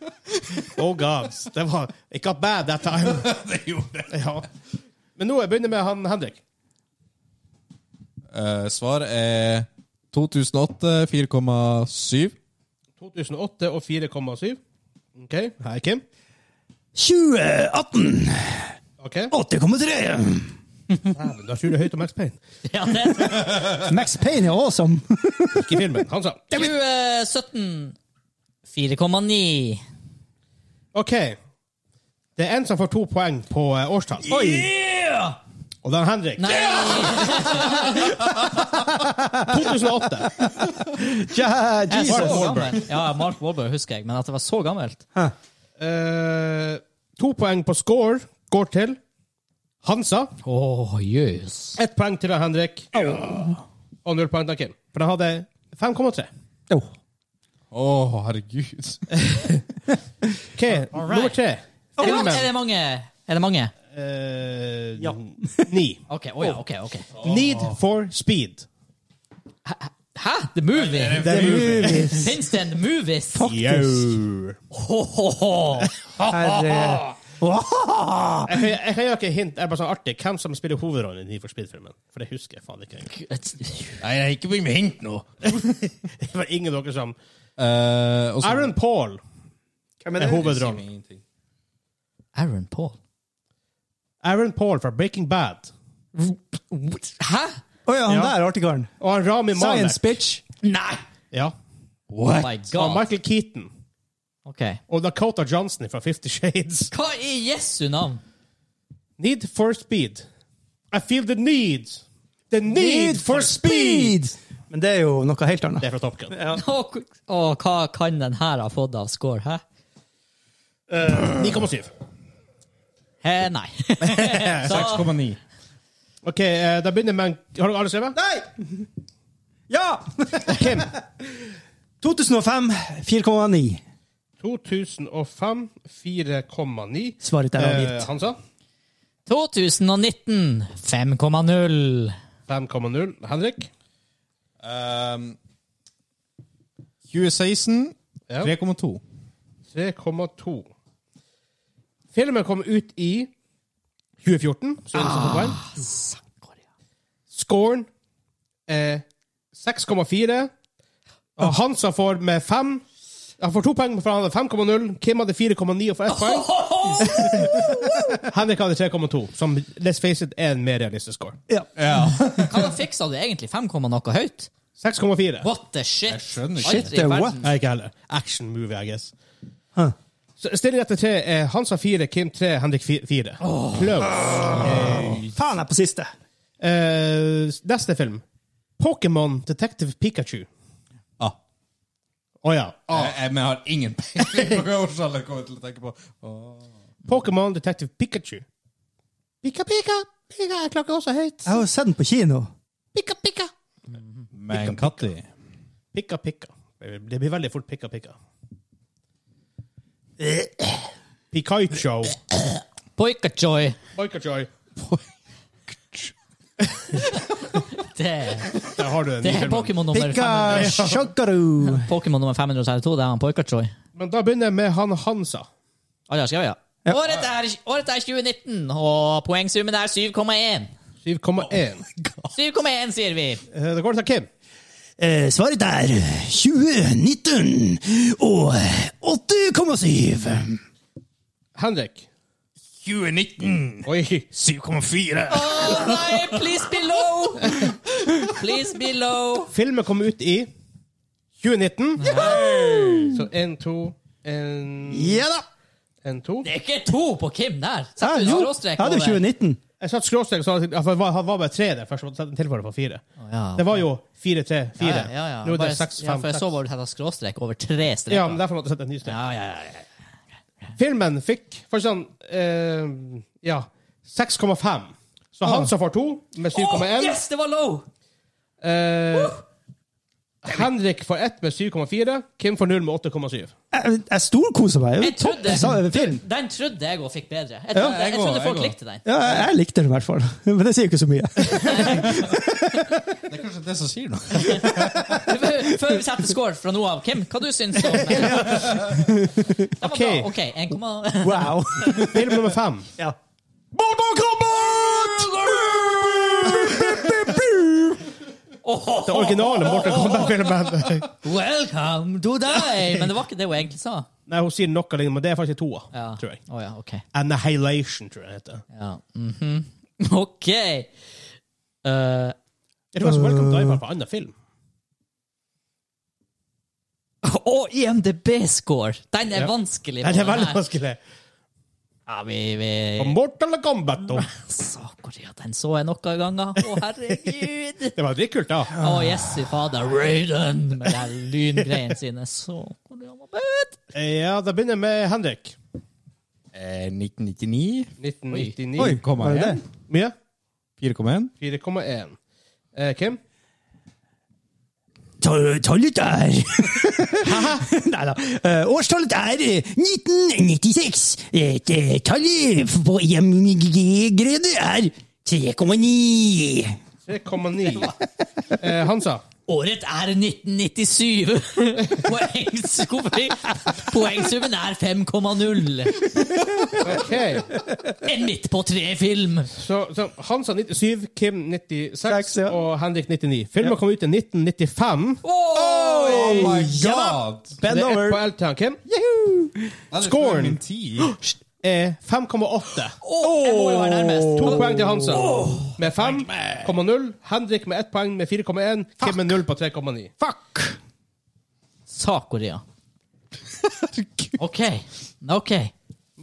Oh gods. Det var It got bad that time.
Det gjorde jeg.
Ja. Men nå jeg begynner med han Henrik.
Eh, Svar er 2008 4,7.
2008 og 4,7. OK. Hei, Kim.
2018.
OK.
8,3.
Dæven, Da tror du høyt om Max Payne.
ja det.
Max Payne er awesome.
Ikke filmen. Han sa
eh, 2017. 4,9.
OK. Det er en som får to poeng på eh, årstall.
Yeah!
Og det er Henrik.
Nei,
2008.
jeg
Ja,
er så
Jesus.
gammel. Ja, Mark Wahlberg husker jeg, men at det var så gammelt
Eh, to poeng på score går til Hansa.
Åh, jøs.
Ett poeng til Henrik. Og null poeng til Kim. For han hadde 5,3.
Oh.
Å, herregud.
OK, nummer tre.
Er, det-
Filmen.
er det mange? Er det mange?
Eh,
Ja.
Ni.
Ok, oh, ja, ok, ok.
Need for speed.
Hæ? The Movie?
The movies.
Finns det en movies?
Yo.
Ho, ho, ho.
Herre. Wow.
Jeg, kan- jeg kan gjøre ikke hint. Det er bare sånn artig hvem som spiller hovedrollen i Need for Speed-filmen. For det husker jeg faen ikke.
Nei, nei, ikke begynn med hint nå.
Det var ingen av dere som
Eh, og så-
Aaron Paul er hovedrollen.
Aaron Paul.
Aaron Paul fra Breaking Bad.
Hæ?
Å ja, eh. han
Ja.
der artige karen.
Og han Rami Malek.
Science bitch.
Nei!
Ja.
Oh my
Og
god.
Michael Keaton.
Ok.
Og Dakota Johnson fra Fifty Shades.
Hva i Jesu navn?
Need for speed. I feel the need. The need for speed!
Men det er jo noe helt
Det
annet.
er fra Top Gun.
Å, k- å, hva kan den her ha fått av score, hæ?
9,7.
Eh, nei. Så,
6,9.
OK, eh, da begynner man Har dere alle skrevet?
Nei! Ja!
Kim.
2005, 4,9.
2005, 4,9.
Svaret er
Eh,
avgitt.
Hansa?
2019, 5,0.
5,0. Henrik?
Ehm, 2016,
Ja.
3,2.
3,2. Filmen kom ut i 2014, så den som får poeng. Scoren er 6,4. Og Hansa får med 5. Han får to poeng, for han hadde 5,0. Kim hadde 4,9 og får ett poeng. Henrik hadde 3,2, som let's face it, er en mer realistisk score.
Ja.
Hva fiksa du egentlig? 5, komma noe høyt?
6,4.
What the shit?
Jeg skjønner ikke.
Aldri
Shit,
i
the
verden.
what?
Nei, ikke heller. Action movie, I guess.
Huh.
Så Stilling etter tre er Hansa eh, fire, Kim tre, Henrik fi- fire. Close.
Faen, jeg er på siste.
Eh, neste film. Pokémon Detective Pikachu.
Ah.
Å ja.
Jeg, jeg, men jeg har ingen peiling på hva årstallet kommer til å tenke på. Åh.
Pokémon Detective Pikachu. Pika, pika, pika. Jeg klakker også høyt.
Jeg har jo sett den på kino.
Pika, pika.
Men Katti
Pika, pika. Det blir veldig fort pika, pika. Pikachu.
Poikachoy.
Pikachu.
Det,
Der har du den.
det
nye
er
filmen.
Pokémon nummer
Pika
500.
shakaru.
Pokémon nummer 532, det er han Poikachoy.
Men da begynner jeg med han Hansa.
Alle har skrevet, ja. Året er, året er 2019, og poengsummen er 7,1.
7,1.
7,1, sier vi.
Eh, Da går det til Kim.
Eh, svaret er 2019 og 8,7.
Henrik. Mm.
2019.
Oi.
7,4.
Å nei, please be low! Please be low.
Filmen kom ut i 2019. Så én, to, én,
Ja da!
to.
Det er ikke to på Kim der.
Ja,
Sett du
jo.
skråstrek
Ja, det er
over.
2019.
Jeg satt skråstrek, så han var, han var bare tre der først. så satte jeg Tilføyet på fire.
ja,
Det var jo fire, tre,
Ja,
fire.
ja, ja.
Nå er
Bare-
det seks,
ja,
fem,
for jeg
seks.
så hvor du hadde skråstrek over tre streker.
Ja, men derfor måtte jeg sette en ny strek.
ja, ja, ja, ja.
Filmen fikk for sånn eh, Ja, 6,5. Så han som får to, med 7,1.
Å, yes, det var low!
Eh, Henrik får ett med 7,4. Kim får null med 8,7.
Jeg, jeg storkoser meg.
Jeg trodde-
Topp sa- film.
Den trodde jeg òg fikk bedre. Jeg trodde,
jeg
jeg
går,
trodde
jeg
folk
går.
likte den.
Ja, jeg, jeg likte den i hvert fall. Men det sier jo ikke så mye.
Det er kanskje det som sier noe.
Før vi setter score fra nå av, Kim, hva du syns om Den var bra.
Ok.
OK, 1,
Wow.
Film nummer fem.
Ja.
Det originale Morten Kombat-filmen.
Welcome to die! Men det var ikke det hun egentlig sa.
Nei, hun sier noe lignende, men det er faktisk toa,
Ja.
tror jeg.
Å ja, ok.
Annihilation, tror jeg det heter.
Ja. mhm. OK. Eh,
Jeg tror faktisk Welcome to Die var fra annen film.
og IMDb-score! Den er vanskelig. på
Nei, det er
den
veldig
her.
vanskelig.
Ja, vi, vi
Og Mortal Kombat, da.
Sakoria, den så jeg noen ganger. Å, herregud!
Det var dritkult, da.
Å, jesse fader. Raiden! Med de her lyngreiene sine. Sakoria var bød!
Ja, da begynner jeg med Henrik.
Eh, 1999.
1999.
Var det
4,1.
det?
Mye?
4,1.
4,1. Eh, Kim?
Ta- Tallet er Nei da. Eh, årstallet er eh, 1996. Et, eh, tallet på IMG-gredet er 3,9.
3,9. Eh, Hansa?
Året er 1997! Poengs- Poengsummen er 5,0.
OK.
En midt på tre-film.
Så, så Hansa 97, Kim 96
Seks, ja.
og Henrik 99. Filmen kom ut i 1995.
Oh my
Ja da.
god!
Det
Bend
er ett
over.
på L til han, Kim.
Det er
Scoren.
min tid.
Eh, 5,8.
Jeg må jo være nærmest.
To poeng til Hansa. Med 5,0. Henrik med ett poeng med 4,1. Kim med null på 3,9.
Fuck!
Sakoria. OK. OK.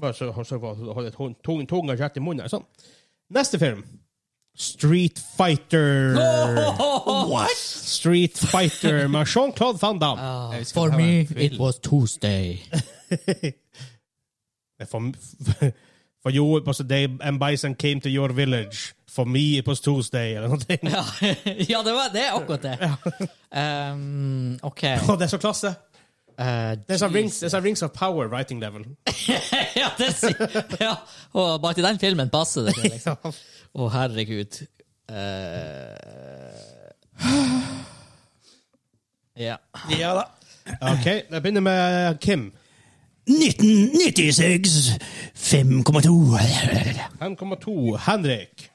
Bare så han sørger for å holde tung, tung, tunga rett i munnen. Sånn. Neste film. Street Fighter. Street Fighter med Jean-Claude Van Damme.
Ah,
skal
for
ta meg
me,
en film.
it was Tuesday.
For, for you, it was the day and bison came to your village. For me, it was Tuesday, eller noe.
Ja, ja det, var, det er akkurat det. Um, OK.
Og det er så klasse.
Eh,
There's a rings, there's a rings of power writing level.
ja, det sier ja. Og bare til den filmen passer det. Liksom. Å, herregud. Eh, ja.
Ja da. OK, jeg begynner med Kim.
1996 5,2.
5,2. Henrik.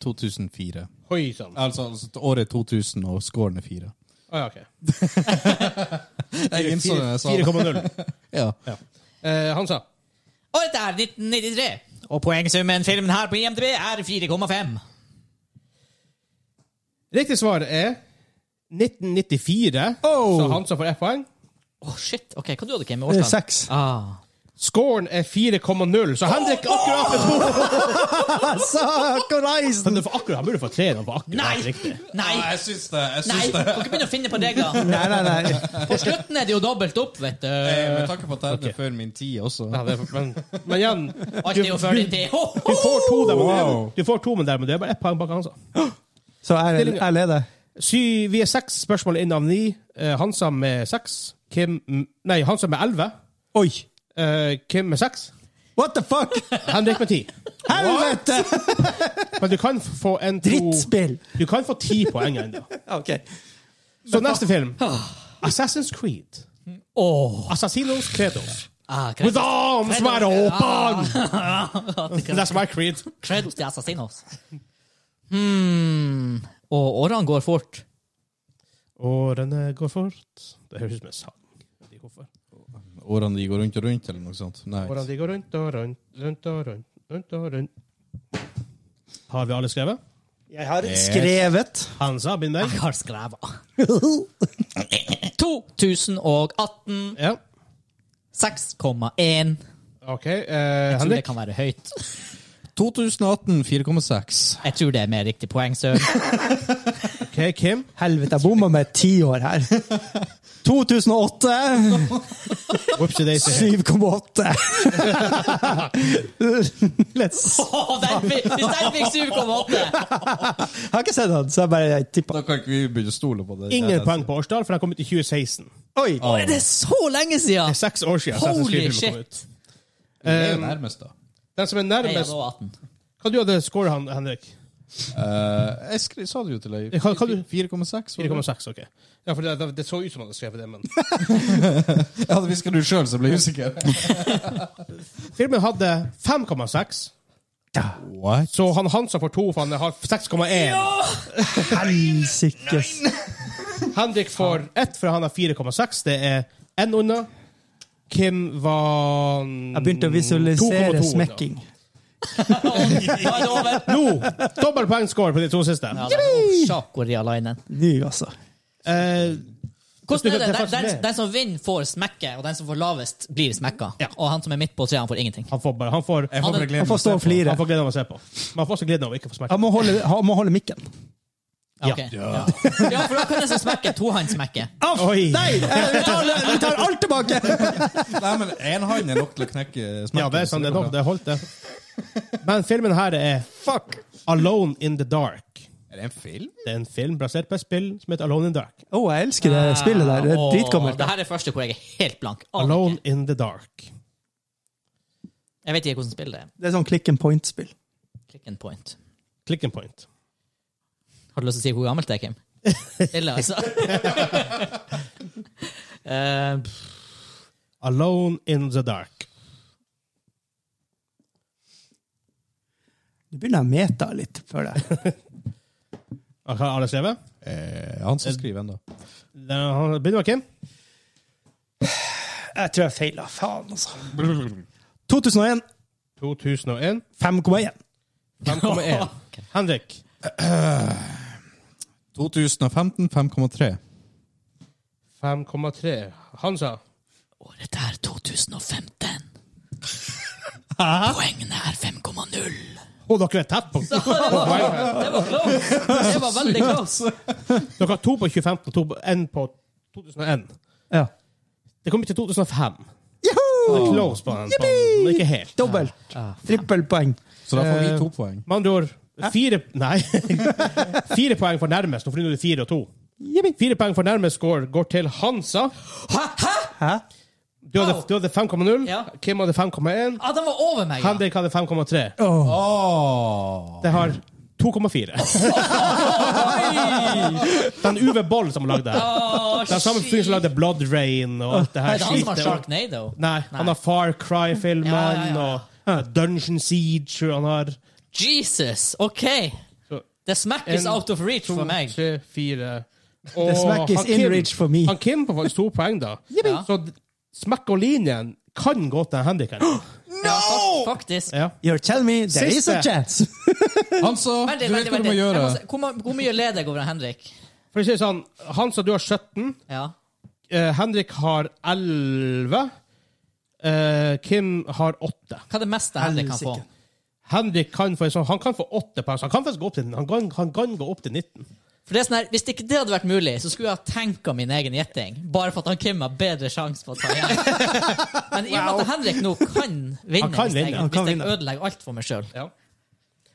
2004.
Oi sann.
Altså, altså året 2000, og scoren er 4.
Ah, sånn. ja, ok.
Jeg
Sånn
innså det da jeg sa det.
4,0.
Ja.
Eh, han sa
Og dette er 1993. Og poengsummen filmen her på IMDb er 4,5.
Riktig svar er 1994.
Oh!
Så han som får ett poeng.
Å, shit. Ok, Hva du hadde du, Kim?
Det er
Årstall?
seks.
Ah.
Scoren er 4,0,
Oh!
så Henrik akkurat med to.
Ah, Sakalaisen!
Han, får akkurat, han burde få tre. Han får akkurat
Nei!
riktig.
Nei!
Ah, jeg syns det. Jeg
Nei!
syns
Du
det.
kan ikke begynne å finne på regler.
Nei, nei, nei.
På slutten er det jo dobbelt opp, vet du.
Eh, Med tanke på at jeg er
Ok.
før min tid også.
Ja, det er, men, men igjen,
Alt
du,
er jo før din tid. Ho,
du
ho!
får to der, men det er,
Wow.
du får to, men det er- men det er bare ett poeng bak han. sa.
Så jeg, jeg leder.
Sy- Vi er seks spørsmål inn av ni. Eh, Hansa med seks. Kim mm, Nei, Hansa med elleve.
Oi!
Eh, Kim med seks.
What the fuck?
Henrik med ti.
Helvete!
Men du kan få en to
Drittspill!
Du kan få ti poeng ennå.
Ok.
Så neste film. Assassin's Creed.
Åh.
Assassinos Credos.
Ah, kred-
With arms wide open! That's my creed.
Credos de Assassinos. Hmm. Og årene går fort.
Årene går fort. Det høres ut som en sang. Jeg vet ikke hvorfor.
Årene de går rundt og rundt, eller noe sånt. Nei.
Årene de går rundt og rundt, rundt og rundt, rundt og rundt. Har vi alle skrevet?
Jeg har skrevet.
Hansa, begynn deg.
Jeg har skrevet. 2018.
Ja.
6,1.
OK. Eh,
Jeg tror det
Henrik.
kan være høyt.
2018 4,6.
Jeg tror det er mer riktig poeng, sør.
OK, Kim.
Helvete, jeg bomma med ti år her. 2008
Whoopsie daisy.
7,8. Let's.
Åh, den fikk- Hvis den fikk 7,8!
Jeg har ikke sett den, så jeg bare tippa.
Da kan ikke vi begynne å stole på det.
Ingen poeng på årstall, for den kom ut i 2016.
Oi!
Åh, er det så lenge
Det
siden?
er seks år siden. Assassin's
Holy
Creed-filmen kom
shit!
ut.
Det er jo nærmest, da.
Den som er
Jeg er
nærmest
nå 18.
Hva du hadde scoret, han, Henrik?
Eh, jeg skri, sa det jo til deg.
Hva- hva du-
4,6? var det?
4,6, OK. Ja, for det, det, det så ut som han hadde skrevet det, men
Jeg hadde hviska det sjøl, så jeg ble usikker.
Filmen hadde 5,6,
What?
så han Hansa får 2, for han har 6,1.
Helsikes.
Henrik får 1, for han har 4,6. Det er én unna. Kim var
Jeg
Mm.
begynte å visualisere
2,2 unna.
smekking.
Nå er det over.
Nå! Dobbel poengscore på de to siste.
Ja, det er Sjako-Rialainen.
Nå, altså.
Hvordan er
Eh, Det
det?
er
Den,
faktisk
den,
det.
den som vinner, får smekke, og den som får lavest, blir smekka.
Ja.
Og han som er midt på treet, han får ingenting.
han får bare Han får,
Jeg får bare glede
Han får
meg til
stå
å
og
se på.
flire.
han får gleden av å se på. Men han får også gleden av å ikke få smekke.
Han må holde, han må holde mikken.
Ja, ok. ja. ja, for da kan den som smekker, tohåndssmekke.
Oi!
Ah, Nei! Vi tar, vi tar alt tilbake!
Nei, men én hand er nok til å knekke smerten.
Ja, det er
så
sant. Det, er
går
nok-
bra.
det holdt, det. Men filmen her er Fuck Alone in the Dark.
Er det en film?
Det er en film basert på et spill som heter Alone in the Dark.
Å, jeg elsker det spillet der. Det er
Åh,
dritgammelt.
Det her er første hvor jeg er helt blank. Aner
Alone
ikke.
in the Dark.
Jeg vet ikke hvordan spill det er.
Det er sånn click and point-spill.
Click and point.
Click and point.
Har du lyst til å si hvor gammelt det er, Kim? Stille, altså. Eh,
Alone in the Dark.
Nå begynner jeg å meta litt, føler jeg.
Har alle skrevet?
Eh, han som skriver ennå.
Da Begynner vi, Kim?
Jeg tror jeg feila. Faen, altså. 2001.
2001.
5,1.
5,1. Henrik.
2015 5,3.
5,3. Han sa
Året er 2015. Poengene er 5,0.
Å, dere er tett på
Det var det var close. Det var veldig close.
Dere har to på 2015 to på, en på 2001.
Ja.
Det kom ikke 2005.
Joho!
Close på den, spannen, men ikke helt.
Dobbelt. Trippelpoeng.
Så da får vi
Eh,
to poeng.
Med andre ord fire, nei, fire poeng for nærmest. Nå får du fire og to. Fire poeng for nærmest score går til Hansa.
Hæ?
Du hadde,
Wow.
du hadde 5,0.
Ja.
Kim hadde 5,1.
Ah, den var over meg. Ja.
Henrik hadde 5,3.
Åh.
Åh.
Det har 2,4. Den Uwe Boll som har lagd det. her.
Åh,
Den samme fyren som lagde Blood Rain og alt det
Nei,
her.
det er han som har
skitet.
Sharknado.
Nei, han har Far Cry-filmen
Ja, ja, ja.
og Dungeon Siege og han har
Jesus, OK.
Så-
The smack is
En,
out of reach for meg.
tre, fire
The smack is in reach for me.
Han Kim får faktisk to poeng, da.
Ja.
Så d- smack og linjen kan gå til Henrik. her.
Ja, fak- faktisk.
Ja.
You're telling me there is a
Siste.
chance.
Hansa,
Vent
du
litt, vent
vet hva du
litt,
må
vent litt. Jeg
gjøre.
må se- Hvor, ma- hvor mye leder jeg over av Henrik?
For å si det sånn, Hans og du har 17.
Ja.
eh, Henrik har 11. eh, Kim har 8.
Hva er det meste Henrik kan få?
Helsike.
Henrik kan få, en sånn, han kan få 8 poeng. så Han kan faktisk gå opp til, han kan, han kan gå opp til 19.
For det er sånn her, Hvis ikke det hadde vært mulig, så skulle jeg ha tenka min egen gjetting. Bare for at han Kim har bedre sjanse på å ta igjen. Men i og med at Henrik nå kan vinne,
Han kan
hvis, jeg,
vinne,
han kan
hvis jeg
vinne.
ødelegger alt for meg sjøl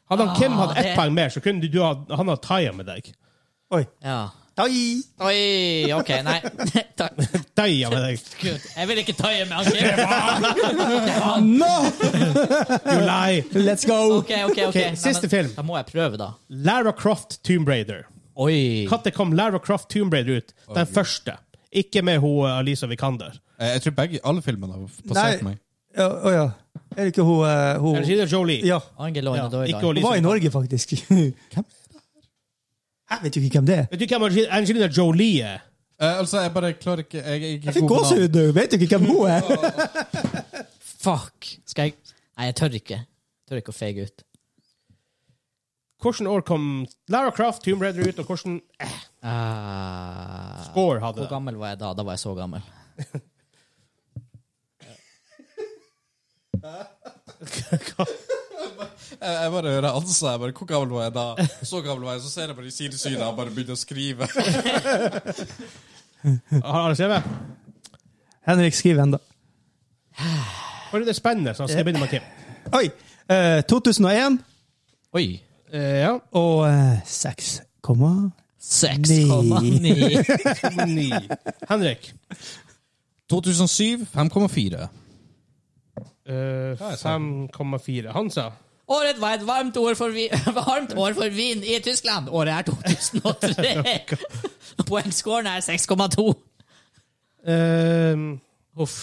Hadde han Kim
Ah,
hatt ett
det-
poeng mer, så kunne du, du ha, han ha taia med deg.
Oi.
ja.
Oi.
Oi, OK, nei. Takk.
Taia med deg.
Gud, jeg vil ikke taie med han Kim.
No!
You lie.
Let's go!
OK, OK. ok.
Ok, siste
men
film.
Da må jeg prøve, da.
Lara Croft Tomb Raider.
Oi.
Når kom Lara Croft Tomb Raider ut? Den første. Ikke med hun eh, Alisa Vikander.
Eh, Jeg tror begge, alle filmene har passert
Nei.
meg.
Å å ja. Er det ikke hun eh, hun,
Angelina Jolie.
ja.
Angela
Ja,
Oinadoida.
ikke
hun var i
Alisa.
Norge, faktisk. Hvem er det der? Jeg vet jo ikke hvem det er.
Vet du hvem Angelina- Angelina Jolie er?
Eh, altså, jeg bare klarer ikke Jeg, er ikke
Jeg fikk
god på navn.
gåsehud nå! Vet jo ikke hvem hun er!
Fuck. Skal jeg Nei, jeg tør ikke. Jeg tør ikke å feige ut.
Hvilket år kom Lara Croft Tomb Raider ut, og hvilken
Ah,
score hadde
hvor
den?
gammel var jeg da? Da var jeg så gammel.
Eh, Jeg, jeg bare hører Hansa. Jeg bare, Hvor gammel var jeg da? Så gammel var jeg, så ser jeg bare i sidesynet og bare begynner å skrive.
Har han skrevet?
Henrik skriver enda.
For det er spennende, så han skal begynne med Kim.
Oi! eh, 2001
Oi.
Eh, ja.
og eh, 6,9.
6,9.
Ni. Henrik.
2007 5,4.
eh, 5,4. Hansa.
Året var et varmt år, for vi, varmt år for vin i Tyskland. Året er 2003. Poengscoren er 6,2.
Eh,
Uff.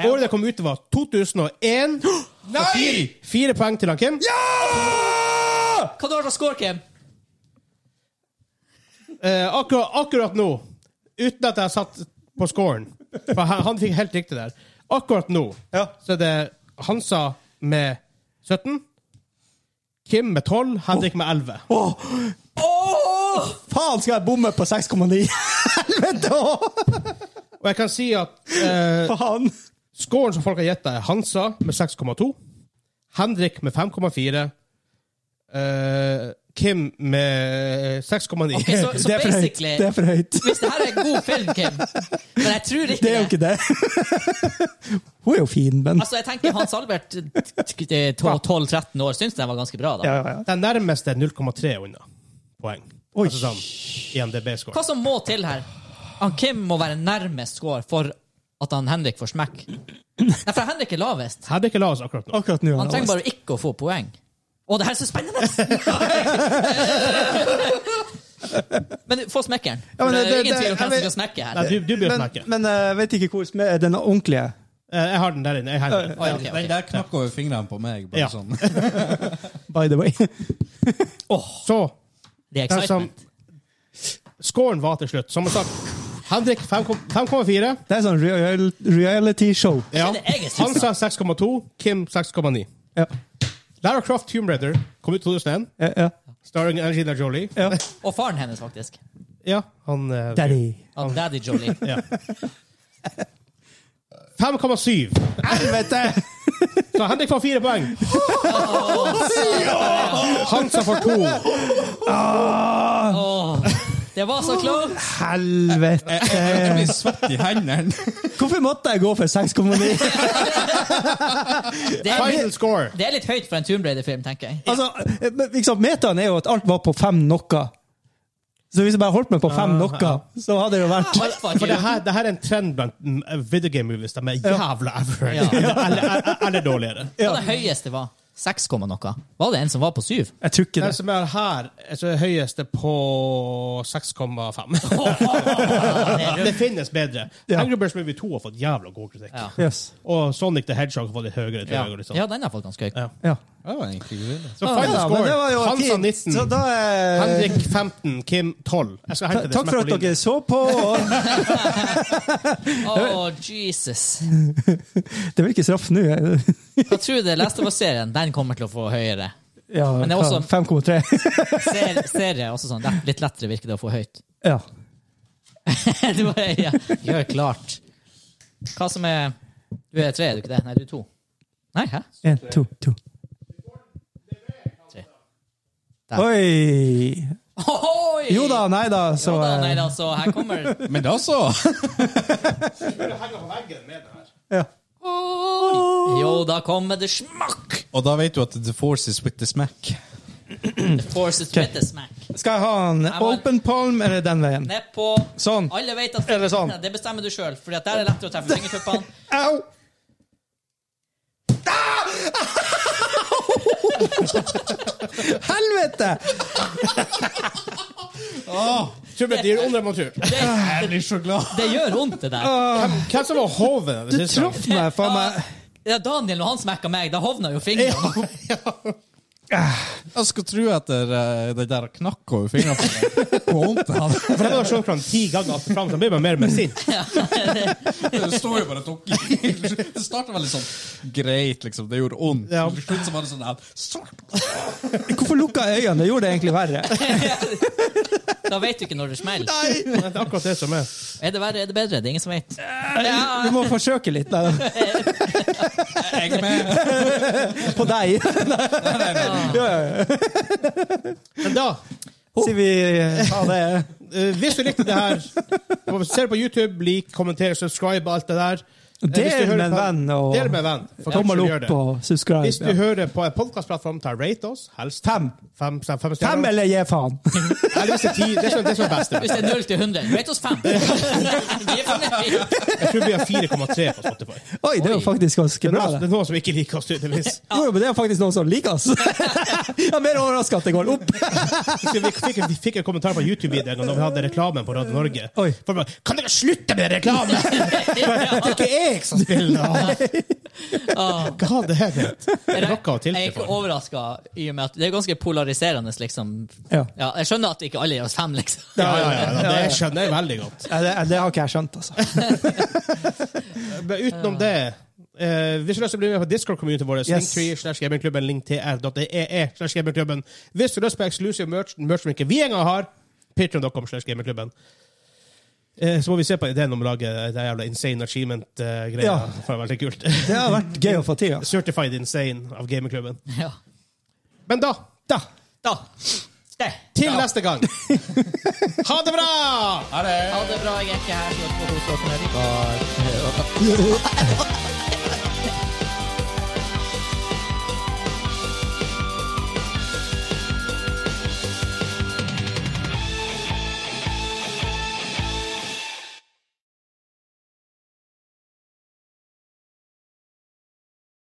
året det kom ut, var 2001. Fire, fire poeng til han Kim.
Hva du har som score, Kim?
Eh, akkurat, akkurat nå, uten at jeg har satt på scoren For han, han fikk helt riktig der. Akkurat nå
Ja.
så er det Hansa med 17, Kim med 12, Henrik med 11.
Åh! Faen, skal jeg bomme på 6,9? Helvete òg!
Og jeg kan si at eh,
Faen!
scoren som folk har gjetta, er Hansa med 6,2, Henrik med 5,4, eh, Kim med 6,9.
Ok, så, så
Eh, Det
basically
er for høyt. Det er for høyt.
Hvis det her er en god film, Kim Men jeg tror ikke
Det er jo ikke det. Hun er jo fin, men
Altså, jeg tenker Hans Albert, t- t- t- 12-13 år, syns den var ganske bra, da.
ja, ja, ja.
Den nærmeste er 0,3 unna poeng.
Oi.
Altså sånn IMDb-score.
Hva som må til her? Han Kim må være nærmest score for at han Henrik får smekk. Nei, for Henrik er lavest.
Hadde ikke la oss akkurat nå.
Akkurat nå. altså.
Han trenger bare ikke å få poeng. Å, det her er så spennende! Men få smekkeren.
Ja, men
For det,
det-
er ingen
det-
tvil om hvem som skal
jeg vet-
smekke her.
Nei, du, du blir å
men,
snakke.
men jeg vet ikke hvor smed- den ordentlige er.
Eh, Jeg har den der inne. Jeg har den.
Oi, ok, ok.
Den der knakk over fingrene på meg. Bare
Ja.
sånn.
by the way.
Så
Det er
den som
excitement.
Scoren var til slutt, som sagt. Henrik 5,4.
Det er sånn real, reality show.
Ja.
Skjønner jeg, jeg synes
Han sa 6,2. Kim 6,9.
Ja.
Lara Croft Tomb Raider kom ut i 2001,
Ja, ja,
starring Angelina Jolie.
ja.
Og faren hennes, faktisk.
Ja, han eh,
Daddy.
Av Daddy Jolie.
Ja. 5,7.
Helvete!
Så Henrik får fire poeng. Hansa får to.
Åh, det var så close!
Helvete!
Eh,
Jeg blir svett i hendene.
Hvorfor måtte jeg gå for 6,9?
Det er,
Final score.
det er litt høyt for en Tomb Raider-film, tenker jeg.
Altså, men liksom, metaen er jo at alt var på fem noe. Så hvis jeg bare holdt meg på fem noe, så hadde det jo vært
Alt var
For det
cute.
her, det her er en trend blant mm, video game movies. De er jævla average.
Ja.
Eller, eller, eller dårligere.
Hva det høyeste var? 6, komma noe. Var det en som var på 7?
Jeg tror ikke
Den
det.
som er her, er
altså,
så høyeste på 6,5. det finnes bedre.
Ja.
Angry Birds Movie 2 har fått jævla god kritikk.
Ja.
Yes.
Og Sonic the Hedgehog har fått litt høyere. tror
Ja.
jeg, og litt sånn.
ja, den har fått ganske høyt.
Ja.
Ja.
Det var egentlig ikke villig.
Så final
Ja, men
score.
det var jo
Hansa
sånn
fint.
19.
Så da eh,
Henrik 15. Kim 12. Jeg skal hente det
Takk
som er på
for at
linje.
dere så på. og-
Åh, Jesus.
Det vil ikke straff nå. jeg-
Jeg tror det Last of Us-serien den kommer til å få høyere.
Ja,
Men det er
hva,
også-
5,3.
Ser, serie er også sånn. lett- Litt lettere virker det å få høyt.
Ja.
Du bare, ja, gjør klart. Hva som er Du er tre, er du ikke det? Nei, du er to. Nei, hæ?
En, to, to.
Der.
Oi!
Ohoi!
Jo da, nei da, så
Jo da,
eh,
nei da, så her kommer
Men da så!
ja.
Jo da, kommer det smakk!
Og da vet du at the force is with the smack.
The forces with the smack.
Skal jeg ha en
var-
open palm eller den veien?
Nedpå.
Sånn.
Alle vet at
Eller sånn.
Det bestemmer du sjøl, for der er det lettere å treffe fingertuppene.
Au! Ah! Helvete!
Tror jeg det gir under matur.
Jeg blir så glad.
Det gjør vondt, det der.
Hvem som var hoven?
Du
det siste gang?
traff meg, faen meg.
Ja, Daniel, når han smekka meg, da hovna jo fingrene.
Jeg skulle tro etter eh, det der knakk over fingrene på meg. Hvor vondt det hadde.
For jeg har slått fram ti ganger fram, så jeg blir bare mer og mer sint.
Det står jo bare tok i. Det starta veldig sånn greit, liksom. Det gjorde vondt.
Ja.
Til slutt så var det sånn her sort.
Hvorfor lukka jeg øynene? Det gjorde det egentlig verre.
Da vet du ikke når det smeller.
Det er akkurat det som er.
Er det verre, er det bedre? Det er ingen som vet.
Du må forsøke litt nei, da.
Jeg er med.
på deg.
Men da,
Sier vi eh, ha det.
eh, hvis du likte det her, og ser på YouTube, lik, kommenter, subscribe, alt det der. Eh, hvis
Del
du hører
med en
på-
venn, og-
Del med en venn. for kanskje
Tommel
du gjør det.
opp og
Hvis du
subscribe. Ja.
hører på en podcastplattform, ta rate oss. Helst
Fem.
fem, fem, fem stjerner.
Fem eller gi faen.
Eller hvis det er ti. Det er som- det er som er best.
Hvis det er 0 til 100, rate oss 5. Vi er fornøyd.
Jeg tror vi har 4,3 på Spotify.
Oi, det er jo faktisk
Det er,
ganske bra.
noen, det
det.
er noen som ikke liker oss, tydeligvis.
Jo, men det er faktisk noen som liker oss. Jeg er mer overraska at det går opp.
Så Vi fikk, vi fikk en kommentar på YouTube-videoen når vi hadde reklamen på Radio Norge.
Oi.
For bare, kan dere slutte med reklame?! Det er ikke jeg som spiller! Hva hadde jeg ment? Det er noe å
Ah. Jeg er
tilte
ikke
for.
overraska i og med at det er ganske polariserende, liksom.
Ja.
Ja, jeg skjønner at ikke alle gir oss fem, liksom.
Ja, ja, ja, ja, det skjønner jeg veldig godt.
Ja, Det, det har ikke jeg skjønt, altså.
Men utenom det eh, hvis du har lyst til å bli med på Discord-communityen vår,
Yes.
linktree slash gamingklubben, linktr.ee E slash gamingklubben. Hvis du har lyst på exclusive merch, merch som ikke vi engang har, patreon.com slash gamingklubben. Eh, så må vi se på ideen om å lage det jævla insane achievement-greia.
Ja.
Det var veldig kult.
Det har vært gøy å få til. Altså.
Certified insane av gamingklubben.
Ja.
Men da, da
Da. Det.
til neste gang! ha det bra!
Ha det bra, jeg er ikke her. for å kose oss med dere.
Ja.